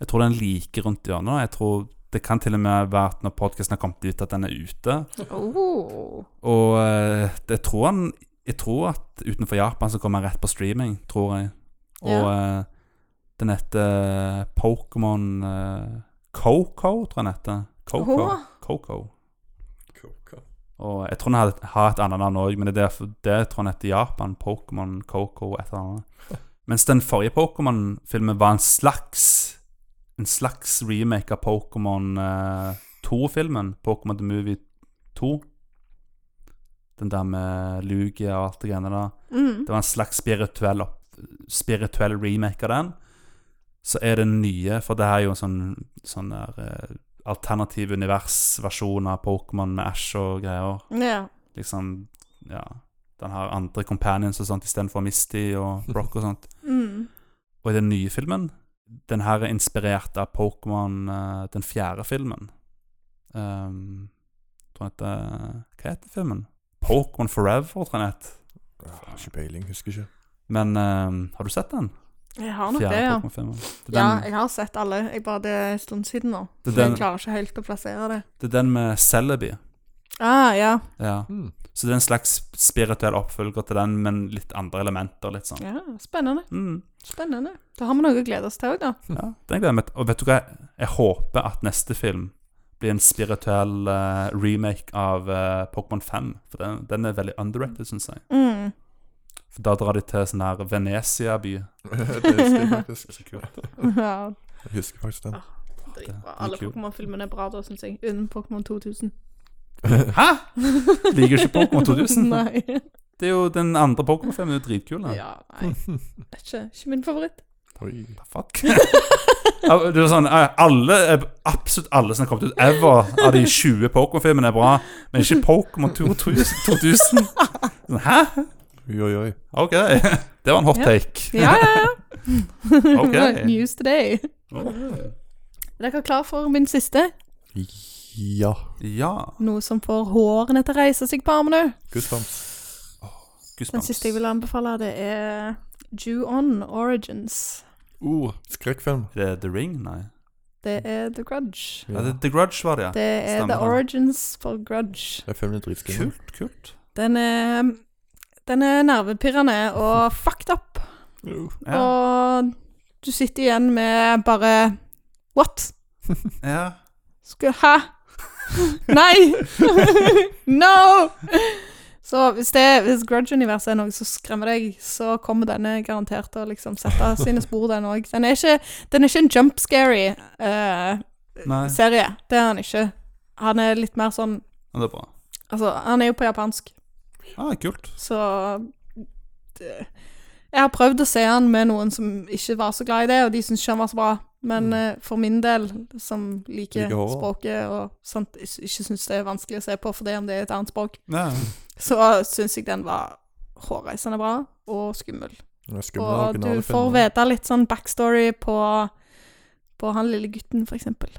Speaker 1: jeg tror den er like rundt hjørnet. Jeg tror det kan til og med være at når podkasten har kommet ut, at den er ute.
Speaker 3: Oh.
Speaker 1: Og eh, det tror han Jeg tror at utenfor Japan så kommer han rett på streaming, tror jeg. Og eh, den heter Pokémon eh, Coco, tror jeg den heter. Coco.
Speaker 3: Åh.
Speaker 1: Coco. Og jeg tror den har- har et annet navn òg, men det er derfor det tror jeg den heter i Japan. Pokémon Coco et eller annet. Mens den forrige Pokémon-filmen var en slags En slags remake av Pokémon eh, 2-filmen. Pokémon The Movie 2. Den der med Lugia og alt det greiene der.
Speaker 3: Mm.
Speaker 1: Det var en slags spirituell, opp, spirituell remake av den. så er det nye For det er jo en sånn, sånn der eh, alternativ univers-versjon av Pokémon med Ash og greier.
Speaker 3: Ja.
Speaker 1: Liksom, ja Den har andre companions og sånt istedenfor Misty og Brock og sånt.
Speaker 3: Mm.
Speaker 1: Og i den nye filmen Den her er inspirert av Pokémon eh, Den fjerde filmen um, Tror jeg heter Hva heter filmen? Pokémon Forever, tror jeg den het.
Speaker 2: Jeg har Ikke peiling, husker ikke. *laughs*
Speaker 1: Men eh, har du sett den?
Speaker 3: Jeg har nok det, ja.
Speaker 1: Pokémon-filmen. Det, er
Speaker 3: Ja,
Speaker 1: den-
Speaker 3: jeg har sett alle. Jeg bare Det er en stund siden nå.
Speaker 1: Det er
Speaker 3: Så jeg
Speaker 1: den-
Speaker 3: klarer ikke helt å plassere det.
Speaker 1: det er den med Celebi.
Speaker 3: Ah, ja.
Speaker 1: Ja.
Speaker 2: Hmm.
Speaker 1: Så det er en slags spirituell oppfølger til den, men litt andre elementer. litt sånn.
Speaker 3: ja. Spennende.
Speaker 1: Mm,
Speaker 3: Spennende. Da har vi noe å glede oss til òg, da.
Speaker 1: ja, den gleder jeg meg til. Og vet du hva? Jeg håper at neste film blir en spirituell eh, remake av eh, Pokémon 5. For den, den er veldig underrated, syns jeg. *laughs*
Speaker 3: Mm.
Speaker 1: For Da drar de til sånn her Venezia-by.
Speaker 2: det *laughs* husker jeg faktisk.
Speaker 3: Ja.
Speaker 2: Jeg husker faktisk den.
Speaker 3: Dritbra.
Speaker 1: det er
Speaker 3: Alle
Speaker 1: kult.
Speaker 3: Pokémon-filmene er bra, da, syns jeg. Unnen Pokémon 2000.
Speaker 1: *laughs* Hæ?! Liker du ikke Pokémon 2000?
Speaker 3: *laughs* nei.
Speaker 1: Det er jo Den andre Pokémon-filmen er jo dritkul. da.
Speaker 3: Ja, nei. Det er Ikke, ikke min favoritt.
Speaker 2: Oi.
Speaker 1: Fuck. *laughs* Ja, Det var sånn, eh, alle, eh, absolutt alle som har kommet ut ever av de 20 Pokémon-filmene er bra, men ikke Pokémon 2000. 2000. Sånn, Hæ?
Speaker 2: Oi, oi, oi.
Speaker 1: OK. Det var en hot
Speaker 3: Ja.
Speaker 1: take.
Speaker 3: *laughs* Ja, ja, ja.
Speaker 1: Ok.
Speaker 3: *laughs* News today.
Speaker 1: Åh.
Speaker 3: Er dere klar for min siste?
Speaker 2: Ja.
Speaker 1: Ja.
Speaker 3: Noe som får hårene til å reise seg på armene.
Speaker 2: Goosebumps.
Speaker 3: Den siste jeg vil anbefale, det er Jew-On Origins.
Speaker 2: Uh, skrekkfilm.
Speaker 1: Er det The Ring? Nei.
Speaker 3: Det er The Grudge.
Speaker 1: Ja. det, The Grudge var det, ja.
Speaker 3: Det er
Speaker 1: Stemmer
Speaker 3: The
Speaker 1: det.
Speaker 3: Origins for Grudge.
Speaker 2: Den filmen er dritskummel.
Speaker 1: Kult, kult.
Speaker 3: Den er, den er nervepirrende og fucked up.
Speaker 1: Ja.
Speaker 3: Og du sitter igjen med bare What?
Speaker 1: ja.
Speaker 3: Skulle Hæ? *laughs* Nei! *laughs* no! Så hvis, det, hvis Grudge-universet er noe som skremmer deg, så kommer denne garantert til å liksom sette sine spor, den òg. Den, er ikke- den er ikke en jump-scary eh,
Speaker 1: Nei.
Speaker 3: serie. Det er han ikke. Han er litt mer sånn
Speaker 1: Ja, Det er bra.
Speaker 3: Altså, han er jo på japansk,
Speaker 1: Ah, kult.
Speaker 3: så det, Jeg har prøvd å se han med noen som ikke var så glad i det, og de syntes ikke han var så bra. Men eh, for min del, som liker
Speaker 2: Liker horror.
Speaker 3: språket og sånt, ikke ikke syns det er vanskelig å se på, for det om det er et annet språk,
Speaker 1: Ja.
Speaker 3: *laughs* så syns jeg den var hårreisende bra og skummel.
Speaker 2: Den er skummel, den
Speaker 3: Og du
Speaker 2: originale
Speaker 3: får
Speaker 2: filmen.
Speaker 3: vite litt sånn backstory på, på han lille gutten, for eksempel.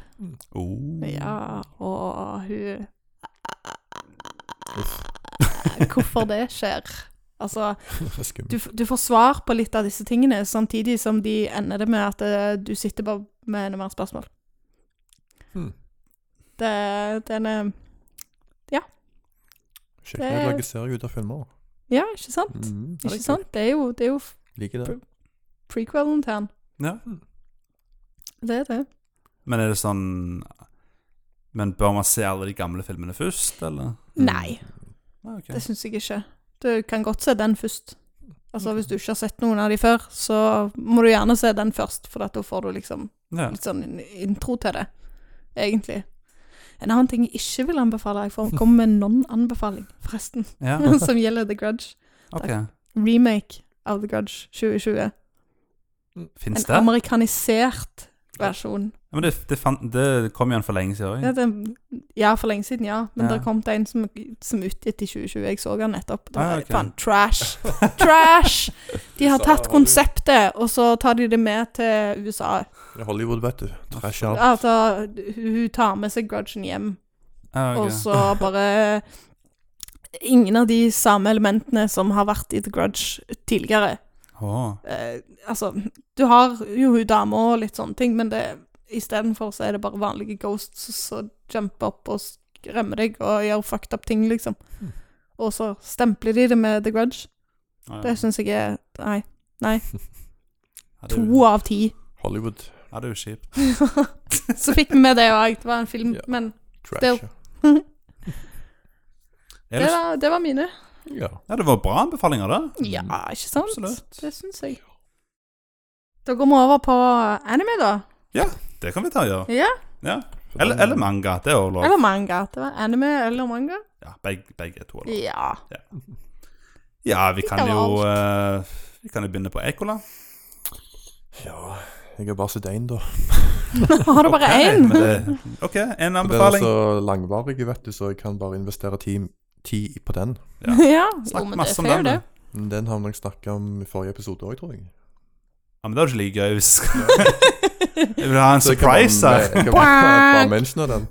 Speaker 1: Oh.
Speaker 2: Mm.
Speaker 3: Ja, og hun Hvorfor det skjer. Altså,
Speaker 2: *laughs* Den er skummel.
Speaker 3: du, f- du får svar på litt av disse tingene, samtidig som de ender det med at eh, du sitter bare med enda mer spørsmål.
Speaker 2: Hmm.
Speaker 3: Det, den er
Speaker 2: Kjekt når de lager serie ut av filmer.
Speaker 3: Hmm. Ja, ikke sant?
Speaker 2: Mm,
Speaker 3: Ikke sant? Det er jo, det er jo f-
Speaker 2: Liker det.
Speaker 3: prequelen til han.
Speaker 1: Ja.
Speaker 3: Det er det.
Speaker 1: Men er det sånn Men bør man se alle de gamle filmene først, eller?
Speaker 3: Nei,
Speaker 1: Nei, ok.
Speaker 3: det syns jeg ikke. Du kan godt se den først. Altså, Hvis du ikke har sett noen av de før, så må du gjerne se den først, for at da får du liksom
Speaker 1: Ja.
Speaker 3: *laughs* litt sånn in- intro til det, egentlig. En annen ting jeg ikke vil anbefale, jeg får komme med en non-anbefaling, forresten,
Speaker 1: *laughs* ja.
Speaker 3: som gjelder The Grudge.
Speaker 1: Ok.
Speaker 3: Remake av The Grudge 2020.
Speaker 1: Fins
Speaker 3: En
Speaker 1: det?
Speaker 3: amerikanisert versjon.
Speaker 1: Ja, men det, det, fant, det kom igjen for lenge siden.
Speaker 3: Ja,
Speaker 1: ikke?
Speaker 3: det, ja for lenge siden, ja. Men
Speaker 1: Ja.
Speaker 3: det kom til en som, som utgitt i 2020. Jeg så den nettopp. Det
Speaker 1: Ah,
Speaker 3: var
Speaker 1: ok.
Speaker 3: faen trash! Trash! De har tatt konseptet, og så tar de det med til USA.
Speaker 2: Det er Hollywood, vet du. Trash out.
Speaker 3: Altså, hun hun tar med seg grudgen hjem.
Speaker 1: *laughs*
Speaker 3: *laughs*
Speaker 1: Ja, ok.
Speaker 3: Og så bare Ingen av de samme elementene som har vært i The Grudge tidligere.
Speaker 1: Åh,
Speaker 3: Eh, altså, du har jo hun dama og litt sånne ting, men det istedenfor så er det bare vanlige ghosts som jumper opp og skremmer deg og gjør fucked up ting, liksom.
Speaker 1: Mm.
Speaker 3: Og så stempler de det med The Grudge.
Speaker 1: ja.
Speaker 3: Det syns jeg er Nei.
Speaker 1: Ja, det er
Speaker 3: To
Speaker 1: jo-
Speaker 3: av ti. *laughs*
Speaker 2: Hollywood
Speaker 1: Ja, det er jo kjipt.
Speaker 3: så fikk vi med det òg. Det var en film,
Speaker 2: Ja.
Speaker 3: men
Speaker 2: trash.
Speaker 3: Still.
Speaker 1: Er
Speaker 3: det
Speaker 1: det,
Speaker 3: var, det var mine.
Speaker 2: Ja.
Speaker 1: ja, det var bra anbefalinger, det.
Speaker 3: Ja, ikke sant?
Speaker 1: Mm. Absolutt.
Speaker 3: Det syns jeg. Da går vi over på anime, da.
Speaker 1: Det kan vi ta og gjøre.
Speaker 3: Ja,
Speaker 2: For
Speaker 1: Eller,
Speaker 2: den-
Speaker 1: eller manga. Det er jo lov.
Speaker 3: Eller manga. Det var anime eller manga.
Speaker 1: Ja, begge, begge to. er lov. *laughs*
Speaker 3: Ja.
Speaker 1: Ja, vi
Speaker 3: Litt
Speaker 1: kan
Speaker 3: av
Speaker 1: jo eh, Vi kan jo begynne på Ekola.
Speaker 2: Ja, Jeg har bare sett én, da.
Speaker 3: Har du bare én?
Speaker 1: Ok, men det- OK, en
Speaker 2: Og Den er
Speaker 1: anbefaling.
Speaker 2: så langvarig, vet du, så jeg kan bare investere ti, ti på den.
Speaker 1: Ja.
Speaker 3: *laughs* ja.
Speaker 1: Snakk
Speaker 3: Jo, men det
Speaker 1: masse
Speaker 3: er
Speaker 1: om
Speaker 3: fair,
Speaker 1: den.
Speaker 3: det.
Speaker 1: du.
Speaker 2: Men Den har vi nok snakka om i forrige episode òg, tror jeg.
Speaker 1: Ja, men det er jo ikke like gøy hvis *laughs* Jeg vil ha en
Speaker 2: jeg kan bare-
Speaker 1: surprise her.
Speaker 2: Jeg kan bare, bare mentionere den.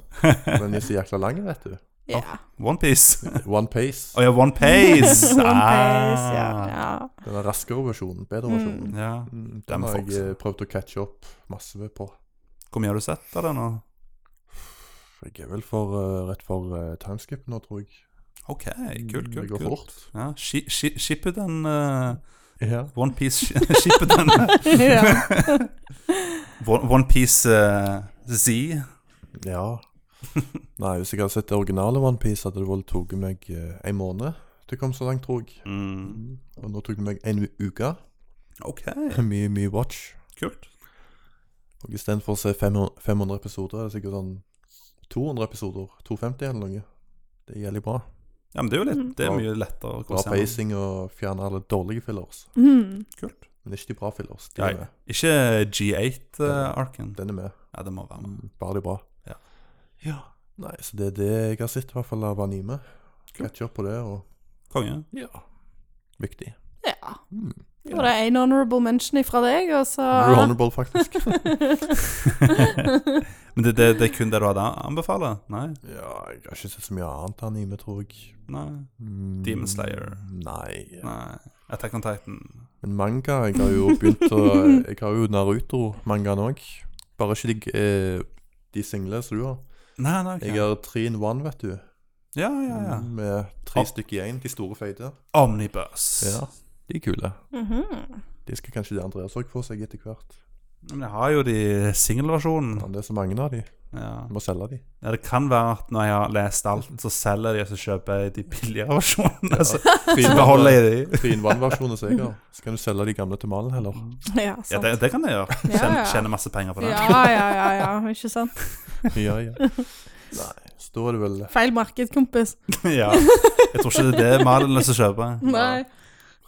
Speaker 2: Den er så jækla lang, vet du.
Speaker 3: Ja.
Speaker 1: Onepiece.
Speaker 2: One Pace.
Speaker 1: Å ja, Onepiece.
Speaker 3: *laughs* One Piece, ja. ja.
Speaker 2: Den er raskere versjonen, bedre
Speaker 3: Mm.
Speaker 2: versjonen.
Speaker 1: Ah. ja.
Speaker 2: Mm,
Speaker 1: Den
Speaker 2: Den har
Speaker 1: Fox.
Speaker 2: jeg eh, prøvd å catche opp masse med på.
Speaker 1: Hvor mye har du sett av det nå?
Speaker 2: Jeg er vel for, eh, rett for eh, timeskip nå, tror jeg.
Speaker 1: OK, kult,
Speaker 2: Mm, Det
Speaker 1: kult.
Speaker 2: går
Speaker 1: kult.
Speaker 2: fort.
Speaker 1: Ja, shi- shi- Shippe den uh,
Speaker 2: Ja.
Speaker 1: *laughs* Onepiece-shippe den *laughs*
Speaker 3: ja.
Speaker 1: Onepiece uh, Z.
Speaker 2: ja. Nei, hvis jeg hadde sett det originale One Piece, hadde det vel tatt meg eh, en måned til jeg kom så langt, tror jeg.
Speaker 1: Mm.
Speaker 2: Og nå tok det meg en uke.
Speaker 1: OK,
Speaker 2: Mye, mye watch.
Speaker 1: kult.
Speaker 2: Og istedenfor å se 500, 500 episoder, er det sikkert sånn 200 episoder. 250 eller noe. Det er jævlig bra.
Speaker 1: Ja, men det er jo litt,
Speaker 3: Mm.
Speaker 1: det er
Speaker 2: Bra-
Speaker 1: mye lettere å gå
Speaker 2: Bra
Speaker 1: sammen.
Speaker 2: pacing og fjerne alle dårlige fillers.
Speaker 3: Mm.
Speaker 1: Kult.
Speaker 2: Men ikke de bra fillers. De
Speaker 1: Nei.
Speaker 2: er med.
Speaker 1: Ikke G8-arken.
Speaker 2: Den er med. Mm,
Speaker 1: ja, det må være med.
Speaker 2: Bare de bra.
Speaker 1: Ja.
Speaker 2: Ja. Nei, så det er det jeg har sett, i hvert fall av anime. Catch up på det, og
Speaker 1: Konge. *laughs*
Speaker 2: Ja. Viktig.
Speaker 3: ja.
Speaker 1: Hmm.
Speaker 2: Mm.
Speaker 3: Det var det en honorable mention fra deg, og så
Speaker 2: You're
Speaker 1: *laughs*
Speaker 2: honorable, faktisk. *laughs*
Speaker 1: Men det, det, det er kun det du hadde å anbefale? Nei?
Speaker 2: ja, jeg har ikke sett så mye annet anime, tror jeg.
Speaker 1: Nei.
Speaker 2: Mm,
Speaker 1: Demon Slayer.
Speaker 2: Nei.
Speaker 1: Nei. Attack on Titan.
Speaker 2: Men manga Jeg har jo begynt å Jeg har jo Naruto-mangaen òg. Bare ikke de, eh, de single som du har.
Speaker 1: Nei, nei, ok.
Speaker 2: Jeg Mm. har tre in one, vet du.
Speaker 1: Ja, ja, ja.
Speaker 2: Med tre
Speaker 1: Ah.
Speaker 2: stykker i én. De store, feite.
Speaker 1: Omnibus.
Speaker 2: Ja, de er kule.
Speaker 3: *laughs* Mhm.
Speaker 2: De skal kanskje det Andreas òg få seg etter hvert.
Speaker 1: Men jeg har jo de singelversjonen.
Speaker 2: Men det er så mange av de.
Speaker 1: Ja.
Speaker 2: Vi må selge de.
Speaker 1: ja, det kan være at når jeg har lest alt, så selger de, og så kjøper jeg de billigere *laughs* versjonene. Så
Speaker 2: Tre
Speaker 1: så beholder jeg de.
Speaker 2: *laughs* Tre in one-versjonen som jeg har. Så kan du selge de gamle til Malen heller.
Speaker 3: Ja,
Speaker 1: Ja,
Speaker 3: sant.
Speaker 1: det, det kan jeg gjøre.
Speaker 3: Ja,
Speaker 1: Tjene,
Speaker 3: ja.
Speaker 1: tjene masse penger på det.
Speaker 3: Ja, ja, ja, ja, ikke sant?
Speaker 2: Ja, ja. Nei, så da er det vel
Speaker 3: Feil marked, kompis.
Speaker 1: *laughs* ja. Jeg tror ikke det er det Malin lyst til å kjøpe.
Speaker 3: Nei.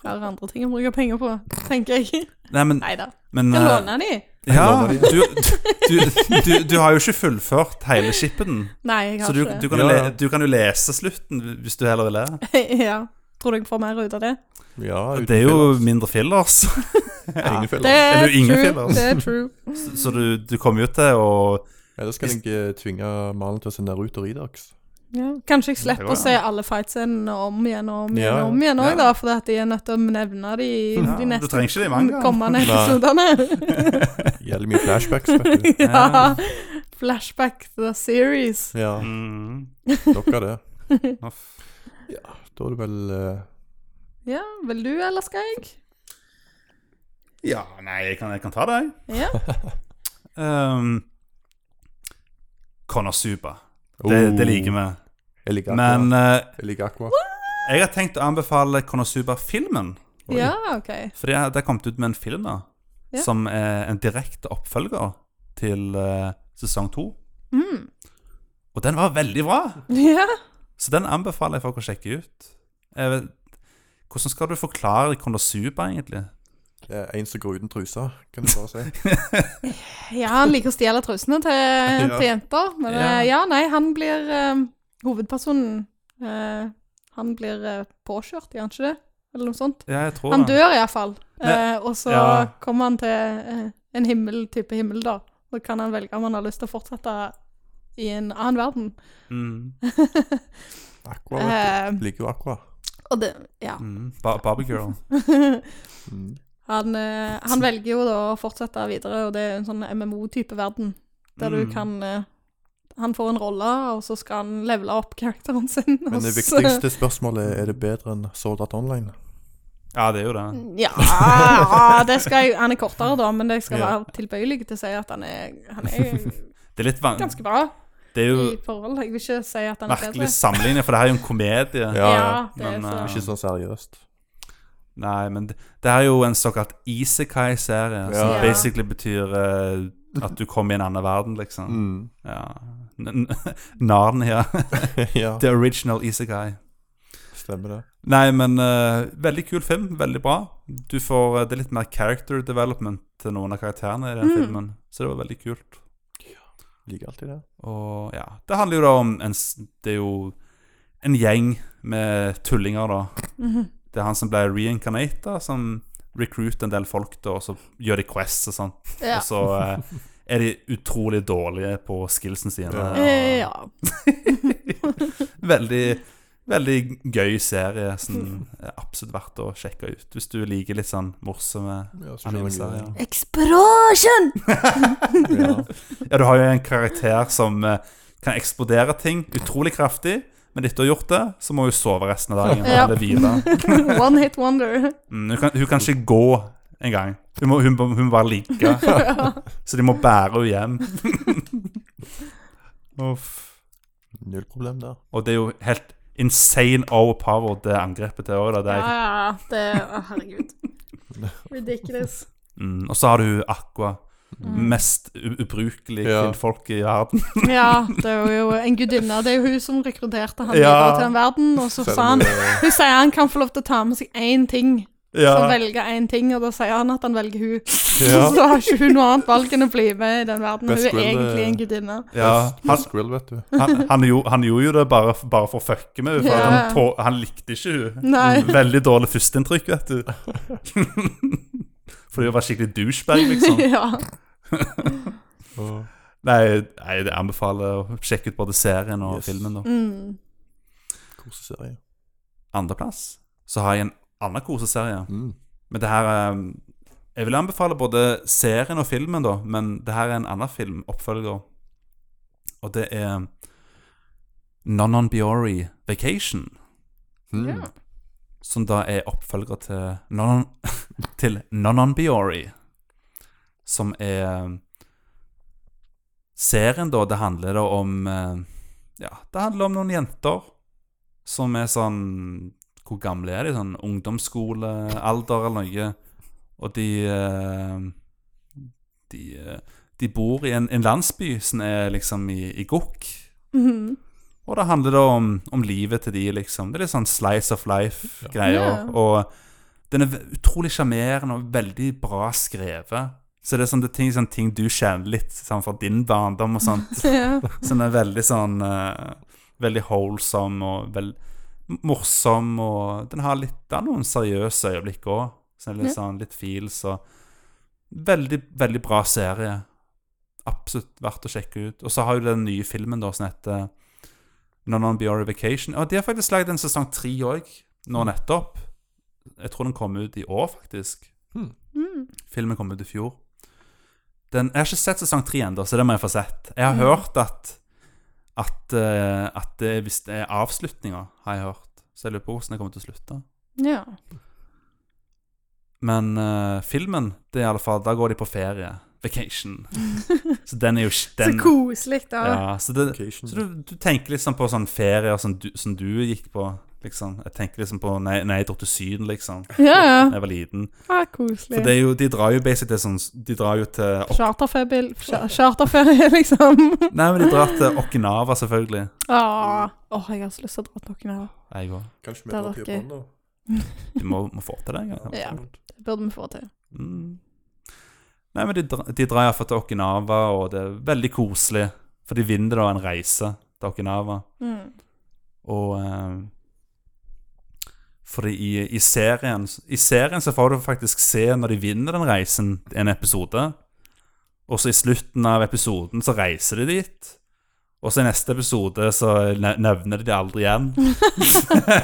Speaker 3: Jeg har andre ting å bruke penger på, tenker jeg.
Speaker 1: Nei, men,
Speaker 3: Nei da.
Speaker 1: men
Speaker 3: Skal
Speaker 1: eh,
Speaker 3: låne de?
Speaker 1: Ja, du, du, du, du har jo ikke fullført hele skippen.
Speaker 3: Nei, jeg
Speaker 1: Så
Speaker 3: har
Speaker 1: du,
Speaker 3: ikke
Speaker 1: du,
Speaker 3: det.
Speaker 1: kan,
Speaker 2: Ja,
Speaker 1: jo
Speaker 2: ja.
Speaker 1: le, du kan jo lese slutten hvis du heller vil det.
Speaker 3: *laughs* ja. Tror du jeg får mer ut av det?
Speaker 2: Ja, uten
Speaker 1: Det er jo
Speaker 2: fillers.
Speaker 1: mindre
Speaker 2: *laughs*
Speaker 1: fillers,
Speaker 2: Ingen
Speaker 3: Det
Speaker 2: fillers.
Speaker 1: Eller altså.
Speaker 3: er
Speaker 1: ingen
Speaker 3: true.
Speaker 1: fillers.
Speaker 3: Det er true.
Speaker 1: så- så du, du kommer jo til å
Speaker 2: Ellers kan jeg eh, tvinge Malen til å se Naruto Ridax.
Speaker 3: Ja. Kanskje jeg
Speaker 1: Det
Speaker 3: slipper
Speaker 1: går
Speaker 3: å se alle fightscenene om igjen og om igjen
Speaker 2: Ja, ja.
Speaker 3: og om igjen òg,
Speaker 1: Ja.
Speaker 3: da, fordi at jeg er nødt til å nevne de i
Speaker 1: Ja,
Speaker 3: de
Speaker 1: du
Speaker 3: neste
Speaker 1: trenger ikke det i mangaen.
Speaker 3: kommende
Speaker 1: *laughs*
Speaker 2: Nei.
Speaker 3: episodene. *laughs*
Speaker 2: Gjelder mye flashbacks, vet du.
Speaker 1: Ja.
Speaker 3: ja. Flashback the series.
Speaker 2: Ja,
Speaker 1: mm,
Speaker 2: dere det.
Speaker 1: Uff.
Speaker 2: Da er det vel eh,
Speaker 3: Ja, vil du, eller skal jeg?
Speaker 1: Ja, nei, jeg kan, jeg kan ta det, jeg.
Speaker 3: Ja.
Speaker 1: *laughs* Um, Konosuba. Det,
Speaker 2: Oh.
Speaker 1: det liker vi.
Speaker 2: Jeg liker Aqua.
Speaker 1: Men eh,
Speaker 2: jeg liker Aqua.
Speaker 1: jeg har tenkt å anbefale Konosuba-filmen.
Speaker 2: Oi.
Speaker 3: Ja, OK.
Speaker 1: For det det har kommet ut med en film da
Speaker 3: Ja.
Speaker 1: som er en direkte oppfølger til eh, sesong to.
Speaker 3: Mm. *laughs*
Speaker 1: Og den var veldig bra!
Speaker 3: Ja.
Speaker 1: Så den anbefaler jeg folk å sjekke ut. Jeg vet, hvordan skal du forklare Konosuba, egentlig?
Speaker 2: Det er en som går uten truse, kan du bare
Speaker 1: *laughs*
Speaker 2: si.
Speaker 3: ja, han liker å stjele trusene til, til jenter. Men
Speaker 1: Ja.
Speaker 3: ja. ja, nei, han blir eh, Hovedpersonen eh, Han blir eh, påkjørt, gjør han ikke det? Eller noe sånt.
Speaker 1: Ja, jeg tror
Speaker 3: Han
Speaker 1: det.
Speaker 3: dør iallfall.
Speaker 1: Men-
Speaker 3: Uh, og så
Speaker 1: ja.
Speaker 3: kommer han til eh, en himmel, type himmel, da. Da kan han velge om han har lyst til å fortsette i en annen verden.
Speaker 1: Mm,
Speaker 2: Aqua, vet
Speaker 3: Eh,
Speaker 2: du. Liker jo Aqua.
Speaker 3: og det Ja.
Speaker 1: *laughs* mm, ba Barbie Girl.
Speaker 2: Mm.
Speaker 3: Han, eh, han velger jo da å fortsette videre, og det er en sånn MMO-type verden. Der
Speaker 1: Mm.
Speaker 3: du kan eh, Han får en rolle, og så skal han levele opp karakteren sin. og
Speaker 2: Men det
Speaker 3: så-
Speaker 2: viktigste spørsmålet er er det bedre enn Sword Art Online?
Speaker 1: Ja, det er jo det.
Speaker 3: Ja, ja, det skal jeg, Han er kortere, da, men jeg skal
Speaker 2: Ja.
Speaker 3: være tilbøyelig til å si at han er, han er
Speaker 1: Det er litt van
Speaker 3: ganske altså. bra
Speaker 1: Det er jo
Speaker 3: i forhold. Jeg vil ikke si at han er bedre.
Speaker 1: merkelig sammenligning, for det her er jo en komedie.
Speaker 2: Ja, ja.
Speaker 3: det er
Speaker 1: Men,
Speaker 3: så.
Speaker 1: eh,
Speaker 2: Ikke sånn seriøst.
Speaker 1: Nei, men det, det her er jo en såkalt isekai-serie, som
Speaker 2: Ja.
Speaker 1: basically betyr eh, at du kommer i en annen verden, liksom.
Speaker 2: Mm. *laughs*
Speaker 1: Ja. N- *laughs* n- Narnia.
Speaker 2: ja,
Speaker 1: The original Isekai.
Speaker 2: Stemmer det.
Speaker 1: Nei, men eh, veldig kul film. Veldig bra. Du får eh, det er litt mer character development til noen av karakterene i den
Speaker 3: Mm.
Speaker 1: filmen. Så det var veldig kult.
Speaker 2: Liker alltid det.
Speaker 1: Og ja, det handler jo da om en, s- Det er jo en gjeng med tullinger, da.
Speaker 2: eh,
Speaker 3: Mhm.
Speaker 1: Det er han som ble reincarnata, som recruiter en del folk, da, og så gjør de quests og sånn.
Speaker 3: *laughs* Ja.
Speaker 1: Og så eh, er de utrolig dårlige på skillsen sine.
Speaker 2: Ja.
Speaker 3: Eh, ja.
Speaker 1: Veldig, veldig gøy serie. Sånn, er absolutt verdt å sjekke ut hvis du liker litt sånn morsomme
Speaker 2: Ja, så skjønner jeg
Speaker 1: anime-serier.
Speaker 2: det.
Speaker 3: Explosion! *laughs*
Speaker 2: Ja.
Speaker 1: Ja, du har jo en karakter som eh, kan eksplodere ting utrolig kraftig, men etter å ha gjort det, så må hun sove resten av dagen.
Speaker 3: Ja.
Speaker 1: Eller hvile.
Speaker 3: One hit wonder.
Speaker 1: Mm, hun, kan, hun kan ikke gå engang. Hun må, hun, må- hun må bare ligge. Så de må bære henne hjem. Uff.
Speaker 2: Null problem der.
Speaker 1: Og det er jo helt insane overpower, det angrepet til òg.
Speaker 3: Ja,
Speaker 1: Ja.
Speaker 3: ja, ja. Det å,
Speaker 2: *laughs*
Speaker 3: Herregud. Ridiculous.
Speaker 1: Mm, og så har du Aqua.
Speaker 3: Mm.
Speaker 1: Mest u- ubrukelige
Speaker 2: Ja.
Speaker 1: kvinnfolk i verden. *laughs*
Speaker 3: Ja, det er jo en gudinne. Det er jo hun som rekrutterte han
Speaker 1: Ja.
Speaker 3: videre til den verden, og så sa han Hun sier han kan få lov til å ta med seg én ting, så
Speaker 1: Ja.
Speaker 3: velge én ting, og da sier han at han velger hun.
Speaker 2: Ja.
Speaker 3: *laughs* Så har ikke hun noe annet valg enn å bli med i den verden. Hun
Speaker 2: Best
Speaker 3: er
Speaker 2: will,
Speaker 3: egentlig
Speaker 2: eh,
Speaker 3: en gudinne.
Speaker 1: Ja, han,
Speaker 2: Skrill, vet
Speaker 1: *laughs*
Speaker 2: du.
Speaker 1: han, han, gjorde, han gjorde jo det bare, bare for å fucke med henne, for
Speaker 3: Ja.
Speaker 1: han, tå- han likte ikke henne.
Speaker 3: Nei.
Speaker 1: *laughs* Veldig dårlig førsteinntrykk, vet du. *laughs* Fordi hun var skikkelig douchebag,
Speaker 3: *laughs*
Speaker 1: liksom.
Speaker 3: ja.
Speaker 2: Og
Speaker 1: Nei, nei, jeg anbefaler å sjekke ut både serien og
Speaker 2: Yes.
Speaker 1: filmen. da
Speaker 3: Mm.
Speaker 2: koseserie.
Speaker 1: Andreplass så har jeg en annen koseserie.
Speaker 2: Mm.
Speaker 1: Men det her eh, Jeg vil anbefale både serien og filmen, da, men det her er en annen film, oppfølger. Og det er Nonon Biori Vacation,
Speaker 2: Mm.
Speaker 3: Ja.
Speaker 1: som da er oppfølger til Nonon, *laughs* til Nonon Biori, som er ehm, serien, da, det handler da om eh, Ja, det handler om noen jenter som er sånn Hvor gamle er de? Sånn ungdomsskolealder eller noe. Og de eh, De, eh, de bor i en, en landsby som er liksom i, i gokk.
Speaker 3: Mhm.
Speaker 1: Og det handler da om, om livet til de, liksom. Det er litt sånn slice of life-greier.
Speaker 3: Ja.
Speaker 1: Og den er ve- utrolig sjarmerende og veldig bra skrevet. Så det er sånn, det er ting, sånn ting du kjenner litt sånn fra din barndom og sånn. sånt.
Speaker 3: *laughs* Ja.
Speaker 1: *laughs* Som er veldig sånn eh, Veldig wholesome og vel, morsom. Og den har litt det er noen seriøse øyeblikk òg. Litt, sånn, litt feels og Veldig, veldig bra serie. Absolutt verdt å sjekke ut. Og så har jo den nye filmen da som heter Nonon Biore Vacation. Og de har faktisk lagd en sesong tre òg, nå nettopp. Jeg tror den kom ut i år, faktisk.
Speaker 3: Mm.
Speaker 1: Filmen kom ut i fjor. Den, jeg har ikke sett sesong tre ennå, så det må jeg få sett. Jeg har
Speaker 3: Mm.
Speaker 1: hørt at at, eh, at det, hvis det er avslutninger, har jeg hørt. Så jeg lurer på hvordan det kommer til å slutte.
Speaker 3: Ja.
Speaker 1: Men eh, filmen, det er i alle fall, da går de på ferie.
Speaker 3: *laughs*
Speaker 1: Vacation. Så den er jo ikke
Speaker 3: Så
Speaker 1: den,
Speaker 3: koselig, da.
Speaker 1: Ja, så det,
Speaker 2: Vacation.
Speaker 1: så du, du tenker liksom på sånn ferier som du, som du gikk på, liksom. Jeg tenker liksom på når jeg- når jeg dro til Syden, liksom,
Speaker 3: Ja, ja.
Speaker 1: da jeg var liten.
Speaker 3: Ah,
Speaker 1: For
Speaker 3: koselig.
Speaker 1: det er jo, de drar jo basically til sånn De drar jo til
Speaker 3: Charterferie, cha- charterferie, *laughs*
Speaker 1: *laughs*
Speaker 3: liksom.
Speaker 1: Nei, men de drar til Okinawa, selvfølgelig.
Speaker 3: Åh, Åh, jeg har så lyst til å dra til Okinawa.
Speaker 1: Jeg òg.
Speaker 2: Kanskje vi
Speaker 3: Det
Speaker 2: drar
Speaker 3: var
Speaker 2: til
Speaker 3: gøy.
Speaker 2: Japan, da?
Speaker 1: Du må, må få til det en gang. altså.
Speaker 3: Ja. Det burde vi få til.
Speaker 1: Mm. Nei, men de, dra- de drar iallfall til Okinawa, og det er veldig koselig. For de vinner da en reise til Okinawa.
Speaker 3: Mm.
Speaker 1: Og eh, Fordi i, i serien I serien så får du faktisk se når de vinner den reisen, en episode. Og så i slutten av episoden så reiser de dit. Og så i neste episode så ne- nevner de det aldri igjen.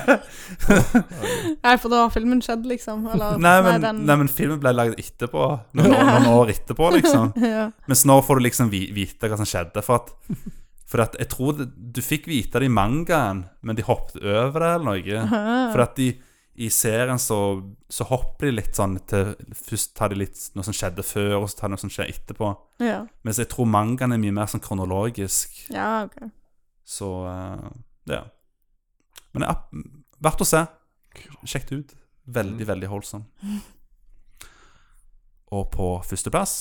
Speaker 1: *laughs*
Speaker 3: Nei, for da har filmen skjedd, liksom. Eller,
Speaker 1: Nei, men,
Speaker 3: den-
Speaker 1: nei, men filmen ble lagd etterpå. Noen år, noen år etterpå, liksom.
Speaker 3: *laughs* ja.
Speaker 1: Mens nå får du liksom vi- vite hva som skjedde. For at, for at jeg tror det, du fikk vite det i mangaen, men de hoppet over det eller
Speaker 3: *laughs*
Speaker 1: noe. For at de, i serien så, så hopper de litt sånn til Først tar de litt noe som skjedde før, og så tar de noe som skjer etterpå.
Speaker 3: ja.
Speaker 1: Mens jeg tror mangaen er mye mer sånn kronologisk.
Speaker 3: ja, ok.
Speaker 1: Så eh, ja. Men det er ab- verdt å se. Sjekk det ut. Veldig, veldig holdsom. Og på førsteplass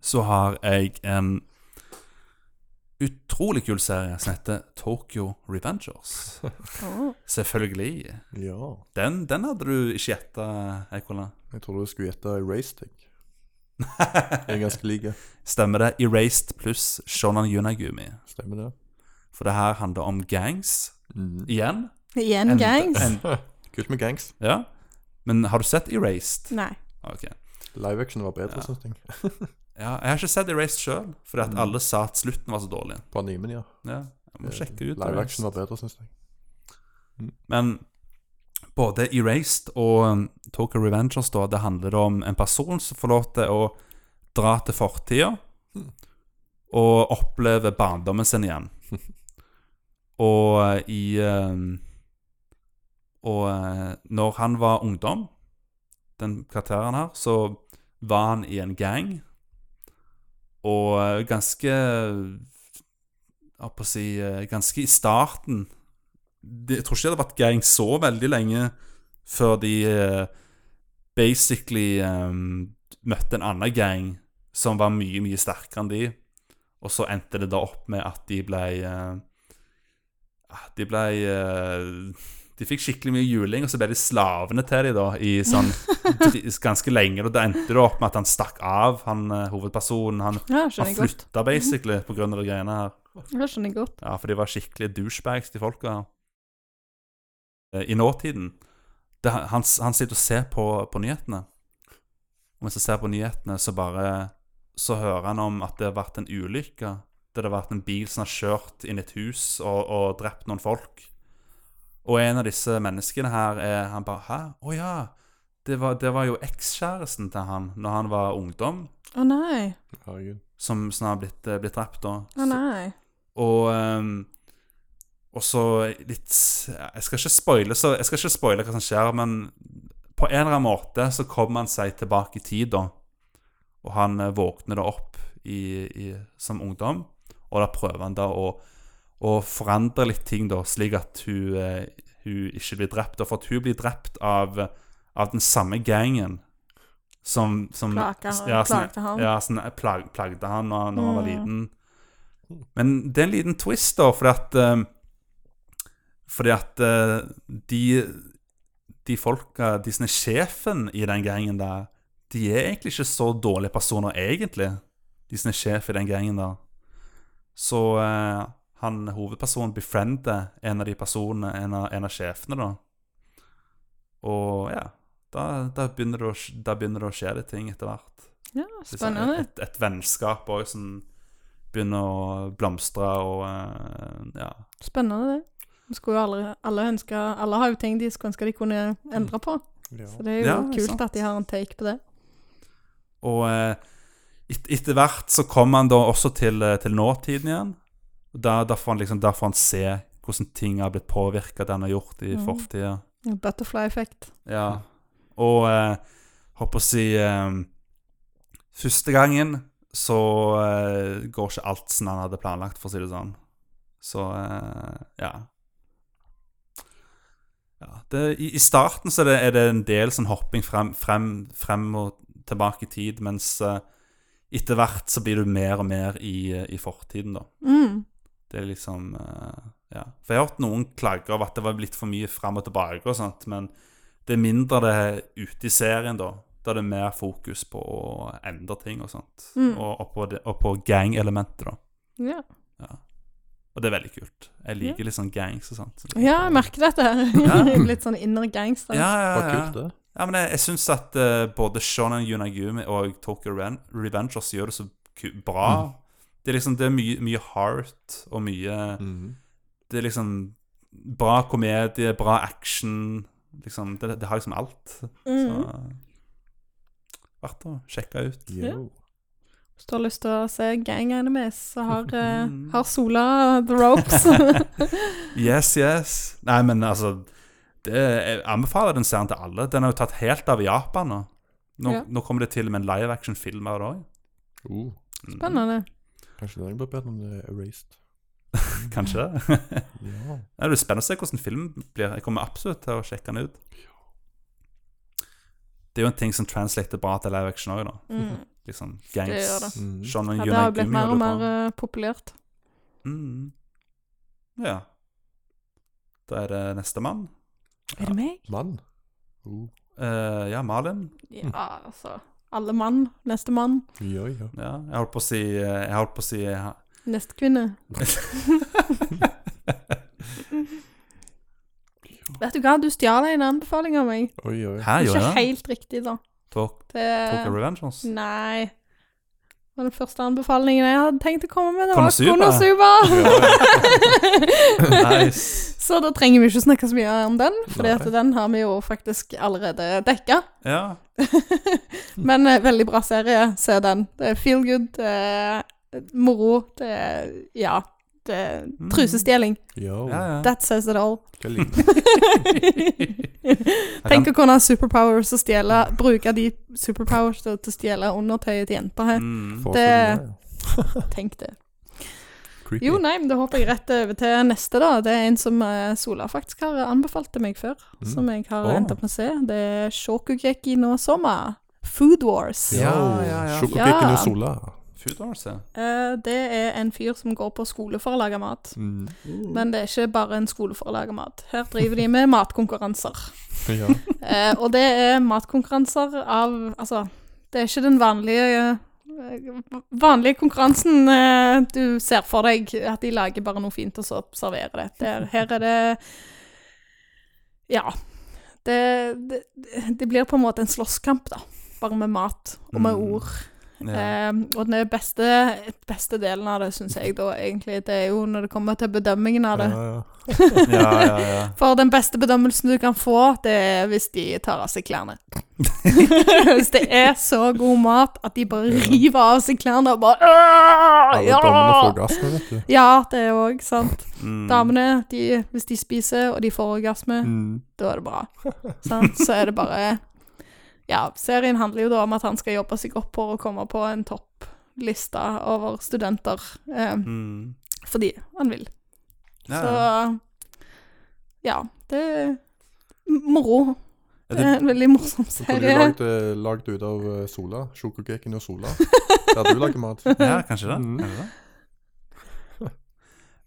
Speaker 1: så har jeg en utrolig kul serie som heter Tokyo Revengers.
Speaker 3: Åh.
Speaker 1: Selvfølgelig.
Speaker 2: Ja.
Speaker 1: Den, den hadde du ikke gjetta, Eikola.
Speaker 2: Jeg trodde du skulle gjette Raystick. Jeg er ganske like.
Speaker 1: *laughs* Stemmer det. Erased pluss Shonan Yunagumi.
Speaker 2: Stemmer det?
Speaker 1: For det her handler om gangs
Speaker 2: Mhm.
Speaker 1: igjen.
Speaker 3: Igjen
Speaker 1: En-
Speaker 3: gangs?
Speaker 1: en-
Speaker 2: Kult med gangs.
Speaker 1: ja. Men har du sett Erased?
Speaker 3: Nei.
Speaker 1: Ok.
Speaker 2: Live action var bedre,
Speaker 1: Ja.
Speaker 2: synes jeg.
Speaker 1: Ja, jeg har ikke sett Erased sjøl, fordi
Speaker 2: Mm.
Speaker 1: at alle sa at slutten var så dårlig.
Speaker 2: På animen, ja.
Speaker 1: Ja, jeg må sjekke ut
Speaker 2: Eh, Live action
Speaker 1: Erased.
Speaker 2: var bedre, synes jeg.
Speaker 1: Men både Erased og um, Tokyo Revengers da, det handler om en person som får lov til å dra til fortida
Speaker 2: Hm.
Speaker 1: og oppleve barndommen sin
Speaker 2: *laughs*
Speaker 1: igjen. Og eh, i um, Og eh, når han var ungdom, den karakteren her, så var han i en gang. Og eh, ganske Jeg holdt på å si eh, Ganske i starten det, jeg tror ikke det hadde vært gang så veldig lenge før de eh, basically ehm, møtte en annen gang som var mye, mye sterkere enn de. Og så endte det da opp med at de ble eh, ah, De ble eh, De fikk skikkelig mye juling, og så ble de slavene til de da, i
Speaker 3: *laughs*
Speaker 1: sånn dri- ganske lenge. Og da endte det opp med at han stakk av, han eh, hovedpersonen. Han,
Speaker 3: Ja,
Speaker 1: han
Speaker 3: skjønner jeg godt.
Speaker 1: flytta basically på grunn av de greiene her.
Speaker 3: Ja, skjønner jeg godt.
Speaker 1: Ja, for de var skikkelig douchebags, de folka her. Eh, I nåtiden. Det, han, han sitter og ser på, på nyhetene. Og mens han ser på nyhetene, så bare Så hører han om at det har vært en ulykke. Der det har vært en bil som har kjørt inn i et hus og, og drept noen folk. Og en av disse menneskene her er Han bare Hæ? Å ja. Det var, det var jo ekskjæresten til han når han var ungdom,
Speaker 3: Å nei.
Speaker 2: Herregud.
Speaker 1: som, som har blitt, eh, blitt drept da.
Speaker 3: Å nei.
Speaker 1: Og ehm, og så litt ja, Jeg skal ikke spoile så Jeg skal ikke spoile hva som skjer, men på en eller annen måte så kommer han seg tilbake i tid, da. Og han eh, våkner da opp i, i, som ungdom, og da prøver han da å, å forandre litt ting, da, slik at hun, eh, hun ikke blir drept. Og for at hun blir drept av, av den samme gangen som, som
Speaker 3: Plaka,
Speaker 1: ja, som-
Speaker 3: plagte han.
Speaker 1: ja, sånn, eh, plag, plagde han når, når han var
Speaker 3: Mm.
Speaker 1: liten. Men det er en liten twist, da, fordi at eh, Fordi at eh, de De folka, de som er sjefen i den gangen der, de er egentlig ikke så dårlige personer, egentlig. De som er sjef i den gangen der. Så eh, han hovedpersonen befriender en av de personene, en av, en av sjefene, da. Og ja, da, da, begynner det å, sk- da begynner det å skje litt ting etter hvert.
Speaker 3: Ja,
Speaker 1: Det er sånn
Speaker 3: spennende.
Speaker 1: Et, et vennskap òg som begynner å blomstre og eh, ja.
Speaker 3: Spennende, det. Vi skulle jo alle, alle ønske Alle har jo ting de skulle ønske de kunne endre på.
Speaker 2: Ja.
Speaker 3: Så det er jo
Speaker 1: Ja,
Speaker 3: kult
Speaker 1: sant.
Speaker 3: at de har en take på det.
Speaker 1: Og eh, et, etter hvert så kommer han da også til, eh, til nåtiden igjen. Da, da, får han liksom, da får han se hvordan ting har blitt påvirka, det han har gjort i
Speaker 3: Mhm.
Speaker 1: fortida.
Speaker 3: Butterfly effect.
Speaker 1: Ja. Og eh, håper å si eh, Første gangen så eh, går ikke alt som han hadde planlagt, for å si det sånn. Så eh, ja. ja det, i, I starten så er det, er det en del sånn hopping frem, frem, frem og tilbake i tid, mens eh, etter hvert så blir du mer og mer i, eh, i fortiden, da.
Speaker 3: Mm.
Speaker 1: Det er liksom eh, Ja. For jeg har hørt noen klage over at det var litt for mye fram og tilbake og sånt, men det er mindre det er ute i serien, da. Da er det mer fokus på å endre ting og sånt.
Speaker 3: Mm.
Speaker 1: Og, og på, det- og på gang-elementet, da.
Speaker 3: Ja.
Speaker 1: Og det er veldig kult. Jeg liker litt sånn gangs og sånt.
Speaker 3: ja, jeg merker dette *laughs* her. Litt sånn inner gangster.
Speaker 1: Ja, ja,
Speaker 2: Det var
Speaker 1: ja.
Speaker 2: kult, det.
Speaker 1: ja men jeg, jeg syns at eh, både Shonan Yunagumi og Tokyo Ren Revengers gjør det så ku bra. Det er liksom det er mye, mye heart og mye
Speaker 2: Mhm.
Speaker 1: det er liksom bra komedie, bra action. Liksom, det, det har liksom alt.
Speaker 3: Mm.
Speaker 1: Så Verdt å sjekke ut.
Speaker 2: Jo.
Speaker 3: Hvis du har lyst til å se gang animes, så *laughs* har, eh,
Speaker 1: Mm.
Speaker 3: har Sola the *laughs* ropes.
Speaker 1: Yes, yes. Nei, men altså det, Jeg anbefaler den serien til alle. Den er jo tatt helt av i Japan nå. Nå,
Speaker 3: Ja.
Speaker 1: nå kommer det til og med en live action-film av det òg.
Speaker 2: Uh,
Speaker 3: Spennende.
Speaker 2: kanskje den blir bedre om det er erased.
Speaker 1: Mm, Kanskje det. *laughs*
Speaker 2: Ja.
Speaker 1: Det blir spennende å se hvordan filmen blir. Jeg kommer absolutt til å sjekke den ut. Det er jo en ting som translater bra til live action òg, da.
Speaker 3: Mm.
Speaker 1: Liksom
Speaker 3: Det
Speaker 1: gangs.
Speaker 3: gjør det.
Speaker 2: Mhm.
Speaker 1: Shonen
Speaker 3: Ja, det har jo
Speaker 1: Yunagumi
Speaker 3: blitt mer og
Speaker 1: holder på.
Speaker 3: mer eh, populært.
Speaker 1: Mm. Ja. Da er det nestemann.
Speaker 3: Er det meg?
Speaker 2: Mann? Oh.
Speaker 1: Eh, ja, Malin.
Speaker 3: Ja, altså. Alle mann. Neste mann.
Speaker 2: Ja, ja.
Speaker 1: Ja, jeg holdt på å si eh, Jeg holdt på å si ja.
Speaker 3: Neste *laughs* kvinne. Vet du hva, du stjal en anbefaling av meg.
Speaker 2: Oi, oi.
Speaker 1: Her gjorde jeg
Speaker 3: Ikke
Speaker 1: det.
Speaker 3: helt riktig, da.
Speaker 1: Talk,
Speaker 3: Det
Speaker 1: talk of Revengeance.
Speaker 3: mm. Nei. Det var den første anbefalingen jeg hadde tenkt å komme med. Det var
Speaker 1: Konosuba. *laughs*
Speaker 3: Konosuba! *laughs*
Speaker 1: Nice.
Speaker 3: Så da trenger vi ikke snakke så mye om den, for
Speaker 2: Nei.
Speaker 3: den har vi jo faktisk allerede dekka.
Speaker 1: Ja.
Speaker 3: *laughs* Men eh, veldig bra serie. Se den. Det er feel good, det er moro, det er Ja. Det er trusestjeling.
Speaker 2: Yo.
Speaker 1: Mm. ja, ja.
Speaker 3: That says it all.
Speaker 2: Hva liker du?
Speaker 1: Jeg
Speaker 3: Tenk
Speaker 1: kan-
Speaker 3: å kunne ha superpowers og stjele Bruke de superpowers til til å stjele undertøyet til jenter her.
Speaker 1: Mm.
Speaker 2: Forestillingen
Speaker 3: Det-
Speaker 2: er
Speaker 3: Tenk det.
Speaker 2: Creepy.
Speaker 3: Jo, nei, men da hopper jeg rett over til neste, da. Det er en som eh, Sola faktisk har anbefalt til meg før,
Speaker 2: Mm.
Speaker 3: som jeg har
Speaker 1: Åh.
Speaker 3: endt opp med å se. Det er Shokugeki no Soma. Food Wars.
Speaker 1: Ja, ja, ja.
Speaker 2: Sjokokikken
Speaker 3: Ja.
Speaker 2: og sola.
Speaker 1: Food Wars, ja.
Speaker 3: Eh, det er en fyr som går på skole for å lage mat.
Speaker 2: Mm.
Speaker 3: Men det er ikke bare en skole for å lage mat. Her driver de med matkonkurranser.
Speaker 2: Ja.
Speaker 3: Eh, og det er matkonkurranser av Altså, det er ikke den vanlige eh, vanlige konkurransen eh, du ser for deg, at de lager bare noe fint og så serverer det. det er, her er det Ja. Det, det, det blir på en måte en slåsskamp, da. Bare med mat og med
Speaker 1: Mm.
Speaker 3: ord.
Speaker 1: ja.
Speaker 3: Eh, og den beste, beste delen av det, syns jeg da egentlig, det er jo når det kommer til bedømmingen av det.
Speaker 2: Ja, ja.
Speaker 1: ja, ja, ja.
Speaker 3: For den beste bedømmelsen du kan få, det er hvis de tar av seg klærne. hvis det er så god mat at de bare river av seg klærne og bare «Åh,
Speaker 2: Alle dommene får
Speaker 3: Ja!
Speaker 2: orgasme, vet du.
Speaker 3: ja, det er òg sant.
Speaker 1: Mm.
Speaker 3: Damene, de, hvis de spiser og de får orgasme,
Speaker 1: Mm.
Speaker 3: da er det bra. Sant? Så er det bare Ja, serien handler jo da om at han skal jobbe seg opp for å komme på en toppliste over studenter. Eh,
Speaker 1: Mm.
Speaker 3: fordi han vil.
Speaker 1: Ja,
Speaker 3: Så
Speaker 1: ja.
Speaker 3: ja, det er moro.
Speaker 1: Er
Speaker 3: Det er en *laughs* veldig morsom
Speaker 2: Kunne du
Speaker 3: serie.
Speaker 2: lagd eh, lagd ut av eh, sola? Sjokokeken og sola? Der du lager mat.
Speaker 1: Ja, kanskje det.
Speaker 2: Mm.
Speaker 1: Kanskje det.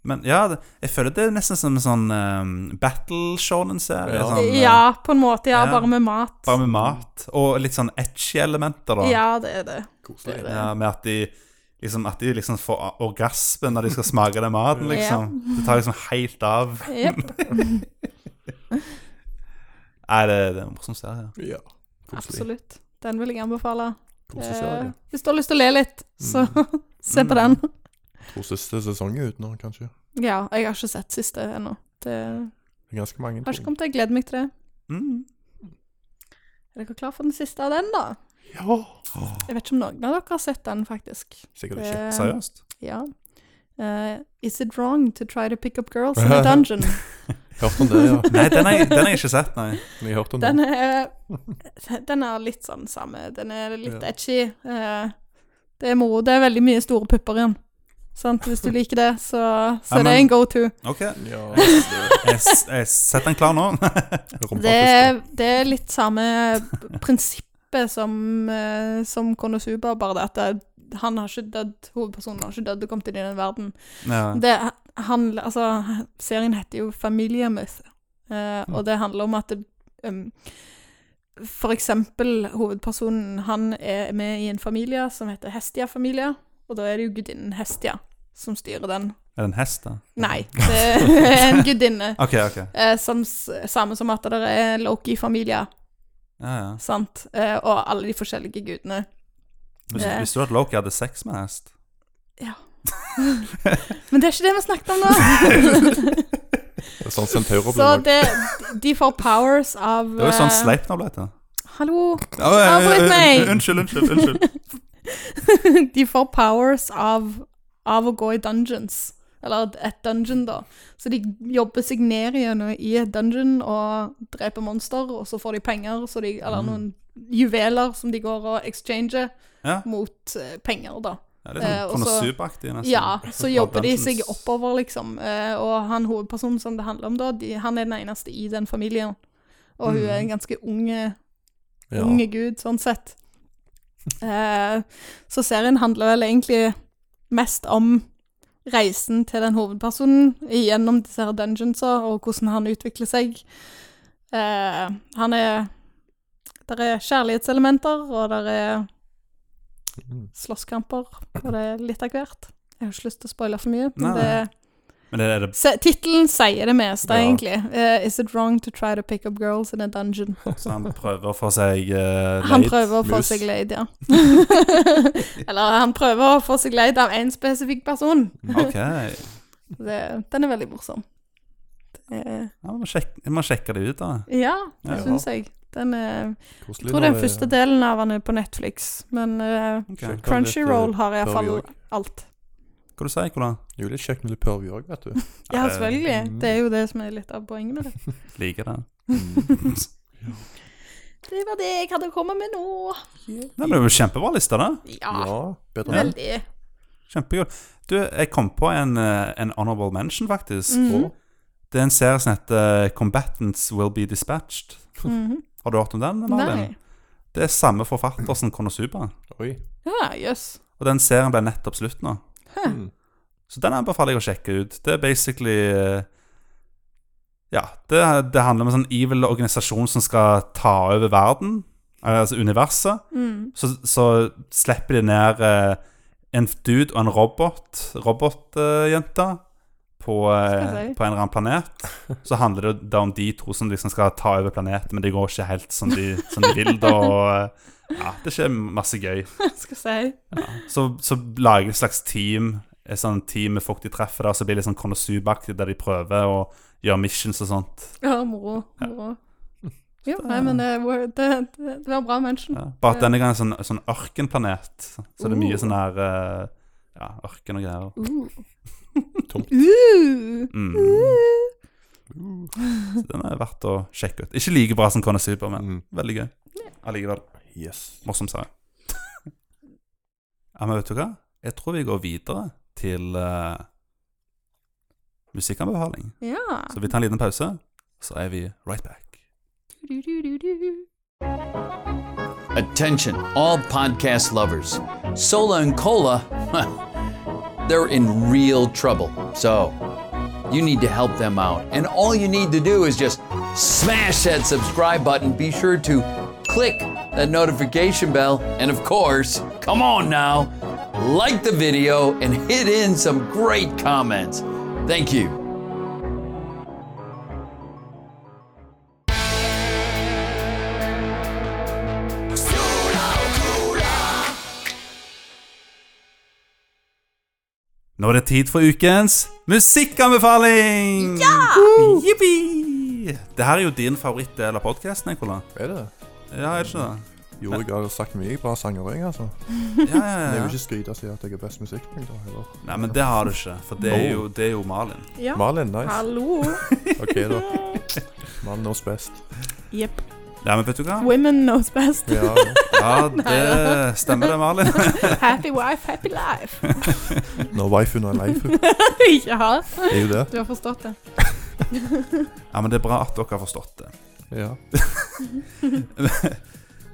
Speaker 1: Men ja, det, jeg føler det er nesten som en sånn um, battle shonen-serie.
Speaker 2: Ja.
Speaker 1: Sånn, eh,
Speaker 3: Ja, på en måte. Ja,
Speaker 1: Ja.
Speaker 3: bare med mat.
Speaker 1: Bare med mat. Og litt sånn etchy elementer, da.
Speaker 3: Ja, det er det.
Speaker 2: Koselig.
Speaker 3: det.
Speaker 1: Ja, med at de liksom, at de liksom får a- orgasme når de skal smake den maten,
Speaker 3: Ja.
Speaker 1: liksom. Det tar liksom helt av.
Speaker 3: Jepp.
Speaker 1: Nei, det, det er en morsom serie.
Speaker 2: Ja. Koselig.
Speaker 3: Absolutt. Den vil jeg anbefale. Eh,
Speaker 2: Koseserie.
Speaker 3: hvis du har lyst til å le litt, så *laughs* se på den.
Speaker 1: Mm.
Speaker 2: To siste sesonger ute nå, kanskje.
Speaker 3: Ja, jeg har ikke sett siste ennå. Det
Speaker 2: Det er Ganske mange.
Speaker 3: har ikke
Speaker 2: tror jeg.
Speaker 3: kommet til. Jeg gleder meg til det.
Speaker 1: Mm.
Speaker 3: Er dere klar for den siste av den, da?
Speaker 2: Ja!
Speaker 3: Jeg vet ikke om noen av dere har sett den, faktisk.
Speaker 2: Sikkert ikke.
Speaker 3: Det-
Speaker 1: Seriøst?
Speaker 3: Ja. Eh, is it wrong to try to pick up girls in a dungeon?
Speaker 2: Hørt om det, ja.
Speaker 1: Nei, den har jeg, den har jeg ikke sett, nei.
Speaker 2: Men Jeg hørte om
Speaker 3: Den
Speaker 2: det.
Speaker 1: Mm. *laughs*
Speaker 3: er, den er litt sånn samme. Den er litt
Speaker 2: Ja.
Speaker 3: edgy. Eh, det er moro. Det er veldig mye store pupper igjen. Sant? Hvis du liker det, så, så
Speaker 1: Ja,
Speaker 3: det
Speaker 1: men-
Speaker 3: er en go to.
Speaker 1: OK,
Speaker 2: *laughs* Ja,
Speaker 1: jeg, s- jeg setter den klar nå. *laughs*
Speaker 3: Det,
Speaker 2: Rumpatister.
Speaker 3: det er litt samme prinsippet som, eh, som Konosuba, bare det at det, han har ikke dødd, hovedpersonen har ikke dødd og kommet inn i den verden.
Speaker 1: Ja.
Speaker 3: Det handler, altså, serien heter jo Familiemyth, eh,
Speaker 1: Mm.
Speaker 3: og det handler om at det, um, for eksempel hovedpersonen, han er med i en familie som heter Hestia-familie, og da er det jo gudinnen Hestia som styrer den.
Speaker 1: Er det en hest, da? *laughs*
Speaker 3: Nei, det er en gudinne.
Speaker 1: OK, OK.
Speaker 3: Eh, som, s- samme som at det er Loki-familie,
Speaker 1: Ja, ja.
Speaker 3: sant? Eh, og alle de forskjellige gudene.
Speaker 1: Hvis,
Speaker 3: Det-
Speaker 1: visste du at Loki hadde sex med en hest?
Speaker 3: Men det er ikke det vi snakket
Speaker 1: *laughs*
Speaker 3: om nå! *laughs*
Speaker 2: Det er Sånn centaurer
Speaker 3: Så
Speaker 2: blir lagd.
Speaker 3: det, de får powers av
Speaker 1: Det var jo sånn
Speaker 3: eh,
Speaker 1: Sleipner ble til.
Speaker 3: Hallo!
Speaker 1: Å, ja, ja,
Speaker 3: Avbryt
Speaker 1: ja,
Speaker 3: meg!
Speaker 1: Unnskyld, unnskyld. unnskyld.
Speaker 3: *laughs* de får powers av, av å gå i dungeons. Eller et dungeon, da. Så de jobber seg ned gjennom i et dungeon og dreper monster, og så får de penger, så de, eller noen juveler som de går og exchanger
Speaker 1: Ja.
Speaker 3: mot eh, penger, da.
Speaker 1: Ja, litt
Speaker 3: Eh,
Speaker 1: sånn
Speaker 3: og så-
Speaker 1: Konosuba-aktig, nesten.
Speaker 3: Ja, så jobber de
Speaker 1: Dungeons.
Speaker 3: seg oppover, liksom. Eh, og han hovedpersonen som det handler om, da, de, han er den eneste i den familien. Og hun er en ganske eh, unge
Speaker 2: Ja.
Speaker 3: unge gud, sånn sett. Eh, så serien handler vel egentlig mest om reisen til den hovedpersonen gjennom disse her dungeonsa, og hvordan han utvikler seg. Eh, han er Der er kjærlighetselementer, og der er
Speaker 2: Mm.
Speaker 3: slåsskamper, og det er litt av hvert. Jeg har ikke lyst til å spoile for mye,
Speaker 1: Nei,
Speaker 3: men det
Speaker 1: nei. Men er det
Speaker 3: se, Tittelen sier det meste,
Speaker 2: Ja.
Speaker 3: egentlig. Eh, is it wrong to try to pick up girls in a dungeon?
Speaker 1: så han prøver å få seg eh,
Speaker 3: Han
Speaker 1: leid?
Speaker 3: prøver å få
Speaker 2: mus.
Speaker 3: seg leid, ja. *laughs* Eller han prøver å få seg leid av én spesifikk person.
Speaker 1: OK. Ja,
Speaker 3: Det, den er veldig morsom. Det, er-
Speaker 1: man, sjek, man sjekker det ut, da.
Speaker 3: ja, det
Speaker 2: Ja.
Speaker 3: syns jeg. Den er,
Speaker 2: Koselig.
Speaker 3: jeg tror
Speaker 2: når
Speaker 3: den første delen av den er på Netflix, men eh,
Speaker 1: Ok.
Speaker 2: Sjekk den litt, eh,
Speaker 3: Crunchyroll har
Speaker 2: purvy
Speaker 3: iallfall
Speaker 2: også.
Speaker 3: alt.
Speaker 1: Hva du sier du, Kola?
Speaker 2: Det er jo litt kjekt med litt purvy òg, vet du.
Speaker 3: Ja,
Speaker 1: det-
Speaker 3: selvfølgelig.
Speaker 2: Mm.
Speaker 3: Det er jo det som er litt av poenget med det.
Speaker 1: Liker det. *laughs*
Speaker 3: Det var det jeg hadde å komme med nå.
Speaker 1: Nei, men det er jo kjempebra liste, da.
Speaker 3: *laughs* Ja,
Speaker 2: Ja, bedre enn
Speaker 3: veldig.
Speaker 1: Kjempegod. Du, jeg kom på en, eh, en honorable mention, faktisk.
Speaker 3: Mhm,
Speaker 1: Det er en serie som heter eh, Combatants Will Be Dispatched.
Speaker 3: mhm.
Speaker 1: Har du hørt om den, Marvin?
Speaker 3: Nei.
Speaker 1: Det er samme forfatter som Konosuba.
Speaker 2: Oi.
Speaker 3: Ja, jøss.
Speaker 1: Og den serien ble nettopp slutt nå.
Speaker 2: Mm.
Speaker 1: Så den anbefaler jeg å sjekke ut. Det er basically eh, Ja, det, det handler om en sånn evil organisasjon som skal ta over verden, eh, altså universet.
Speaker 3: Mm. *laughs*
Speaker 1: Så, så slipper de ned eh, en dude og en robot, robotjente, på, eh,
Speaker 3: Skal jeg si.
Speaker 1: på en eller annen planet. Så handler det da om de to som liksom skal ta over planeten, men det går ikke helt som de, som de vil, da. Og, eh, ja, det skjer masse gøy.
Speaker 3: Skal jeg si.
Speaker 1: Så, så lager de et slags team Et sånn team med folk de treffer der Så blir det litt sånn konosubaktig der de prøver Å gjøre missions og sånt
Speaker 3: Ja, moro. moro. Ja, nei, men det, var- det, det, det var bra mention.
Speaker 1: ja. Bare at denne gangen er det en sånn, sånn ørkenplanet Så det er
Speaker 3: Uh.
Speaker 1: mye sånn her eh, Ja, ørken og greier
Speaker 3: Uh.
Speaker 2: Tomt.
Speaker 3: Uh.
Speaker 1: mm.
Speaker 3: Uh.
Speaker 1: Så den er verdt å sjekke ut Ikke like bra som konosuba, men
Speaker 2: Mm.
Speaker 1: veldig gøy Allikevel,
Speaker 2: Yes.
Speaker 1: morsom serie Ja, men vet du hva? Jeg tror vi går videre til eh, Musikkanbefaling
Speaker 3: Ja.
Speaker 1: Så vi tar en liten pause, så er vi right back.
Speaker 3: Du, du, du, du.
Speaker 6: Attention, all podcast lovers. Sola and Cola, huh, they're in real trouble. So, you need to help them out. And all you need to do is just smash that subscribe button. Be sure to click that notification bell. And of course, come on now, like the video and hit in some great comments. Thank you.
Speaker 1: Nå er det tid for ukens musikkanbefaling! Ja! Jippi! Det her er jo din favorittdel av podkasten, Nicola.
Speaker 2: Er det?
Speaker 1: Ja, er det ikke det?
Speaker 2: Jo, jeg har sagt mye bra sanger, jeg, altså.
Speaker 1: Ja, ja,
Speaker 2: Men Jeg vil
Speaker 1: ja.
Speaker 2: ikke skryte og si at jeg er best musikkpeng, da. Heller.
Speaker 1: Nei, men det har du ikke, for det er jo, det er jo Malin.
Speaker 3: Ja.
Speaker 2: Malin, nice.
Speaker 3: Hallo.
Speaker 2: OK, da. Mann knows
Speaker 3: *laughs*
Speaker 2: best.
Speaker 3: Jepp.
Speaker 1: Nei, men vet du hva?
Speaker 3: Women knows best.
Speaker 2: Ja, ja.
Speaker 1: Ja, det stemmer det, Malin.
Speaker 3: Happy wife, happy life.
Speaker 2: Når waifu er leif,
Speaker 3: *laughs* ja,
Speaker 2: er jo det.
Speaker 3: du har forstått det.
Speaker 1: Ja, men det er bra at dere har forstått det. *laughs*
Speaker 2: Ja.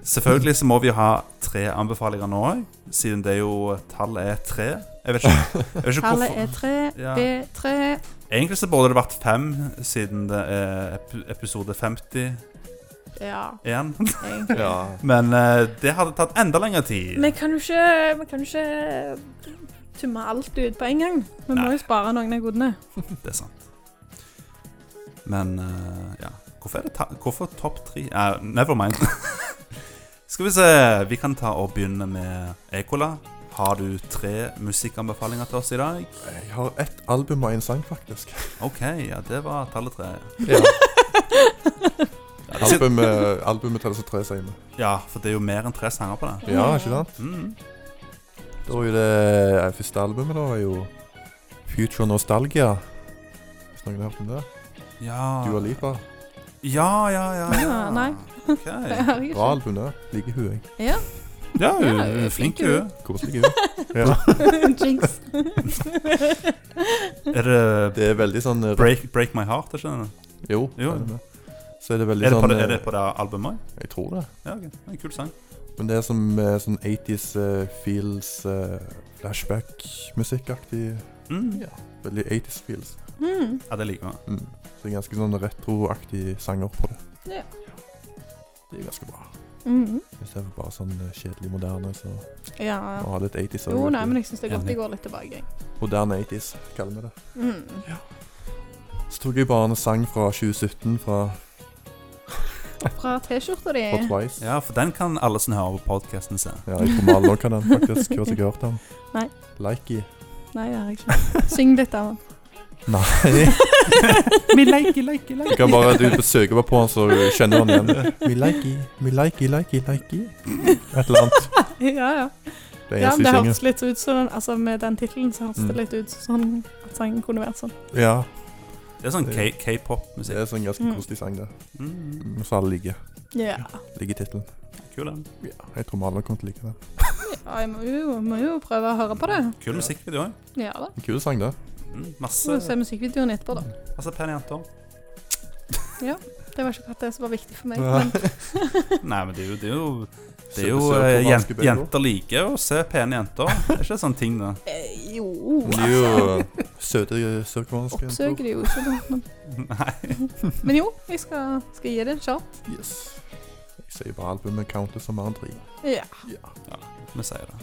Speaker 1: Selvfølgelig så må vi ha tre anbefalinger nå òg, siden det er jo tallet er tre. Jeg vet ikke, jeg vet ikke
Speaker 3: Tallet
Speaker 1: hvorfor
Speaker 3: er tre.
Speaker 1: Ja.
Speaker 3: B3.
Speaker 1: Egentlig så burde det vært fem, siden det er ep- episode 51.
Speaker 3: Ja, egentlig.
Speaker 2: ja.
Speaker 1: Men eh, det hadde tatt enda lengre tid.
Speaker 3: Vi kan jo ikke, vi kan jo ikke tumme alt ut på en gang. Vi må
Speaker 1: Nei.
Speaker 3: jo spare noen av godene.
Speaker 1: Det er sant. Men eh, ja Hvorfor, er det ta Hvorfor topp tre uh, Never mind. *laughs* Skal vi se. Vi kan ta og begynne med Ekola. Har du tre musikkanbefalinger til oss i dag?
Speaker 2: Jeg har ett album og én sang,
Speaker 1: *laughs*
Speaker 2: faktisk.
Speaker 1: OK, ja, det var tallet tre.
Speaker 2: Ja.
Speaker 1: Ja, det-
Speaker 2: *laughs* Albumet, albumet teller som tre, sier vi.
Speaker 1: ja, for det er jo mer enn tre sanger på det.
Speaker 2: Ja, ikke sant?
Speaker 1: Mm.
Speaker 2: Da er jo det eh, første albumet, da, er jo Future Nostalgia. Hvis noen har hørt om det. Dua
Speaker 1: Ja.
Speaker 2: Lipa.
Speaker 1: Ja, ja, ja.
Speaker 3: Ja, nei.
Speaker 1: OK.
Speaker 3: Det har jeg
Speaker 2: Bra
Speaker 3: ikke.
Speaker 2: album, det. Liker hun, jeg.
Speaker 3: Ja.
Speaker 1: Ja, hun
Speaker 3: Ja,
Speaker 1: hun er flink,
Speaker 3: flink,
Speaker 1: hun.
Speaker 3: hun.
Speaker 2: Koselig hun. *laughs* Ja.
Speaker 3: *laughs* Jinx.
Speaker 1: Er det
Speaker 2: Det er veldig sånn eh,
Speaker 1: Break, break My Heart? Er, ikke det?
Speaker 2: Jo.
Speaker 1: Jo.
Speaker 2: det er det. Så er det veldig
Speaker 1: er, det på
Speaker 2: sånn
Speaker 1: det, er
Speaker 2: eh,
Speaker 1: det på det albumet?
Speaker 2: Jeg tror det.
Speaker 1: Ja, ok. Det er en kul sang.
Speaker 2: Men det er som eh, sånn 80s eh, feels eh, flashback-musikkaktig.
Speaker 1: Mm.
Speaker 2: Ja. Veldig 80s feels.
Speaker 3: Mm.
Speaker 1: Ja, det liker vi.
Speaker 2: Mm. Så det er ganske sånn retroaktig sanger på det.
Speaker 3: Ja.
Speaker 2: Det er ganske bra.
Speaker 3: Mm.
Speaker 2: Istedenfor bare sånn eh, kjedelig moderne, så
Speaker 3: Ja.
Speaker 2: å ha litt 80s
Speaker 3: Jo, nei, men jeg syns det er godt
Speaker 1: Enig.
Speaker 3: jeg går litt tilbake. jeg.
Speaker 2: Moderne 80s, kaller vi det.
Speaker 3: Mm.
Speaker 2: Så tok jeg bare en sang fra 2017 fra,
Speaker 3: Fra T-skjorta di.
Speaker 2: fra Twice.
Speaker 1: Ja, for den kan alle som hører på podkasten, se.
Speaker 2: Ja, jeg tror vi alle nå kan den faktisk. Hva har jeg hørt den?
Speaker 3: *laughs* Nei.
Speaker 2: Likey.
Speaker 3: Nei, det har jeg ikke. Syng litt av
Speaker 2: *laughs*
Speaker 3: den.
Speaker 2: Nei. *laughs*
Speaker 1: Vi leker, leker,
Speaker 3: *laughs*
Speaker 2: Du kan bare du søke bare på den, så kjenner du den igjen. We likey, we likey, likey, likey. Et eller annet.
Speaker 3: Ja, ja.
Speaker 2: Det er
Speaker 3: ja
Speaker 2: eneste jeg
Speaker 3: men det
Speaker 2: synger.
Speaker 3: hørtes litt ut som altså Med den tittelen så hørtes det
Speaker 2: Mm.
Speaker 3: litt ut som sånn at sangen kunne vært sånn.
Speaker 2: Ja,
Speaker 1: Det er sånn K-
Speaker 2: det
Speaker 1: k-pop-musikk.
Speaker 2: er sånn ganske
Speaker 3: Mm.
Speaker 2: koselig sang, det.
Speaker 1: Mm,
Speaker 2: Mm, Så alle liker
Speaker 3: Ja.
Speaker 2: liker tittelen.
Speaker 1: kul, den.
Speaker 2: Ja, jeg tror vi alle kommer til å like den.
Speaker 3: ja jeg må jo, må jo prøve å høre på det.
Speaker 1: Kul musikkvideo òg.
Speaker 3: Ja da.
Speaker 2: En kul sang, det.
Speaker 1: Mm,
Speaker 3: Så får vi
Speaker 1: masse,
Speaker 3: se musikkvideoen etterpå, da.
Speaker 1: masse pene jenter.
Speaker 3: Det var ikke akkurat det som var viktig for meg.
Speaker 2: Ja.
Speaker 3: Men
Speaker 1: Nei, men det er jo, det er jo, det er
Speaker 2: Sø-
Speaker 1: jo
Speaker 2: søt og
Speaker 1: eh, jen-
Speaker 2: vanskelig begge to.
Speaker 1: Jenter liker å se pene jenter. Det er ikke sånn ting, det.
Speaker 3: eh, jo
Speaker 2: Men Det er jo søte sørkoreanske
Speaker 3: Oppsøker de jo ikke, da. Men,
Speaker 1: *laughs* Nei.
Speaker 3: men jo, jeg skal, skal gi det en shot.
Speaker 2: Yes. Jeg sier bare albumet counter som andre i.
Speaker 3: Ja.
Speaker 2: Ja.
Speaker 1: Vi sier det.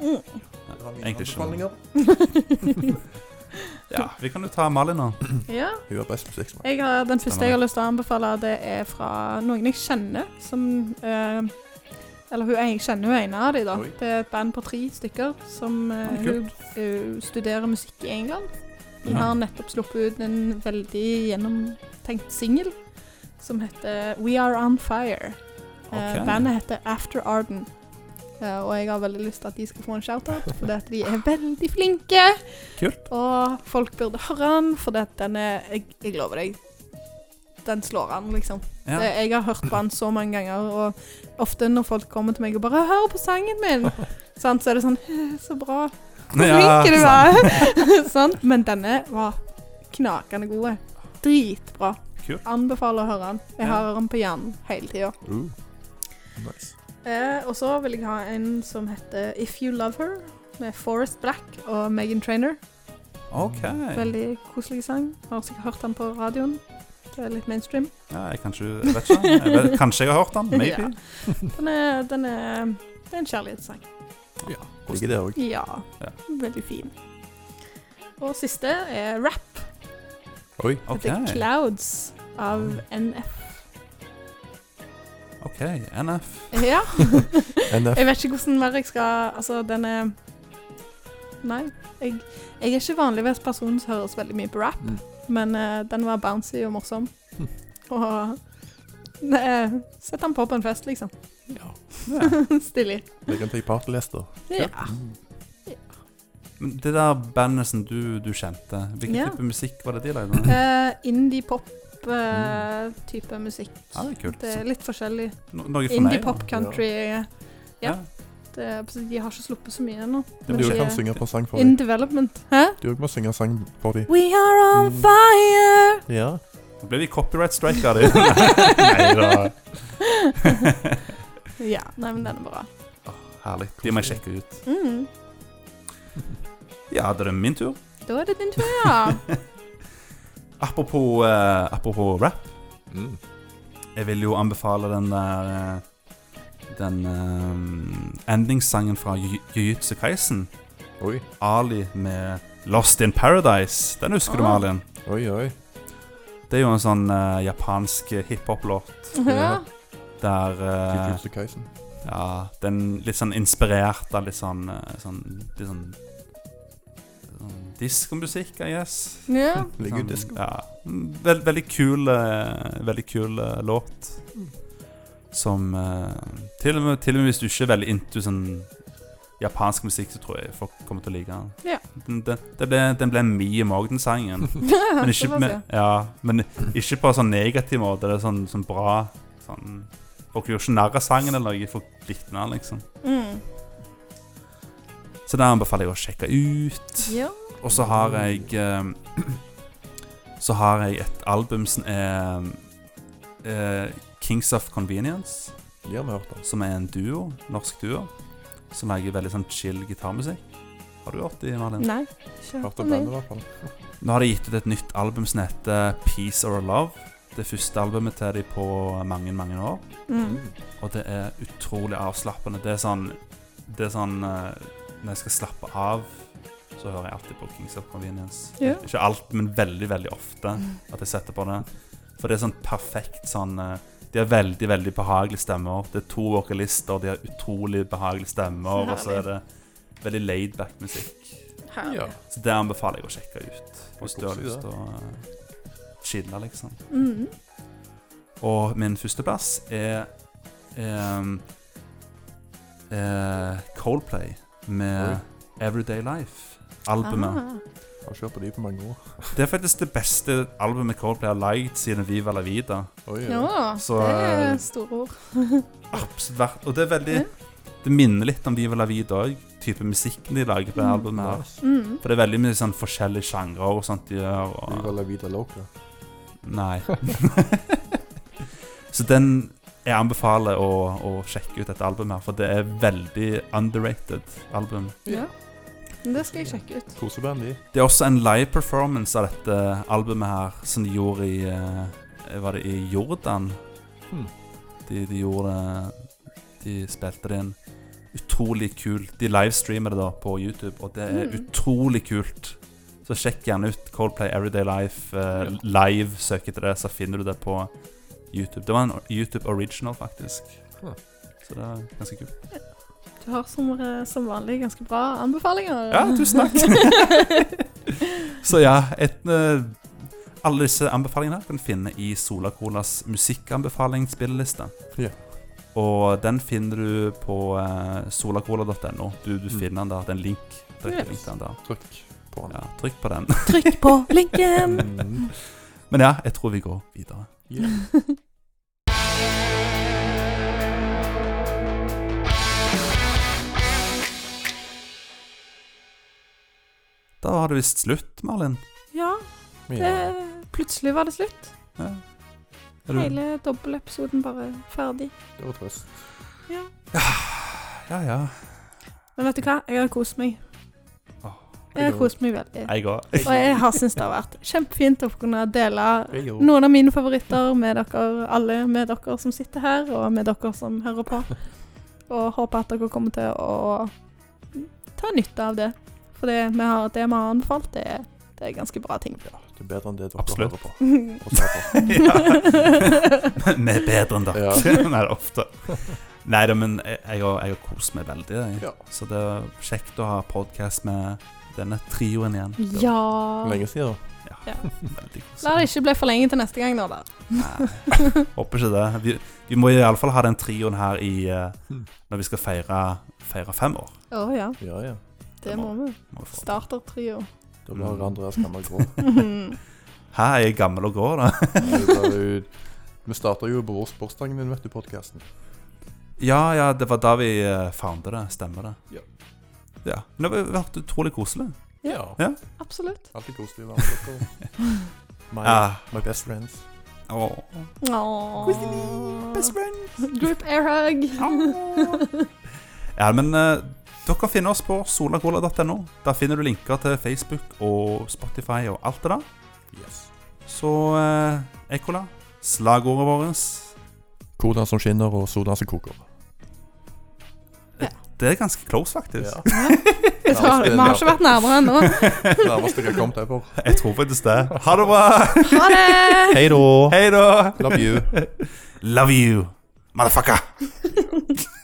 Speaker 3: Mm.
Speaker 1: Ja, egentlig ikke. noe.
Speaker 2: Hun
Speaker 1: Ja, vi kan jo ta Malin nå.
Speaker 3: ja.
Speaker 2: har best musikksmak.
Speaker 3: Jeg har, den første jeg har lyst til å anbefale, det er fra noen jeg kjenner. Som eh, Eller hun, jeg kjenner hun ene av dem, da.
Speaker 2: Oi.
Speaker 3: Det er et band på tre stykker som eh,
Speaker 1: Oi,
Speaker 3: hun, eh, studerer musikk i England. De
Speaker 1: Ja.
Speaker 3: har nettopp sluppet ut en veldig gjennomtenkt singel som heter We Are On Fire. Eh,
Speaker 1: Ok.
Speaker 3: bandet heter After Arden. Eh, og jeg har veldig lyst til at de skal få en shoutout, fordi at de er veldig flinke.
Speaker 1: Kult.
Speaker 3: Og folk burde høre den, fordi at den er jeg, jeg lover deg. Den slår an, liksom.
Speaker 1: Ja.
Speaker 3: Det, jeg har hørt på den så mange ganger, og ofte når folk kommer til meg og bare 'Hør på sangen
Speaker 1: *laughs*
Speaker 3: min!' sant, så er det sånn Så bra. Så flink
Speaker 1: sånn.
Speaker 3: du var. *laughs* sant? Men denne var knakende god. Dritbra.
Speaker 1: Kult.
Speaker 3: Anbefaler å høre den. Jeg
Speaker 1: Ja.
Speaker 3: har den på hjernen hele tida.
Speaker 2: Uh. Nice.
Speaker 3: Eh, og så vil jeg ha en som heter If You Love Her, med Forest Black og Megan Trainer.
Speaker 1: OK. Ja,
Speaker 3: Veldig koselig sang. Har sikkert hørt den på radioen. Det er litt mainstream.
Speaker 1: jeg kan ikke Jeg vet ikke. Jeg vet, kanskje jeg har
Speaker 3: *laughs*
Speaker 1: hørt den? Maybe.
Speaker 3: Den er, den er, det er en kjærlighetssang.
Speaker 2: Ja, liker det òg.
Speaker 3: Ja.
Speaker 1: Ja.
Speaker 3: Veldig fin. Og siste er rap.
Speaker 2: Oi.
Speaker 1: OK.
Speaker 3: Heter Clouds av NF.
Speaker 1: ok, NF.
Speaker 3: *laughs* Ja.
Speaker 2: NF.
Speaker 3: Jeg vet ikke hvordan mer jeg skal Altså, den er Nei. Jeg, jeg er ikke vanligvis person som høres veldig mye på rap,
Speaker 2: Mm.
Speaker 3: men eh, den var bouncy og morsom.
Speaker 2: Hm.
Speaker 3: Og eh, Sett den på på en fest, liksom.
Speaker 2: Ja.
Speaker 3: *laughs* Stilig.
Speaker 2: Jeg kan ta partylester.
Speaker 3: Ja.
Speaker 1: Men det der bandet som du, du kjente, hvilken
Speaker 3: Ja.
Speaker 1: type musikk var det de lagde?
Speaker 3: *laughs* Eh, Indie-pop-type musikk.
Speaker 1: Ja, det er kult.
Speaker 3: Det er litt forskjellig.
Speaker 1: No, noe for meg. da.
Speaker 3: Indie-pop-country. ja.
Speaker 1: Ja.
Speaker 3: altså, De har ikke sluppet så mye ennå.
Speaker 2: Du
Speaker 3: Men
Speaker 2: også
Speaker 3: de
Speaker 2: kan
Speaker 3: er
Speaker 2: synge på sang for
Speaker 3: In
Speaker 2: dem.
Speaker 3: development. Hæ?
Speaker 2: Du også må synge sang for dem.
Speaker 3: We are on
Speaker 2: Mm.
Speaker 3: fire!
Speaker 2: Ja.
Speaker 1: Nå ble vi copyright strike av det. Nei da.
Speaker 3: Ja, nei, men den er bra.
Speaker 1: Herlig. *laughs* De må jeg sjekke ut.
Speaker 3: Mm.
Speaker 1: Ja, det er min tur.
Speaker 3: Da er det din tur,
Speaker 1: *laughs*
Speaker 3: ja.
Speaker 1: Apropos, eh, apropos rap.
Speaker 4: Hmm.
Speaker 2: Mm.
Speaker 1: Jeg vil jo anbefale den der eh, Den eh, endingssangen fra Ju- Jujutsu Kaisen.
Speaker 2: Oi.
Speaker 1: Ali med 'Lost in Paradise'. Den husker du,
Speaker 3: Ah.
Speaker 1: Malin?
Speaker 2: Oi, oi.
Speaker 1: Det er jo en sånn eh, japansk hiphop-låt
Speaker 3: ja.
Speaker 1: der eh,
Speaker 2: Jujutsu Kaisen.
Speaker 1: Ja, den litt sånn inspirert av litt sånn, eh, sånn Litt sånn, sånn diskomusikk, I guess.
Speaker 3: ja.
Speaker 2: Ligger jo
Speaker 1: Sånn,
Speaker 2: disko.
Speaker 1: Ja. Mm, Vel, veldig kul eh, Veldig kul eh, låt.
Speaker 2: Mm.
Speaker 1: Som eh, til, og med, til og med hvis du ikke er veldig into sånn japansk musikk, så tror jeg folk kommer til å like den.
Speaker 3: Ja.
Speaker 1: Den, den, den ble, den ble en meme òg, den
Speaker 3: *laughs*
Speaker 1: sangen. Men ikke,
Speaker 3: Såpass,
Speaker 1: men, ja, men ikke på sånn negativ måte. Det er sånn, sånn bra sånn, Folk gjorde ikke narr av sangen eller noe, folk likte den, liksom.
Speaker 3: ja. Mm.
Speaker 1: Så den anbefaler jeg å sjekke ut.
Speaker 3: ja.
Speaker 1: Og så har jeg eh, *clears throat* Så har jeg et album som er eh, Kings of Convenience.
Speaker 2: De har vi hørt om.
Speaker 1: som er en duo, norsk duo, som lager veldig sånn chill gitarmusikk. Har du hørt de, Malin?
Speaker 3: Nei, ikke
Speaker 2: Hørt
Speaker 3: om
Speaker 2: om
Speaker 3: det.
Speaker 2: bandet, i hvert fall.
Speaker 1: Nå har de gitt ut et nytt album som heter Peace or Love. Det første albumet til de på mange, mange år.
Speaker 3: Mm.
Speaker 1: Og det er utrolig avslappende. Det er sånn Det er sånn eh, Når jeg skal slappe av, så hører jeg alltid på Kings of Convenience.
Speaker 3: Ja.
Speaker 1: Ikke alt, men veldig, veldig ofte at jeg setter på det. For det er sånn perfekt sånn eh, De har veldig, veldig behagelige stemmer. Det er to vokalister, de har utrolig behagelige stemmer,
Speaker 3: Så
Speaker 1: og så er det veldig laid-back musikk.
Speaker 3: Herlig.
Speaker 2: Ja.
Speaker 1: Så det anbefaler jeg å sjekke ut hvis du har
Speaker 2: Koselig,
Speaker 1: lyst til å eh, chille, liksom.
Speaker 3: Mm.
Speaker 1: Og min førsteplass er ehm, eh, Coldplay med Everyday Life. Albumet.
Speaker 3: Ah.
Speaker 2: Har ikke hørt på de på mange år.
Speaker 1: Det er faktisk det beste albumet Coldplay har lagd siden Viva la Vida.
Speaker 2: Oi,
Speaker 3: Ja,
Speaker 2: ja.
Speaker 1: Så,
Speaker 3: det
Speaker 1: eh,
Speaker 3: er store ord.
Speaker 1: Absolutt verdt Og det er veldig
Speaker 3: Ja.
Speaker 1: Det minner litt om Viva la Vida òg, type musikken de lager på det
Speaker 3: Mm.
Speaker 1: albumet. her
Speaker 3: Mm.
Speaker 1: For det er veldig mye sånn forskjellige sjangre og sånt de gjør. Og...
Speaker 2: Viva la vida loca.
Speaker 1: Nei. *laughs* så den Jeg anbefaler å, å sjekke ut dette albumet, her, for det er veldig underrated album.
Speaker 3: Ja. Men Det skal jeg sjekke ut.
Speaker 2: Koseband, de.
Speaker 1: Det er også en live performance av dette albumet her, som de gjorde i eh, Var det i Jordan?
Speaker 2: Hmm.
Speaker 1: De, de gjorde De spilte det inn. Utrolig kult. De livestreamer det da på YouTube, og det er
Speaker 3: Mm.
Speaker 1: utrolig kult. Så sjekk gjerne ut Coldplay Everyday Life eh, live. Søk etter det, så finner du det på YouTube. Det var en YouTube original, faktisk.
Speaker 2: Hmm.
Speaker 1: Så det er ganske kult.
Speaker 3: Du har som, eh, som vanlig ganske bra anbefalinger.
Speaker 1: Ja, tusen
Speaker 3: *laughs*
Speaker 1: takk. Så ja, et, eh, alle disse anbefalingene kan du finne i Sola Colas musikkanbefalingsspilleliste.
Speaker 2: Ja.
Speaker 1: Og den finner du på eh, solacola.no. Du, du
Speaker 2: Mm.
Speaker 1: finner den der. Det er en link. Trykk,
Speaker 3: Yes.
Speaker 1: link til den der.
Speaker 2: Trykk på den.
Speaker 1: Ja, trykk på den. *laughs*
Speaker 3: Trykk på linken!
Speaker 2: Mm.
Speaker 1: Men ja, jeg tror vi går videre.
Speaker 2: Ja.
Speaker 1: Da var det visst slutt, Malin.
Speaker 3: *laughs* Ja, det,
Speaker 2: Ja.
Speaker 3: plutselig var det slutt.
Speaker 1: Ja. Er du-
Speaker 3: Hele dobbeltepisoden bare ferdig.
Speaker 2: Det var trøst.
Speaker 3: Ja.
Speaker 1: Ja, ja.
Speaker 3: Men vet du hva? Jeg har kost meg.
Speaker 1: Åh.
Speaker 3: Jeg har kost meg veldig.
Speaker 1: Jeg òg.
Speaker 3: Og jeg har syntes det har vært kjempefint å kunne dele
Speaker 2: Jeg òg.
Speaker 3: noen av mine favoritter med dere alle, med dere som sitter her, og med dere som hører på. Og håper at dere kommer til å ta nytte av det. For det vi har, det vi har anbefalt, det, er- det er ganske bra ting.
Speaker 2: Ja, det er bedre enn det dere
Speaker 1: Absolutt.
Speaker 2: hører på.
Speaker 3: Mm.
Speaker 2: Og ser på.
Speaker 1: *laughs* Vi er bedre enn dere.
Speaker 2: Ja.
Speaker 1: *laughs* Nei, det er ofte. Nei da, men jeg jeg har, jeg har kost meg veldig. Jeg.
Speaker 2: Ja.
Speaker 1: Så det er kjekt å ha podkast med denne trioen igjen. Det var
Speaker 3: Ja
Speaker 2: Lenge siden.
Speaker 1: Veldig
Speaker 3: La det
Speaker 1: koselig.
Speaker 3: ikke bli for lenge til neste gang, nå, da.
Speaker 1: Nei, Håper ikke det. Vi, vi må iallfall ha den trioen her i, eh,
Speaker 2: Mm.
Speaker 1: når vi skal feire, feire fem år.
Speaker 3: Å ja,
Speaker 2: Ja, ja.
Speaker 3: det må vi.
Speaker 1: Må vi få.
Speaker 3: *laughs* Startertrio.
Speaker 2: Da blir
Speaker 1: Mm.
Speaker 2: Andreas gammel grå.
Speaker 1: Hæ, jeg er gammel og grå, da? *laughs*
Speaker 2: Det blir jo- Vi starter jo på vår sportsdagen din, vet du, podkasten.
Speaker 1: Ja, ja, det var da vi eh, fant det. Stemmer det.
Speaker 2: Ja.
Speaker 1: Ja. Men det har vært utrolig koselig.
Speaker 2: Ja.
Speaker 3: Absolutt.
Speaker 2: Alltid koselig å være med dere. My,
Speaker 1: Ja.
Speaker 2: my best friends.
Speaker 1: Åh.
Speaker 3: Åh.
Speaker 1: friend.
Speaker 3: Group airhug.
Speaker 1: Ja, men eh, dere kan finne oss på solacola.no. Der finner du linker til Facebook og Spotify og alt det der.
Speaker 2: Yes.
Speaker 1: Så eh, Ekkola, slagordet vårt
Speaker 2: Kodan som skinner, og sodaen som koker.
Speaker 1: Det er ganske close, faktisk. *laughs*
Speaker 2: Ja.
Speaker 3: Vi har vi har ikke vært nærmere ennå.
Speaker 2: Nærmest jeg har kommet deg på.
Speaker 1: Jeg tror faktisk det. Ha det bra.
Speaker 3: Ha det!
Speaker 2: Hei da.
Speaker 1: Hei da. *laughs*
Speaker 2: Love you.
Speaker 1: Love you, motherfucker.